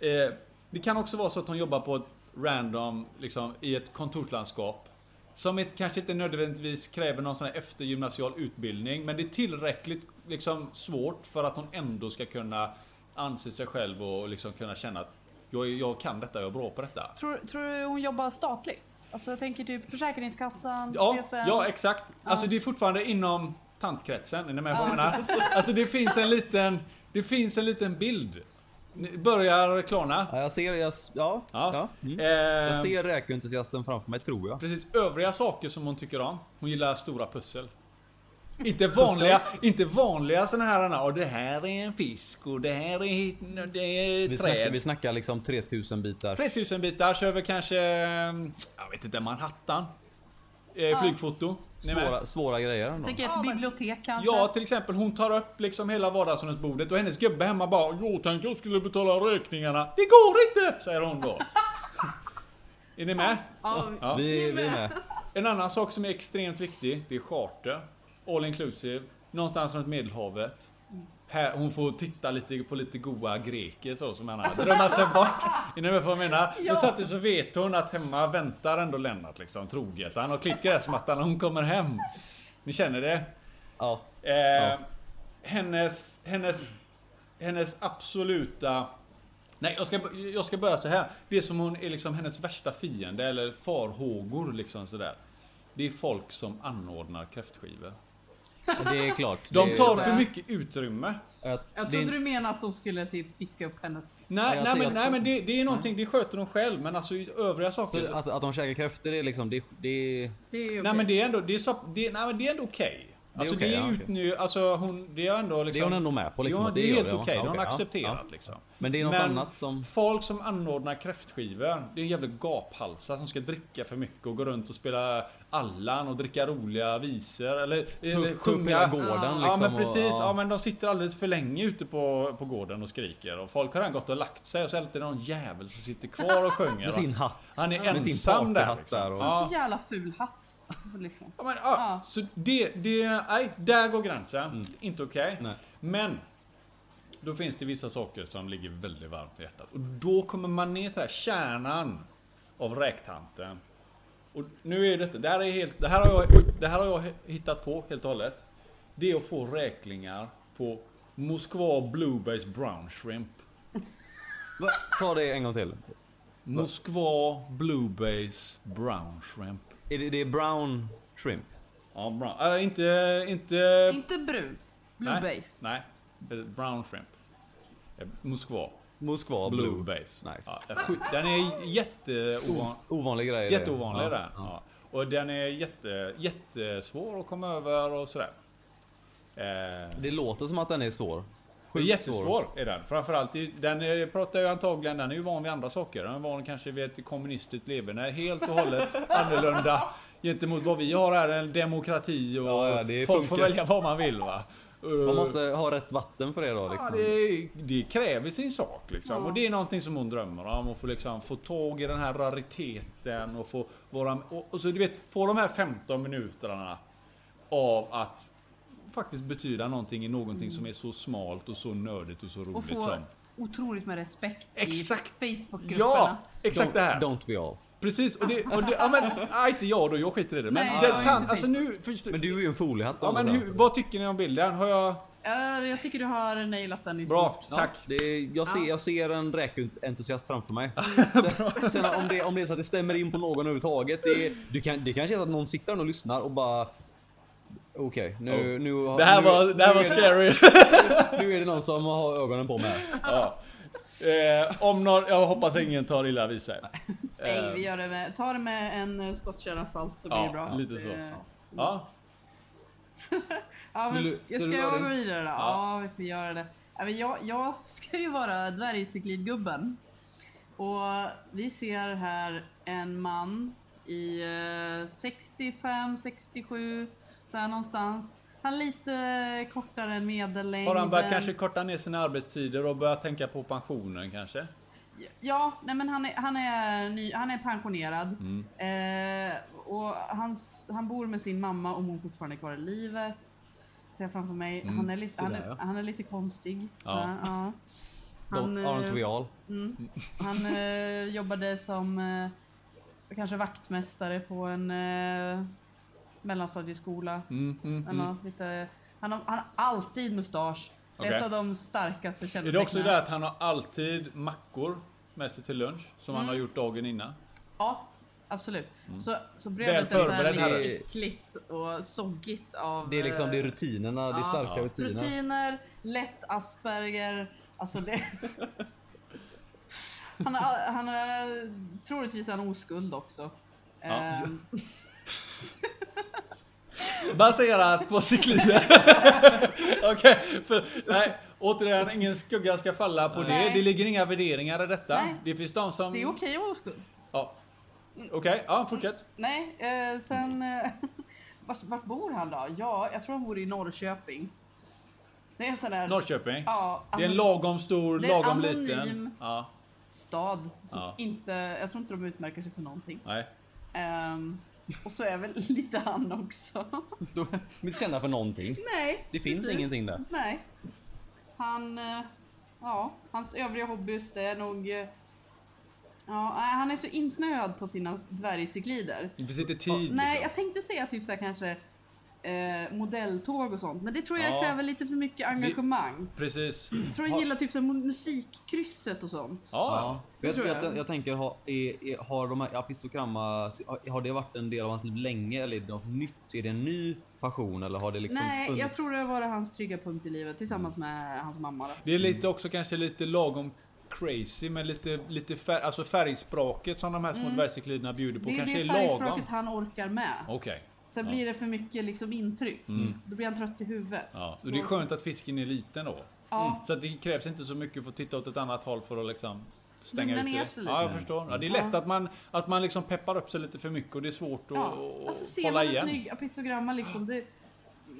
[SPEAKER 3] eh, det kan också vara så att hon jobbar på ett random, liksom i ett kontorslandskap. Som ett, kanske inte nödvändigtvis kräver någon sån här eftergymnasial utbildning. Men det är tillräckligt liksom, svårt för att hon ändå ska kunna anse sig själv och liksom kunna känna att jag, är- jag kan detta, jag är bra på detta.
[SPEAKER 2] Tror, tror du hon jobbar statligt? Alltså jag tänker typ Försäkringskassan,
[SPEAKER 3] Ja,
[SPEAKER 2] CSN.
[SPEAKER 3] ja exakt. Alltså det är fortfarande inom tantkretsen, är ni med på vad jag menar? Alltså det finns en liten, det finns en liten bild. Ni Börjar klarna.
[SPEAKER 1] Ja, jag ser, jag, s- ja, ja. Mm. Jag
[SPEAKER 3] Ehm,
[SPEAKER 1] ser räkentusiasten framför mig tror jag.
[SPEAKER 3] Precis, övriga saker som hon tycker om. Hon gillar stora pussel. Inte vanliga, inte vanliga såna här, och det här är en fisk och det här är, hit- och det är
[SPEAKER 1] Vi
[SPEAKER 3] ett
[SPEAKER 1] snackar, vi
[SPEAKER 3] träd.
[SPEAKER 1] snackar liksom 3000 bitar.
[SPEAKER 3] 3000 bitar över kanske, mm, jag vet inte, Manhattan. Eh, flygfoto. Ni är med?
[SPEAKER 1] Svåra, svåra grejer ändå.
[SPEAKER 2] Tänker ett
[SPEAKER 3] Ja, men-
[SPEAKER 2] bibliotek kanske?
[SPEAKER 3] Ja, till exempel hon tar upp liksom hela vardagsrumsbordet och hennes gubbe hemma bara Jag tänkte jag skulle betala räkningarna. Det går inte! Säger hon då. är ni med?
[SPEAKER 2] Ja,
[SPEAKER 3] Ja.
[SPEAKER 1] Vi, vi är med.
[SPEAKER 3] En annan sak som är extremt viktig, det är charter. All inclusive. Någonstans runt medelhavet. Här, hon får titta lite på lite goa greker så som han har. Drömma sig bort. Är ni med på vad jag menar? Men samtidigt så vet hon att hemma väntar ändå Lennart liksom troget. Han har klippt gräsmattan och hon kommer hem. Ni känner det?
[SPEAKER 1] Ja.
[SPEAKER 3] Eh,
[SPEAKER 1] Ja.
[SPEAKER 3] hennes, hennes, hennes absoluta... Nej, jag ska, jag ska börja så här. Det som hon är liksom hennes värsta fiende eller farhågor liksom sådär. Det är folk som anordnar kräftskivor.
[SPEAKER 1] Det är klart.
[SPEAKER 3] De
[SPEAKER 1] det,
[SPEAKER 3] tar för mycket utrymme.
[SPEAKER 1] att
[SPEAKER 2] Jag
[SPEAKER 1] det är-
[SPEAKER 2] trodde du menade att de skulle typ fiska upp hennes...
[SPEAKER 1] Ja,
[SPEAKER 3] Nej,
[SPEAKER 1] jag
[SPEAKER 3] nej,
[SPEAKER 1] ser
[SPEAKER 3] men,
[SPEAKER 1] att- Mm.
[SPEAKER 3] nej men det, det är någonting, det sköter de själv. Men alltså i övriga saker.
[SPEAKER 1] så
[SPEAKER 3] Så,
[SPEAKER 1] att, att de käkar kräftor är liksom, det, det
[SPEAKER 2] Det är ju
[SPEAKER 3] nej men
[SPEAKER 2] okej.
[SPEAKER 3] det är ändå, det är, så, det, nej, men det är ändå okej. Alltså
[SPEAKER 1] okej,
[SPEAKER 3] det är
[SPEAKER 1] ja, okej.
[SPEAKER 3] utny, alltså hon, det är ändå liksom.
[SPEAKER 1] Det är hon ändå med på liksom,
[SPEAKER 3] ja,
[SPEAKER 1] att
[SPEAKER 3] det
[SPEAKER 1] det
[SPEAKER 3] är
[SPEAKER 1] gör
[SPEAKER 3] helt
[SPEAKER 1] det,
[SPEAKER 3] okej.
[SPEAKER 1] va? Ja,
[SPEAKER 3] Det har hon
[SPEAKER 1] okej, ja,
[SPEAKER 3] accepterat
[SPEAKER 1] ja.
[SPEAKER 3] liksom.
[SPEAKER 1] Men det är något annat som-
[SPEAKER 3] Folk som anordnar kräftskivor, det är jävla gaphalsar som ska dricka för mycket och gå runt och spela Allan och dricka roliga visor eller, eller
[SPEAKER 1] upp hela gården
[SPEAKER 3] Ja
[SPEAKER 1] liksom
[SPEAKER 3] men
[SPEAKER 1] och-
[SPEAKER 3] precis,
[SPEAKER 1] ja.
[SPEAKER 3] ja men de sitter alldeles för länge ute på, på gården och skriker och folk har redan gått och lagt sig och så är det alltid någon jävel som sitter kvar och sjunger.
[SPEAKER 1] med
[SPEAKER 3] va?
[SPEAKER 1] sin hatt.
[SPEAKER 3] Han är
[SPEAKER 1] med sin
[SPEAKER 3] ensam där.
[SPEAKER 1] partyhatt
[SPEAKER 3] Liksom.
[SPEAKER 1] där och-
[SPEAKER 3] Ja.
[SPEAKER 2] Så jävla ful hatt. Liksom.
[SPEAKER 3] Ja, men, ja.
[SPEAKER 2] Ja.
[SPEAKER 3] Så det, det, nej, där går gränsen. Inte okej.
[SPEAKER 1] Nej.
[SPEAKER 3] Men då finns det vissa saker som ligger väldigt varmt i hjärtat. Och då kommer man ner till den här kärnan av räktanten. Och nu är ju detta, det här, är helt, det, här har jag, det här har jag hittat på helt och hållet. Det är att få räklingar på Moskva Bluebase Brown Shrimp.
[SPEAKER 1] Va? Ta det en gång till.
[SPEAKER 3] Moskva Bluebase Brown Shrimp.
[SPEAKER 1] Är det, det är brown shrimp.
[SPEAKER 3] Ja, brown. Äh, inte, inte
[SPEAKER 2] Inte brun. Blue
[SPEAKER 3] Äh. Nej,
[SPEAKER 2] base.
[SPEAKER 3] Nej, Eh, brown shrimp. Eh, Moskva.
[SPEAKER 1] Moskva
[SPEAKER 3] Blue,
[SPEAKER 1] blue.
[SPEAKER 3] base.
[SPEAKER 1] Nice.
[SPEAKER 3] Ja, den är skit- den är jätteovan,
[SPEAKER 1] Ovanlig grej. är det.
[SPEAKER 3] jätteovanlig
[SPEAKER 1] Ja,
[SPEAKER 3] den. Ja. Och den är jätte, jättesvår att komma över och sådär. Eh,
[SPEAKER 1] Det låter som att den är svår.
[SPEAKER 3] det är
[SPEAKER 1] Sjukt
[SPEAKER 3] jättesvår är den. Framförallt, i- den är, pratar ju antagligen, den är ju van vid andra saker. Den är van kanske vid ett kommunistiskt leverne. Helt och hållet annorlunda gentemot vad vi har här. En demokrati och
[SPEAKER 1] Ja, ja, det
[SPEAKER 3] folk
[SPEAKER 1] funkar.
[SPEAKER 3] får välja vad man vill va.
[SPEAKER 1] Man måste ha rätt vatten för det då.
[SPEAKER 3] Ja,
[SPEAKER 1] Liksom.
[SPEAKER 3] det, det kräver sin sak liksom.
[SPEAKER 2] Ja.
[SPEAKER 3] Och det är någonting som hon drömmer om. Att få, liksom, få tag i den här rariteten och få vara... Och, och så du vet, få de här 15 minuterna av att faktiskt betyda någonting i någonting som är så smalt och så nördigt och så roligt
[SPEAKER 2] Och få
[SPEAKER 3] som...
[SPEAKER 2] otroligt med respekt
[SPEAKER 3] Liksom. Exakt.
[SPEAKER 2] i Facebookgrupperna.
[SPEAKER 3] Ja! Exakt det här!
[SPEAKER 1] Don't, don't be all.
[SPEAKER 3] Precis! Och det, och det, ja men, nej, inte jag då, jag skiter i det. Men
[SPEAKER 2] Nej,
[SPEAKER 3] det,
[SPEAKER 2] jag är
[SPEAKER 3] tan,
[SPEAKER 2] inte
[SPEAKER 3] alltså nu... Förstår,
[SPEAKER 1] Men du är ju en foliehatt.
[SPEAKER 3] ja men hur, vad tycker ni om bilden? Har jag...
[SPEAKER 2] Eh, jag tycker du har nailat den i
[SPEAKER 3] Bra,
[SPEAKER 2] stort.
[SPEAKER 3] tack!
[SPEAKER 1] Ja, det, jag, ser,
[SPEAKER 2] Ja.
[SPEAKER 1] jag ser en räkentusiast framför mig. Sen, sen om, det, om det är så att det stämmer in på någon överhuvudtaget. Det, du kan, det kanske är så att någon sitter och lyssnar och bara... Okej, nu, nu, har-
[SPEAKER 3] Det här
[SPEAKER 1] nu,
[SPEAKER 3] var, det
[SPEAKER 1] nu,
[SPEAKER 3] här var
[SPEAKER 1] är
[SPEAKER 3] scary!
[SPEAKER 1] nu är det någon som har ögonen på mig.
[SPEAKER 3] Ja. Eh, om någon, jag hoppas ingen tar illa vid sig.
[SPEAKER 2] Nej, vi gör det med, ta det med en eh, skottkärra salt så blir
[SPEAKER 3] Eh. Ja,
[SPEAKER 2] det bra.
[SPEAKER 3] lite så.
[SPEAKER 2] Eh,
[SPEAKER 3] Ja.
[SPEAKER 2] Ja, men
[SPEAKER 1] Vill du-
[SPEAKER 2] ska,
[SPEAKER 1] ska
[SPEAKER 2] ska
[SPEAKER 1] du
[SPEAKER 2] jag
[SPEAKER 1] göra
[SPEAKER 2] gå
[SPEAKER 1] det?
[SPEAKER 2] vidare då? Ja, vi
[SPEAKER 3] Ja.
[SPEAKER 2] får göra det. Ja, men jag, jag ska ju vara dvärgcyklidgubben. Och vi ser här en man i eh, 65, 67, där någonstans. Han är lite kortare än medellängden.
[SPEAKER 3] Har han börjat kanske korta ner sina arbetstider och börjat tänka på pensionen kanske?
[SPEAKER 2] Ja, nej men han är, han är, ny, han är pensionerad.
[SPEAKER 3] Mm.
[SPEAKER 2] Eh, och han, han bor med sin mamma om hon fortfarande är kvar i livet. Ser jag framför mig. han, är lite,
[SPEAKER 1] så
[SPEAKER 2] han,
[SPEAKER 1] där,
[SPEAKER 2] är,
[SPEAKER 1] ja.
[SPEAKER 2] han är lite konstig.
[SPEAKER 3] Mm, Ja.
[SPEAKER 2] ja. Han,
[SPEAKER 1] Don't, aren't we
[SPEAKER 2] eh,
[SPEAKER 1] all?
[SPEAKER 2] han eh, jobbade som eh, kanske vaktmästare på en eh, mellanstadieskola.
[SPEAKER 3] Mm,
[SPEAKER 2] Eller något lite, han, har, han har alltid mustasch. Det är
[SPEAKER 3] Okej.
[SPEAKER 2] Ett av de starkaste
[SPEAKER 3] Är det också
[SPEAKER 2] kännetecknen.
[SPEAKER 3] det att han har alltid mackor med sig till lunch som han har gjort dagen innan?
[SPEAKER 2] Ja, absolut.
[SPEAKER 1] Mm.
[SPEAKER 2] Så, så
[SPEAKER 3] Väl
[SPEAKER 2] brevet är så här
[SPEAKER 3] förberedd
[SPEAKER 1] herre.
[SPEAKER 2] lite äckligt och soggigt av
[SPEAKER 1] Det är liksom det är
[SPEAKER 2] eh,
[SPEAKER 1] rutinerna, det är
[SPEAKER 2] ja.
[SPEAKER 1] starka
[SPEAKER 3] Ja.
[SPEAKER 1] rutiner.
[SPEAKER 2] rutiner, lätt Asperger. Alltså det... Han har, han har troligtvis en oskuld också. Ehm,
[SPEAKER 3] Baserat på cykliden. Okej, för nej, återigen ingen skugga ska falla på
[SPEAKER 2] Nej.
[SPEAKER 3] det. Det ligger inga värderingar i detta.
[SPEAKER 2] Nej.
[SPEAKER 3] Det finns de som...
[SPEAKER 2] det är okej att vara oskuld.
[SPEAKER 3] Ja. Okej, ja fortsätt.
[SPEAKER 2] Nej, eh, sen... Eh, vart, vart bor han då? Ja, jag tror han bor i Norrköping. Det är en sån där...
[SPEAKER 3] Norrköping.
[SPEAKER 2] ja, alltså
[SPEAKER 3] Det är en lagom stor,
[SPEAKER 2] Det är en
[SPEAKER 3] lagom
[SPEAKER 2] anonym-
[SPEAKER 3] liten. Ja,
[SPEAKER 2] stad som
[SPEAKER 3] Ja.
[SPEAKER 2] inte... Jag tror inte de utmärker sig för någonting.
[SPEAKER 3] nej.
[SPEAKER 2] Ehm, och så är väl lite han också.
[SPEAKER 1] De är inte kända för någonting.
[SPEAKER 2] Nej.
[SPEAKER 1] Det finns
[SPEAKER 2] precis.
[SPEAKER 1] ingenting där.
[SPEAKER 2] Nej. Han... eh, Ja, hans övriga hobbys det är nog... eh, Ja, nej, han är så insnöad på sina dvärgcyklider.
[SPEAKER 3] Det finns inte tid.
[SPEAKER 2] Nej,
[SPEAKER 3] liksom.
[SPEAKER 2] jag tänkte säga typ så här kanske eh, modelltåg och sånt. Men det tror jag
[SPEAKER 3] Ja.
[SPEAKER 2] kräver lite för mycket engagemang.
[SPEAKER 3] Precis.
[SPEAKER 2] Jag tror jag gillar typ så här mu- musikkrysset och sånt.
[SPEAKER 3] Ja.
[SPEAKER 1] Jag,
[SPEAKER 2] tror
[SPEAKER 1] jag,
[SPEAKER 2] jag.
[SPEAKER 1] jag, tänker, har, är, är, har de här apistogramma, har det varit en del av hans liv länge eller är det något nytt? Är det en ny passion eller har det liksom
[SPEAKER 2] Nej, jag
[SPEAKER 1] funnits-
[SPEAKER 2] tror det var hans trygga punkt i livet tillsammans med hans mamma. Då.
[SPEAKER 3] Det är lite också kanske lite lagom crazy men lite, lite färg, alltså färgspråket som de här små dvärgcykliderna bjuder på
[SPEAKER 2] Mm. Det är
[SPEAKER 3] kanske
[SPEAKER 2] det
[SPEAKER 3] är lagom.
[SPEAKER 2] färgspråket han orkar med.
[SPEAKER 3] Okej.
[SPEAKER 2] Sen
[SPEAKER 3] Ja.
[SPEAKER 2] blir det för mycket liksom intryck. Då blir han trött i huvudet.
[SPEAKER 3] Mm. Ja. Mm, Och det är skönt att fisken är liten då.
[SPEAKER 2] Ja.
[SPEAKER 3] Så att det krävs inte så mycket för att titta åt ett annat håll för att liksom stänga
[SPEAKER 2] Lugna
[SPEAKER 3] ut
[SPEAKER 2] ner
[SPEAKER 3] det.
[SPEAKER 2] sig lite. Mm.
[SPEAKER 3] Ja, jag förstår. Ja, det är lätt
[SPEAKER 2] Ja.
[SPEAKER 3] att man, att man liksom peppar upp sig lite för mycket och det är svårt att
[SPEAKER 2] ja. Alltså
[SPEAKER 3] att
[SPEAKER 2] ser
[SPEAKER 3] hålla
[SPEAKER 2] man en
[SPEAKER 3] igen.
[SPEAKER 2] snygg apistogramma liksom. Det,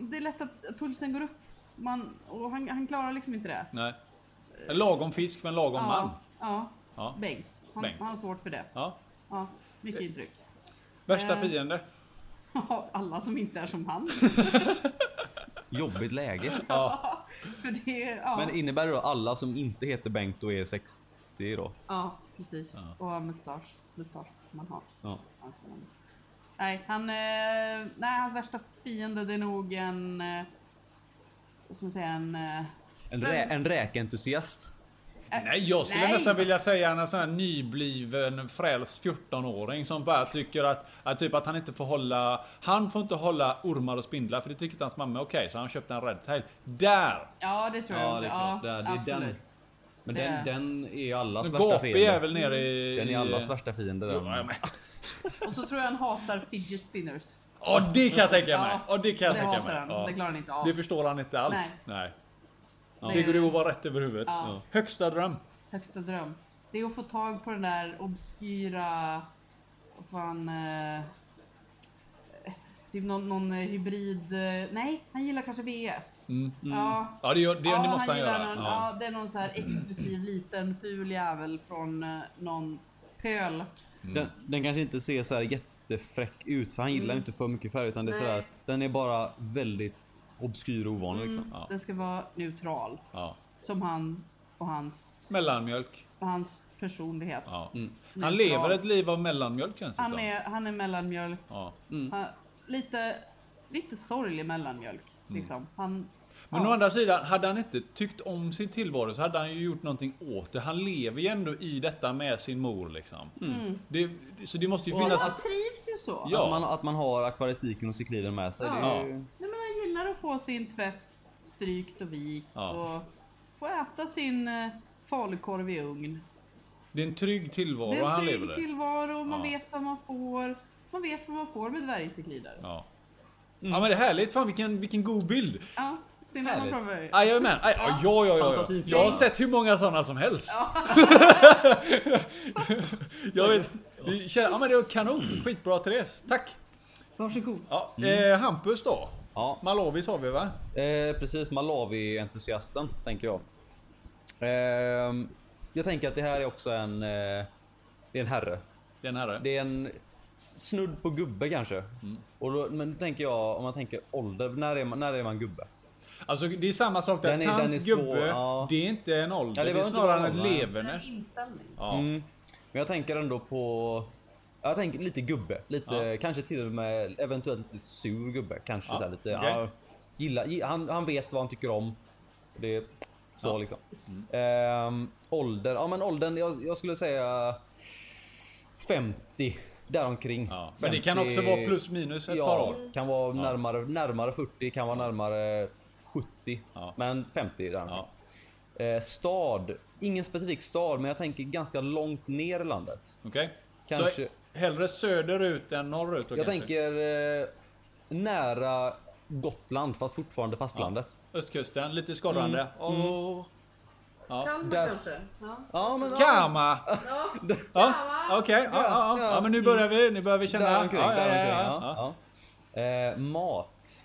[SPEAKER 2] det är lätt att pulsen går upp. Man, och han, han klarar liksom inte det.
[SPEAKER 3] Nej. En lagom fisk för en lagom man.
[SPEAKER 2] Ja. ja.
[SPEAKER 3] Ja.
[SPEAKER 2] Bengt. Han,
[SPEAKER 3] Bengt. Eh.
[SPEAKER 2] han har svårt för det.
[SPEAKER 3] Ja.
[SPEAKER 2] Ja. Mycket intryck.
[SPEAKER 3] Värsta
[SPEAKER 2] Eh.
[SPEAKER 3] fiende.
[SPEAKER 2] Alla som inte är som han.
[SPEAKER 1] Jobbigt läge.
[SPEAKER 2] för det, ja.
[SPEAKER 1] Men innebär det då alla som inte heter Bengt och är 60 då?
[SPEAKER 2] ja, precis.
[SPEAKER 3] Ja.
[SPEAKER 2] Och har mustasch. Mustasch som man har.
[SPEAKER 1] Ja.
[SPEAKER 2] Nej, han, eh, nej, hans värsta fiende det är nog en... Eh, vad ska man säga? En... Eh,
[SPEAKER 1] En, rä, en räkentusiast.
[SPEAKER 3] Nej, jag skulle
[SPEAKER 2] Nej.
[SPEAKER 3] nästan vilja säga en sån här nybliven frälst 14-åring som bara tycker att, att, typ att han inte får hålla... Han får inte hålla ormar och spindlar för det tycker inte hans mamma är okej, så han köpte en redtail. Där!
[SPEAKER 2] ja, det tror jag
[SPEAKER 1] Ja,
[SPEAKER 2] också.
[SPEAKER 1] det är klart. Det är-
[SPEAKER 2] Ja,
[SPEAKER 1] det är
[SPEAKER 2] absolut.
[SPEAKER 1] den. Men
[SPEAKER 2] Det
[SPEAKER 1] den,
[SPEAKER 2] är-
[SPEAKER 1] den är ju allas värsta
[SPEAKER 3] Gapig
[SPEAKER 1] fiende.
[SPEAKER 3] är väl nere i...
[SPEAKER 1] Den är allas värsta fiende. Den.
[SPEAKER 3] Ja, men-
[SPEAKER 2] Och så tror jag han hatar fidget spinners.
[SPEAKER 3] Ja, det kan jag tänka mig!
[SPEAKER 2] Ja,
[SPEAKER 3] Ja, det kan jag
[SPEAKER 2] det
[SPEAKER 3] tänka
[SPEAKER 2] hatar
[SPEAKER 3] mig.
[SPEAKER 2] han.
[SPEAKER 3] Ja.
[SPEAKER 2] Det klarar han inte av.
[SPEAKER 3] Det förstår han inte alls.
[SPEAKER 2] Nej.
[SPEAKER 3] Nej.
[SPEAKER 2] Nej.
[SPEAKER 3] Det går ju att vara rätt över huvudet.
[SPEAKER 2] Ja.
[SPEAKER 3] Ja. Högsta dröm.
[SPEAKER 2] Högsta dröm. Det är att få tag på den där obskyra... Vad fan... Eh, typ någon, någon hybrid... Eh, nej, han gillar kanske VF.
[SPEAKER 3] Mm.
[SPEAKER 2] Ja.
[SPEAKER 3] Ja, det, gör, det, det måste han
[SPEAKER 2] gillar
[SPEAKER 3] göra.
[SPEAKER 2] Någon,
[SPEAKER 3] ja.
[SPEAKER 2] ja. det är någon så här exklusiv liten ful jävel från eh, någon pöl.
[SPEAKER 1] Den, den kanske inte ser så här jättefräck ut för han gillar inte för mycket färg utan det är så
[SPEAKER 2] Mm. Nej.
[SPEAKER 1] här, den är bara väldigt obskyr och ovanlig. Liksom.
[SPEAKER 3] Ja.
[SPEAKER 2] Den ska vara neutral.
[SPEAKER 3] Ja.
[SPEAKER 2] Som han och hans,
[SPEAKER 3] Mellanmjölk.
[SPEAKER 2] och hans personlighet.
[SPEAKER 3] Ja. Mm. Han
[SPEAKER 2] Neutral.
[SPEAKER 3] lever ett liv av mellanmjölk känns det
[SPEAKER 2] Mm. Han
[SPEAKER 3] som.
[SPEAKER 2] är, han är mellanmjölk.
[SPEAKER 3] Ja.
[SPEAKER 2] Han, lite, lite sorglig mellanmjölk.
[SPEAKER 3] Mm.
[SPEAKER 2] Liksom. Han,
[SPEAKER 3] Men
[SPEAKER 2] ja.
[SPEAKER 3] å andra sidan, hade han inte tyckt om sin tillvaro så hade han ju gjort någonting åt det. Han lever ju ändå i detta med sin mor liksom. Det, så det måste ju
[SPEAKER 2] Men
[SPEAKER 3] finnas...
[SPEAKER 2] Mm. han trivs ju så.
[SPEAKER 3] Ja.
[SPEAKER 1] Att, man, att man har akvaristiken och cykliden med sig. Det
[SPEAKER 2] Ja.
[SPEAKER 1] är ju...
[SPEAKER 2] Nej, men han gillar att få sin tvätt strykt och vikt
[SPEAKER 3] Ja.
[SPEAKER 2] och få äta sin eh, falukorv i ugn.
[SPEAKER 3] Det är en trygg tillvaro
[SPEAKER 2] Det är en
[SPEAKER 3] han
[SPEAKER 2] trygg
[SPEAKER 3] lever i.
[SPEAKER 2] tillvaro, man
[SPEAKER 3] Ja.
[SPEAKER 2] vet vad man får. Man vet vad man får med dvärgcyklidare. Ja.
[SPEAKER 3] Ja.
[SPEAKER 2] Mm.
[SPEAKER 3] ja men det är härligt. Fan vilken, vilken god bild.
[SPEAKER 2] ser ni vad man
[SPEAKER 1] Härligt.
[SPEAKER 2] pratar om?
[SPEAKER 3] Aj, Jajamän. Aj, aj, ja, ja, ja, ja.
[SPEAKER 1] Fantasin
[SPEAKER 3] Jag har
[SPEAKER 1] finns.
[SPEAKER 3] sett hur många sådana som helst. jag vet. Vi känner, ja men det var kanon. Skitbra Therese. Tack.
[SPEAKER 2] Varsågod.
[SPEAKER 3] Ja, eh, Hampus då.
[SPEAKER 1] Ja.
[SPEAKER 3] Malawi sa vi va?
[SPEAKER 1] Eh, precis, Malawi-entusiasten tänker jag. Ehm, jag tänker att det här är också en... Eh, det är en herre.
[SPEAKER 3] Den här.
[SPEAKER 1] Det är en snudd på gubbe kanske. Och då, men då tänker jag, om man tänker ålder, när är man, när är man gubbe?
[SPEAKER 3] Alltså det är samma sak där.
[SPEAKER 1] Den är-
[SPEAKER 3] Tant,
[SPEAKER 1] den är svår,
[SPEAKER 3] gubbe.
[SPEAKER 1] ja.
[SPEAKER 3] Det är inte en ålder.
[SPEAKER 1] Ja, det
[SPEAKER 3] det, är
[SPEAKER 1] behöver inte
[SPEAKER 3] snarare
[SPEAKER 1] vara
[SPEAKER 3] ett
[SPEAKER 1] en ålder.
[SPEAKER 3] leverne.
[SPEAKER 2] inställning.
[SPEAKER 3] Ja.
[SPEAKER 1] Mm. Men jag tänker ändå på... Jag tänker lite gubbe. Lite,
[SPEAKER 3] Ja.
[SPEAKER 1] Kanske till och med eventuellt lite sur gubbe. Kanske
[SPEAKER 3] Ja,
[SPEAKER 1] så här lite...
[SPEAKER 3] okej.
[SPEAKER 1] Ja, gillar, gi- han, han vet vad han tycker om. Det, så
[SPEAKER 3] Ja. Mm.
[SPEAKER 1] liksom. Ehm, ålder. Ja men åldern, jag, jag skulle säga 50. Däromkring.
[SPEAKER 3] Ja. Men det kan också vara plus minus ett
[SPEAKER 1] ja,
[SPEAKER 3] par år.
[SPEAKER 1] kan vara närmare, närmare 40, kan vara närmare 70.
[SPEAKER 3] Ja.
[SPEAKER 1] Men 50 där.
[SPEAKER 3] Ja.
[SPEAKER 1] Eh, stad. Ingen specifik stad, men jag tänker ganska långt ner i landet.
[SPEAKER 3] Okej. Så
[SPEAKER 1] Kanske.
[SPEAKER 3] hellre söderut än norrut då
[SPEAKER 1] jag
[SPEAKER 3] kanske?
[SPEAKER 1] tänker eh, nära Gotland, fast fortfarande fastlandet.
[SPEAKER 3] Östkusten, lite skållrande.
[SPEAKER 1] Mm.
[SPEAKER 3] Åh. Ja.
[SPEAKER 2] Kalmar
[SPEAKER 1] Där-
[SPEAKER 2] kanske? Ja.
[SPEAKER 1] Ja, men, ja,
[SPEAKER 3] Kama!
[SPEAKER 2] Ja.
[SPEAKER 3] Ja,
[SPEAKER 2] Kama.
[SPEAKER 3] okej. Ja, ja, ja. ja, men nu börjar vi. Nu börjar vi känna.
[SPEAKER 1] där omkring.
[SPEAKER 3] ja, ja,
[SPEAKER 1] där
[SPEAKER 3] ja,
[SPEAKER 1] omkring,
[SPEAKER 3] ja, ja.
[SPEAKER 1] ja, ja. Eh, mat.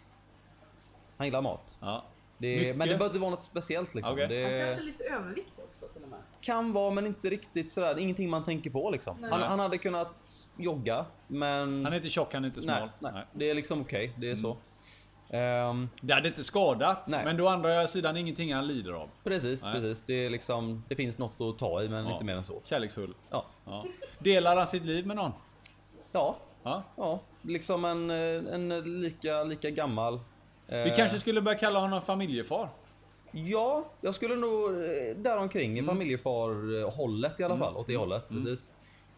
[SPEAKER 1] Han gillar mat.
[SPEAKER 3] Ja.
[SPEAKER 1] Det,
[SPEAKER 3] Mycket.
[SPEAKER 1] men det behöver inte vara något speciellt. Liksom.
[SPEAKER 3] Okej.
[SPEAKER 2] Han
[SPEAKER 1] Det
[SPEAKER 2] kanske är lite överviktig också till och med.
[SPEAKER 1] kan vara, men inte riktigt sådär. Ingenting man tänker på liksom.
[SPEAKER 2] Nej.
[SPEAKER 1] Han, han hade kunnat jogga, men...
[SPEAKER 3] Han är inte tjock, han är inte smal. Mm.
[SPEAKER 1] nej, nej. det är liksom okej. Det är så. Ehm,
[SPEAKER 3] Det hade inte skadat,
[SPEAKER 1] Nej.
[SPEAKER 3] men då andra sidan ingenting han lider av.
[SPEAKER 1] Precis,
[SPEAKER 3] Nej.
[SPEAKER 1] precis. Det, är liksom, det finns något att ta i, men
[SPEAKER 3] Ja.
[SPEAKER 1] inte mer än så.
[SPEAKER 3] Kärleksfull.
[SPEAKER 1] Ja,
[SPEAKER 3] Ja. Delar han sitt liv med någon?
[SPEAKER 1] ja,
[SPEAKER 3] Ja.
[SPEAKER 1] ja. liksom en, eh, en lika, lika gammal.
[SPEAKER 3] Vi
[SPEAKER 1] Eh.
[SPEAKER 3] kanske skulle börja kalla honom familjefar.
[SPEAKER 1] Ja, jag skulle nog eh, däromkring, mm. familjefarhållet i alla fall,
[SPEAKER 3] Mm.
[SPEAKER 1] åt det hållet. Precis.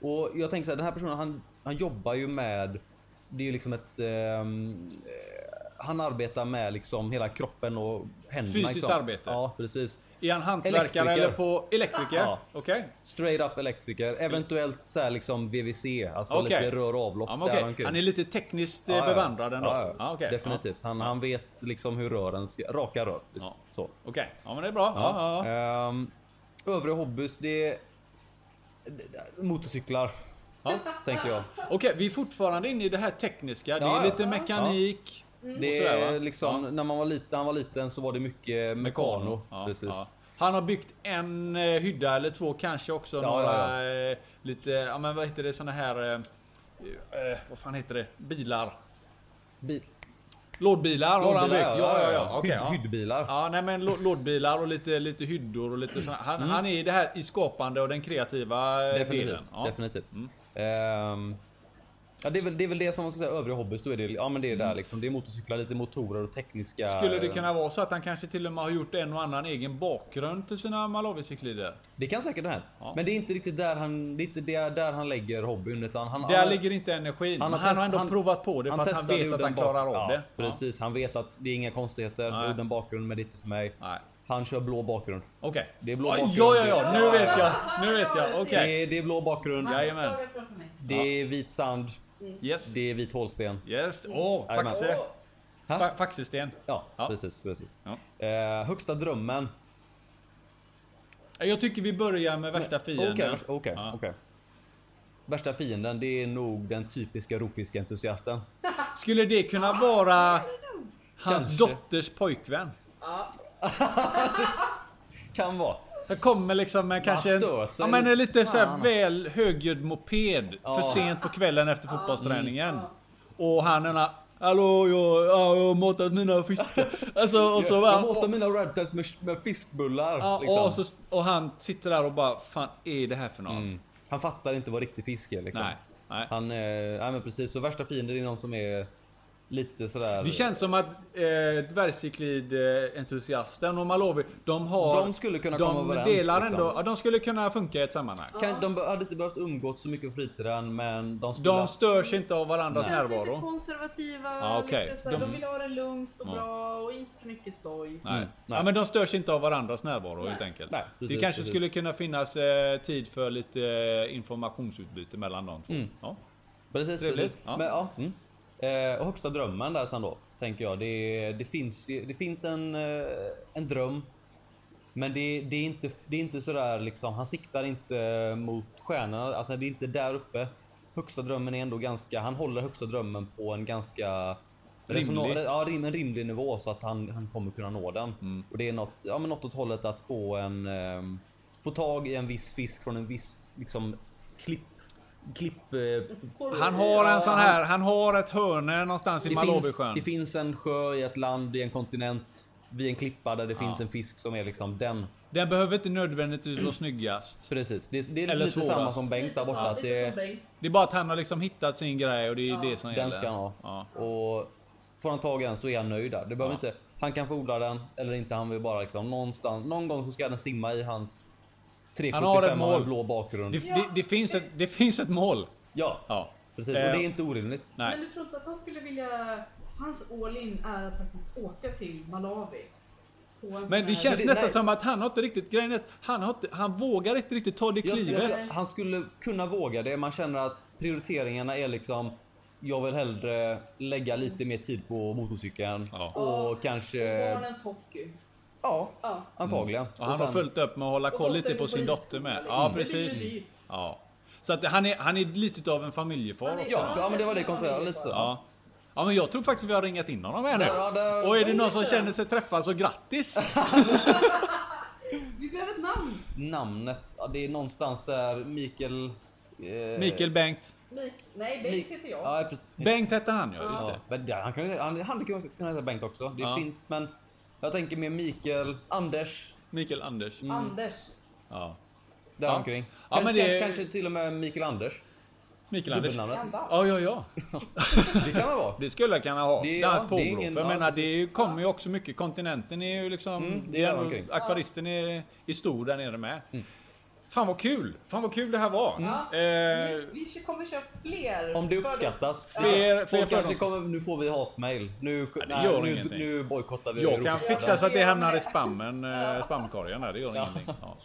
[SPEAKER 1] Och jag tänker så här, den här personen han, han jobbar ju med, det är ju liksom ett, ehm, eh, han arbetar med liksom hela kroppen och händerna.
[SPEAKER 3] Fysiskt
[SPEAKER 1] liksom.
[SPEAKER 3] arbete.
[SPEAKER 1] Ja, precis.
[SPEAKER 3] Är han hantverkare
[SPEAKER 1] Elektriker.
[SPEAKER 3] eller på elektriker?
[SPEAKER 1] Ja.
[SPEAKER 3] Okej.
[SPEAKER 1] Straight up elektriker, eventuellt så här liksom VVC, alltså
[SPEAKER 3] Okej.
[SPEAKER 1] lite rör och avlopp.
[SPEAKER 3] Ja, men okej.
[SPEAKER 1] däromkring.
[SPEAKER 3] Han är lite tekniskt eh,
[SPEAKER 1] Ja, ja, ja.
[SPEAKER 3] bevandrad ändå.
[SPEAKER 1] Ja, ja.
[SPEAKER 3] Ja, okej.
[SPEAKER 1] Definitivt. Han, han vet liksom hur rören ska, raka rör.
[SPEAKER 3] Ja.
[SPEAKER 1] Så.
[SPEAKER 3] Ja. Okej, ja men det är bra. Ja. Ja, ja.
[SPEAKER 1] Ehm, övriga hobbys, det är motorcyklar. Tänker jag.
[SPEAKER 3] Okej, vi är fortfarande inne i det här tekniska. Det
[SPEAKER 1] Ja,
[SPEAKER 3] är
[SPEAKER 1] ja. Mm.
[SPEAKER 3] lite mekanik.
[SPEAKER 1] Det
[SPEAKER 3] Och sådär, va?
[SPEAKER 1] är liksom, när man var liten, han var liten så var det mycket mekano.
[SPEAKER 3] Ja,
[SPEAKER 1] precis.
[SPEAKER 3] ja. Han har byggt en eh, hydda eller två kanske också.
[SPEAKER 1] Ja,
[SPEAKER 3] några
[SPEAKER 1] ja,
[SPEAKER 3] eh, lite, ja men vad heter det, såna här... Eh, eh, vad fan heter det? Bilar.
[SPEAKER 1] Bil.
[SPEAKER 3] Lådbilar har han byggt.
[SPEAKER 1] Lådbilar,
[SPEAKER 3] Ja, ja, ja.
[SPEAKER 1] Hyd-
[SPEAKER 3] okej, ja.
[SPEAKER 1] Hyddbilar.
[SPEAKER 3] Ja, nej men lå- lådbilar och lite, lite hyddor och lite
[SPEAKER 1] Mm.
[SPEAKER 3] såna. Han, han är i det här i skapande och den kreativa eh, delen.
[SPEAKER 1] Definitivt.
[SPEAKER 3] Ja. Mm.
[SPEAKER 1] definitivt. Ehm, ja, det, är väl, det är väl det som man ska säga, övriga hobbys. Då är det, ja, men det är där liksom. Det är motorcyklar, lite motorer och tekniska...
[SPEAKER 3] Mm. Skulle det kunna vara så att han kanske till och med har gjort en och annan egen bakgrund till sina Malawi-cyklider?
[SPEAKER 1] Det kan säkert ha hänt.
[SPEAKER 3] Ja.
[SPEAKER 1] Men det är inte riktigt där han, det är inte där, där han lägger hobbyn. Utan han,
[SPEAKER 3] Där
[SPEAKER 1] han,
[SPEAKER 3] ligger inte energin. Han,
[SPEAKER 1] har
[SPEAKER 3] men han har
[SPEAKER 1] test-
[SPEAKER 3] ändå
[SPEAKER 1] han-
[SPEAKER 3] provat på det för att han
[SPEAKER 1] testade
[SPEAKER 3] vet
[SPEAKER 1] udden
[SPEAKER 3] att han
[SPEAKER 1] bak-
[SPEAKER 3] klarar av
[SPEAKER 1] ja,
[SPEAKER 3] det. Ja.
[SPEAKER 1] Precis, han vet att det är inga konstigheter.
[SPEAKER 3] Nej.
[SPEAKER 1] Udden bakgrund, men det är inte för mig.
[SPEAKER 3] Nej.
[SPEAKER 1] Han kör blå bakgrund.
[SPEAKER 3] Okej.
[SPEAKER 1] Det är blå
[SPEAKER 3] Oj,
[SPEAKER 1] bakgrund.
[SPEAKER 3] Ja, ja, ja. Nu vet jag. Nu vet jag.
[SPEAKER 1] Det
[SPEAKER 3] Okej.
[SPEAKER 1] är, det är blå bakgrund,
[SPEAKER 3] Jajamän.
[SPEAKER 2] Dagens fråga för mig.
[SPEAKER 1] det är vit sand,
[SPEAKER 3] Yes.
[SPEAKER 1] det är vit hålsten.
[SPEAKER 3] Yes. Åh,
[SPEAKER 1] Jajamän.
[SPEAKER 3] faxe.
[SPEAKER 2] Åh,
[SPEAKER 1] Ha?
[SPEAKER 3] Fa- Faxesten.
[SPEAKER 1] Ja,
[SPEAKER 3] Ja.
[SPEAKER 1] precis. precis.
[SPEAKER 3] Ja.
[SPEAKER 1] Eh, högsta drömmen.
[SPEAKER 3] Jag tycker vi börjar med värsta fienden.
[SPEAKER 1] Okej, värsta- okej,
[SPEAKER 3] Ja.
[SPEAKER 1] okej. Värsta fienden, det är nog den typiska rofisk-entusiasten.
[SPEAKER 3] Skulle det kunna vara hans
[SPEAKER 1] Kanske.
[SPEAKER 3] dotters pojkvän?
[SPEAKER 2] Ja,
[SPEAKER 4] Ja.
[SPEAKER 1] Kan vara.
[SPEAKER 3] Jag kommer liksom med kanske... En,
[SPEAKER 1] stör sig
[SPEAKER 3] ja, men en lite så här
[SPEAKER 1] Fan.
[SPEAKER 3] väl högljudd moped
[SPEAKER 1] Ja.
[SPEAKER 3] för sent på kvällen efter fotbollsträningen.
[SPEAKER 4] Ja.
[SPEAKER 3] Och han ena... Hallå, jag, ja, jag har matat mina fiskar. Alltså, och så bara...
[SPEAKER 1] jag matar mina radtats med, med fiskbullar.
[SPEAKER 3] ja,
[SPEAKER 1] liksom.
[SPEAKER 3] och, så, och han sitter där och bara, fan är det här för något?
[SPEAKER 1] Mm. Han fattar inte vad riktig fisk är liksom.
[SPEAKER 3] Nej. nej.
[SPEAKER 1] Han, eh, nej men precis. Så värsta fienden är någon som är lite sådär...
[SPEAKER 3] Det känns som att eh, dvärgcyklid-entusiasten och Malovi, de har...
[SPEAKER 1] De skulle kunna
[SPEAKER 3] de
[SPEAKER 1] komma överens,
[SPEAKER 3] Delar
[SPEAKER 1] liksom.
[SPEAKER 3] ändå, ja, de skulle kunna funka i ett sammanhang.
[SPEAKER 1] Kan, de hade inte behövt umgås så mycket på fritiden men de skulle...
[SPEAKER 3] De störs inte av varandras
[SPEAKER 2] De känns lite
[SPEAKER 3] närvaro.
[SPEAKER 2] konservativa.
[SPEAKER 3] Ja, okej.
[SPEAKER 2] lite så här,
[SPEAKER 3] De-
[SPEAKER 2] de... vill ha det lugnt och
[SPEAKER 3] Ja.
[SPEAKER 2] bra och inte för mycket stoj.
[SPEAKER 3] Nej.
[SPEAKER 1] Mm, nej.
[SPEAKER 3] Ja, men de störs inte av varandras närvaro helt enkelt.
[SPEAKER 1] Nej, precis,
[SPEAKER 3] det kanske
[SPEAKER 1] precis.
[SPEAKER 3] skulle kunna finnas eh, tid för lite eh, informationsutbyte mellan de två.
[SPEAKER 1] Mm.
[SPEAKER 3] Ja.
[SPEAKER 1] Precis,
[SPEAKER 3] Trevligt.
[SPEAKER 1] precis.
[SPEAKER 3] Ja.
[SPEAKER 1] Men, ja. mm. eh, och högsta drömmen där sen då, tänker jag. Det, det finns, ju- det finns en, eh, en dröm. Men det, det, är inte, det är inte sådär liksom, han siktar inte mot stjärnorna. Alltså det är inte där uppe. Högsta drömmen är ändå ganska, han håller högsta drömmen på en ganska
[SPEAKER 3] Rimlig. Mm.
[SPEAKER 1] resona- ja, rim, en rimlig nivå så att han, han kommer kunna nå den. Och det är något, ja, men något åt hållet att få en, ehm, få tag i en viss fisk från en viss liksom klipp, klipp eh,
[SPEAKER 3] Han har en
[SPEAKER 1] Ja,
[SPEAKER 3] sån
[SPEAKER 1] han-
[SPEAKER 3] här, han har ett hörne någonstans
[SPEAKER 1] det
[SPEAKER 3] i
[SPEAKER 1] finns,
[SPEAKER 3] Malawisjön.
[SPEAKER 1] det finns en sjö i ett land, i en kontinent, vid en klippa där det
[SPEAKER 3] Ja.
[SPEAKER 1] finns en fisk som är liksom den.
[SPEAKER 3] Den behöver inte nödvändigtvis vara snyggast.
[SPEAKER 1] Precis. Det, det är
[SPEAKER 3] Eller
[SPEAKER 1] lite
[SPEAKER 3] svårast.
[SPEAKER 1] samma som Bengt där borta. Att det,
[SPEAKER 3] Det är bara att han har liksom hittat sin grej och det är
[SPEAKER 4] Ja.
[SPEAKER 3] det som
[SPEAKER 1] den
[SPEAKER 3] gäller.
[SPEAKER 1] ska han ha.
[SPEAKER 3] Ja.
[SPEAKER 1] Och får han tag i den så är han nöjd där. Det behöver
[SPEAKER 3] Ja.
[SPEAKER 1] inte, han kan få odla den eller inte. Han vill bara liksom någonstans, någon gång så ska den simma i hans
[SPEAKER 3] Han har ett
[SPEAKER 1] 375 med
[SPEAKER 3] mål.
[SPEAKER 1] blå bakgrund.
[SPEAKER 3] Det, det, det, finns ett, det finns ett mål.
[SPEAKER 1] Ja,
[SPEAKER 3] Ja.
[SPEAKER 1] precis.
[SPEAKER 3] Eh,
[SPEAKER 1] Och det är inte orimligt.
[SPEAKER 3] Nej.
[SPEAKER 2] Men du tror inte att han skulle vilja... Hans all-in är att faktiskt åka till Malawi. På en sån
[SPEAKER 3] Men
[SPEAKER 2] här-
[SPEAKER 3] det känns
[SPEAKER 1] det-
[SPEAKER 3] nästan
[SPEAKER 1] nej.
[SPEAKER 3] som att han har inte riktigt grejen är att han, har inte, han vågar inte riktigt ta det
[SPEAKER 1] Jag, jag,
[SPEAKER 3] klivet.
[SPEAKER 1] tror att han skulle kunna våga det. Man känner att prioriteringarna är liksom. Jag vill hellre lägga lite mer tid på motorcykeln
[SPEAKER 3] Ja.
[SPEAKER 1] och kanske.
[SPEAKER 2] Eh, Barnens hockey.
[SPEAKER 1] Ja,
[SPEAKER 2] Ja.
[SPEAKER 1] antagligen.
[SPEAKER 3] Och Mm. han
[SPEAKER 1] sen-
[SPEAKER 3] har följt upp med att hålla
[SPEAKER 4] Och
[SPEAKER 3] koll lite
[SPEAKER 4] dottern
[SPEAKER 3] på
[SPEAKER 4] går
[SPEAKER 3] sin
[SPEAKER 4] dit.
[SPEAKER 3] dotter med.
[SPEAKER 4] Mm.
[SPEAKER 3] Ja,
[SPEAKER 4] Det
[SPEAKER 2] blir ju
[SPEAKER 3] precis.
[SPEAKER 2] dyrt.
[SPEAKER 3] Ja. Så att han är, han är lite utav en familjefar
[SPEAKER 4] Han är-
[SPEAKER 3] också.
[SPEAKER 1] Ja, ja, men det var det jag konstaterade lite så.
[SPEAKER 3] Ja. ja, men jag tror faktiskt vi har ringat in honom här nu.
[SPEAKER 1] Ja, där-
[SPEAKER 3] Och är det någon som känner sig träffad så grattis!
[SPEAKER 1] Eh.
[SPEAKER 2] Vi behöver ett namn.
[SPEAKER 1] Namnet, ja, det är någonstans där Mikael. Eh,
[SPEAKER 3] Mikael Bengt.
[SPEAKER 4] Mik- Nej,
[SPEAKER 1] Mi-
[SPEAKER 4] Bengt heter jag.
[SPEAKER 1] Ja, precis.
[SPEAKER 3] Bengt hette han ja, just
[SPEAKER 1] Ja,
[SPEAKER 3] det.
[SPEAKER 1] men där, han kan ju- han hade kunnat kunna heta Bengt också. Det
[SPEAKER 3] Ja.
[SPEAKER 1] finns, men jag tänker mer Mikael, Anders
[SPEAKER 3] Mikael Anders.
[SPEAKER 1] Mm.
[SPEAKER 4] Anders.
[SPEAKER 3] Ja.
[SPEAKER 1] där
[SPEAKER 3] Ja.
[SPEAKER 1] omkring.
[SPEAKER 3] Ja,
[SPEAKER 1] Kanske,
[SPEAKER 3] men det-
[SPEAKER 1] kanske till och med Mikael Anders.
[SPEAKER 3] Mikael Anders.
[SPEAKER 1] Dubbelnamnet.
[SPEAKER 3] Ja, ja, ja.
[SPEAKER 1] Det kan det vara.
[SPEAKER 3] Det skulle jag kunna ha.
[SPEAKER 1] Det-
[SPEAKER 3] Det är hans
[SPEAKER 1] ja, det är
[SPEAKER 3] påbrå.
[SPEAKER 1] ingen-
[SPEAKER 3] För jag
[SPEAKER 1] ja,
[SPEAKER 3] menar, det
[SPEAKER 1] precis.
[SPEAKER 3] är ju- kommer ju också mycket. Kontinenten är ju liksom...
[SPEAKER 1] Mm, det
[SPEAKER 3] det
[SPEAKER 1] är
[SPEAKER 3] är
[SPEAKER 1] omkring. Mm.
[SPEAKER 3] ändå, akvaristen är, är stor där nere med. Fan vad kul! Fan vad kul det här var!
[SPEAKER 4] Ja.
[SPEAKER 1] Mm.
[SPEAKER 3] Eh,
[SPEAKER 4] Vi, vi kommer köra fler.
[SPEAKER 1] Om det uppskattas.
[SPEAKER 3] Fler- fler
[SPEAKER 1] folk kanske
[SPEAKER 3] fördomar.
[SPEAKER 1] kommer, nu får vi hatmail. Nu,
[SPEAKER 3] det
[SPEAKER 1] nej,
[SPEAKER 3] gör
[SPEAKER 1] nu,
[SPEAKER 3] ingenting.
[SPEAKER 1] nu bojkottar vi
[SPEAKER 3] jag kan
[SPEAKER 1] Europaspelen.
[SPEAKER 3] fixa så att det hamnar i spammen, eh, spamkorgen där. Det gör
[SPEAKER 1] Ja.
[SPEAKER 3] ingenting. Ja.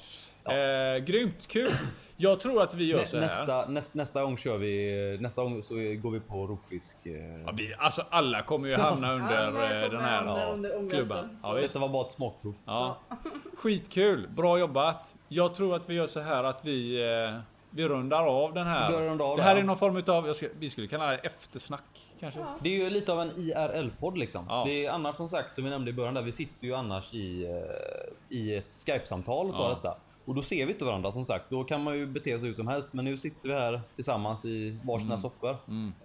[SPEAKER 3] Eh, grymt kul! Jag tror att vi gör
[SPEAKER 1] Nä,
[SPEAKER 3] så här.
[SPEAKER 1] nästa, näst, nästa gång kör vi, nästa gång så går vi på rovfisk. eh.
[SPEAKER 3] Ja, vi, alltså alla kommer ju hamna under
[SPEAKER 4] Alla kommer
[SPEAKER 3] eh, den här
[SPEAKER 4] hamna
[SPEAKER 3] ja,
[SPEAKER 4] under ångesten.
[SPEAKER 3] klubban. Ja, visst.
[SPEAKER 1] Detta var bara ett smakprov.
[SPEAKER 3] Ja. Skitkul, bra jobbat. Jag tror att vi gör så här att vi, eh, vi rundar av den här.
[SPEAKER 1] Vi rundar av
[SPEAKER 3] det här
[SPEAKER 1] den.
[SPEAKER 3] är någon form utav, jag ska, vi skulle kalla det eftersnack kanske.
[SPEAKER 4] Ja.
[SPEAKER 1] Det är ju lite av en IRL-podd liksom.
[SPEAKER 3] Ja.
[SPEAKER 1] Det är annars som sagt, som vi nämnde i början där, vi sitter ju annars i, eh, i ett Skype-samtal och tar
[SPEAKER 3] Ja.
[SPEAKER 1] detta. Och då ser vi inte varandra som sagt. Då kan man ju bete sig hur som helst. Men nu sitter vi här tillsammans i
[SPEAKER 3] Mm.
[SPEAKER 1] varsina soffor.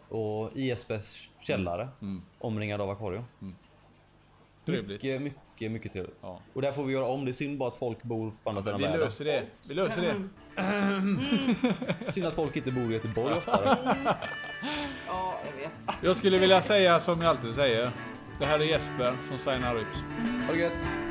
[SPEAKER 1] Och i Jespers källare.
[SPEAKER 3] Mm.
[SPEAKER 1] Omringad av akvarium.
[SPEAKER 3] Trevligt.
[SPEAKER 1] Mycket, mycket, mycket trevligt.
[SPEAKER 3] Ja.
[SPEAKER 1] Och där får vi göra om. Det är synd bara att folk bor på andra sidan
[SPEAKER 3] Vi
[SPEAKER 1] världen.
[SPEAKER 3] löser det. Vi löser det.
[SPEAKER 1] Synd att folk inte bor i Göteborg oftare.
[SPEAKER 2] Ja, jag vet.
[SPEAKER 3] Jag skulle vilja säga som jag alltid säger. Det här är Jesper som signar ut.
[SPEAKER 1] Ha det gött!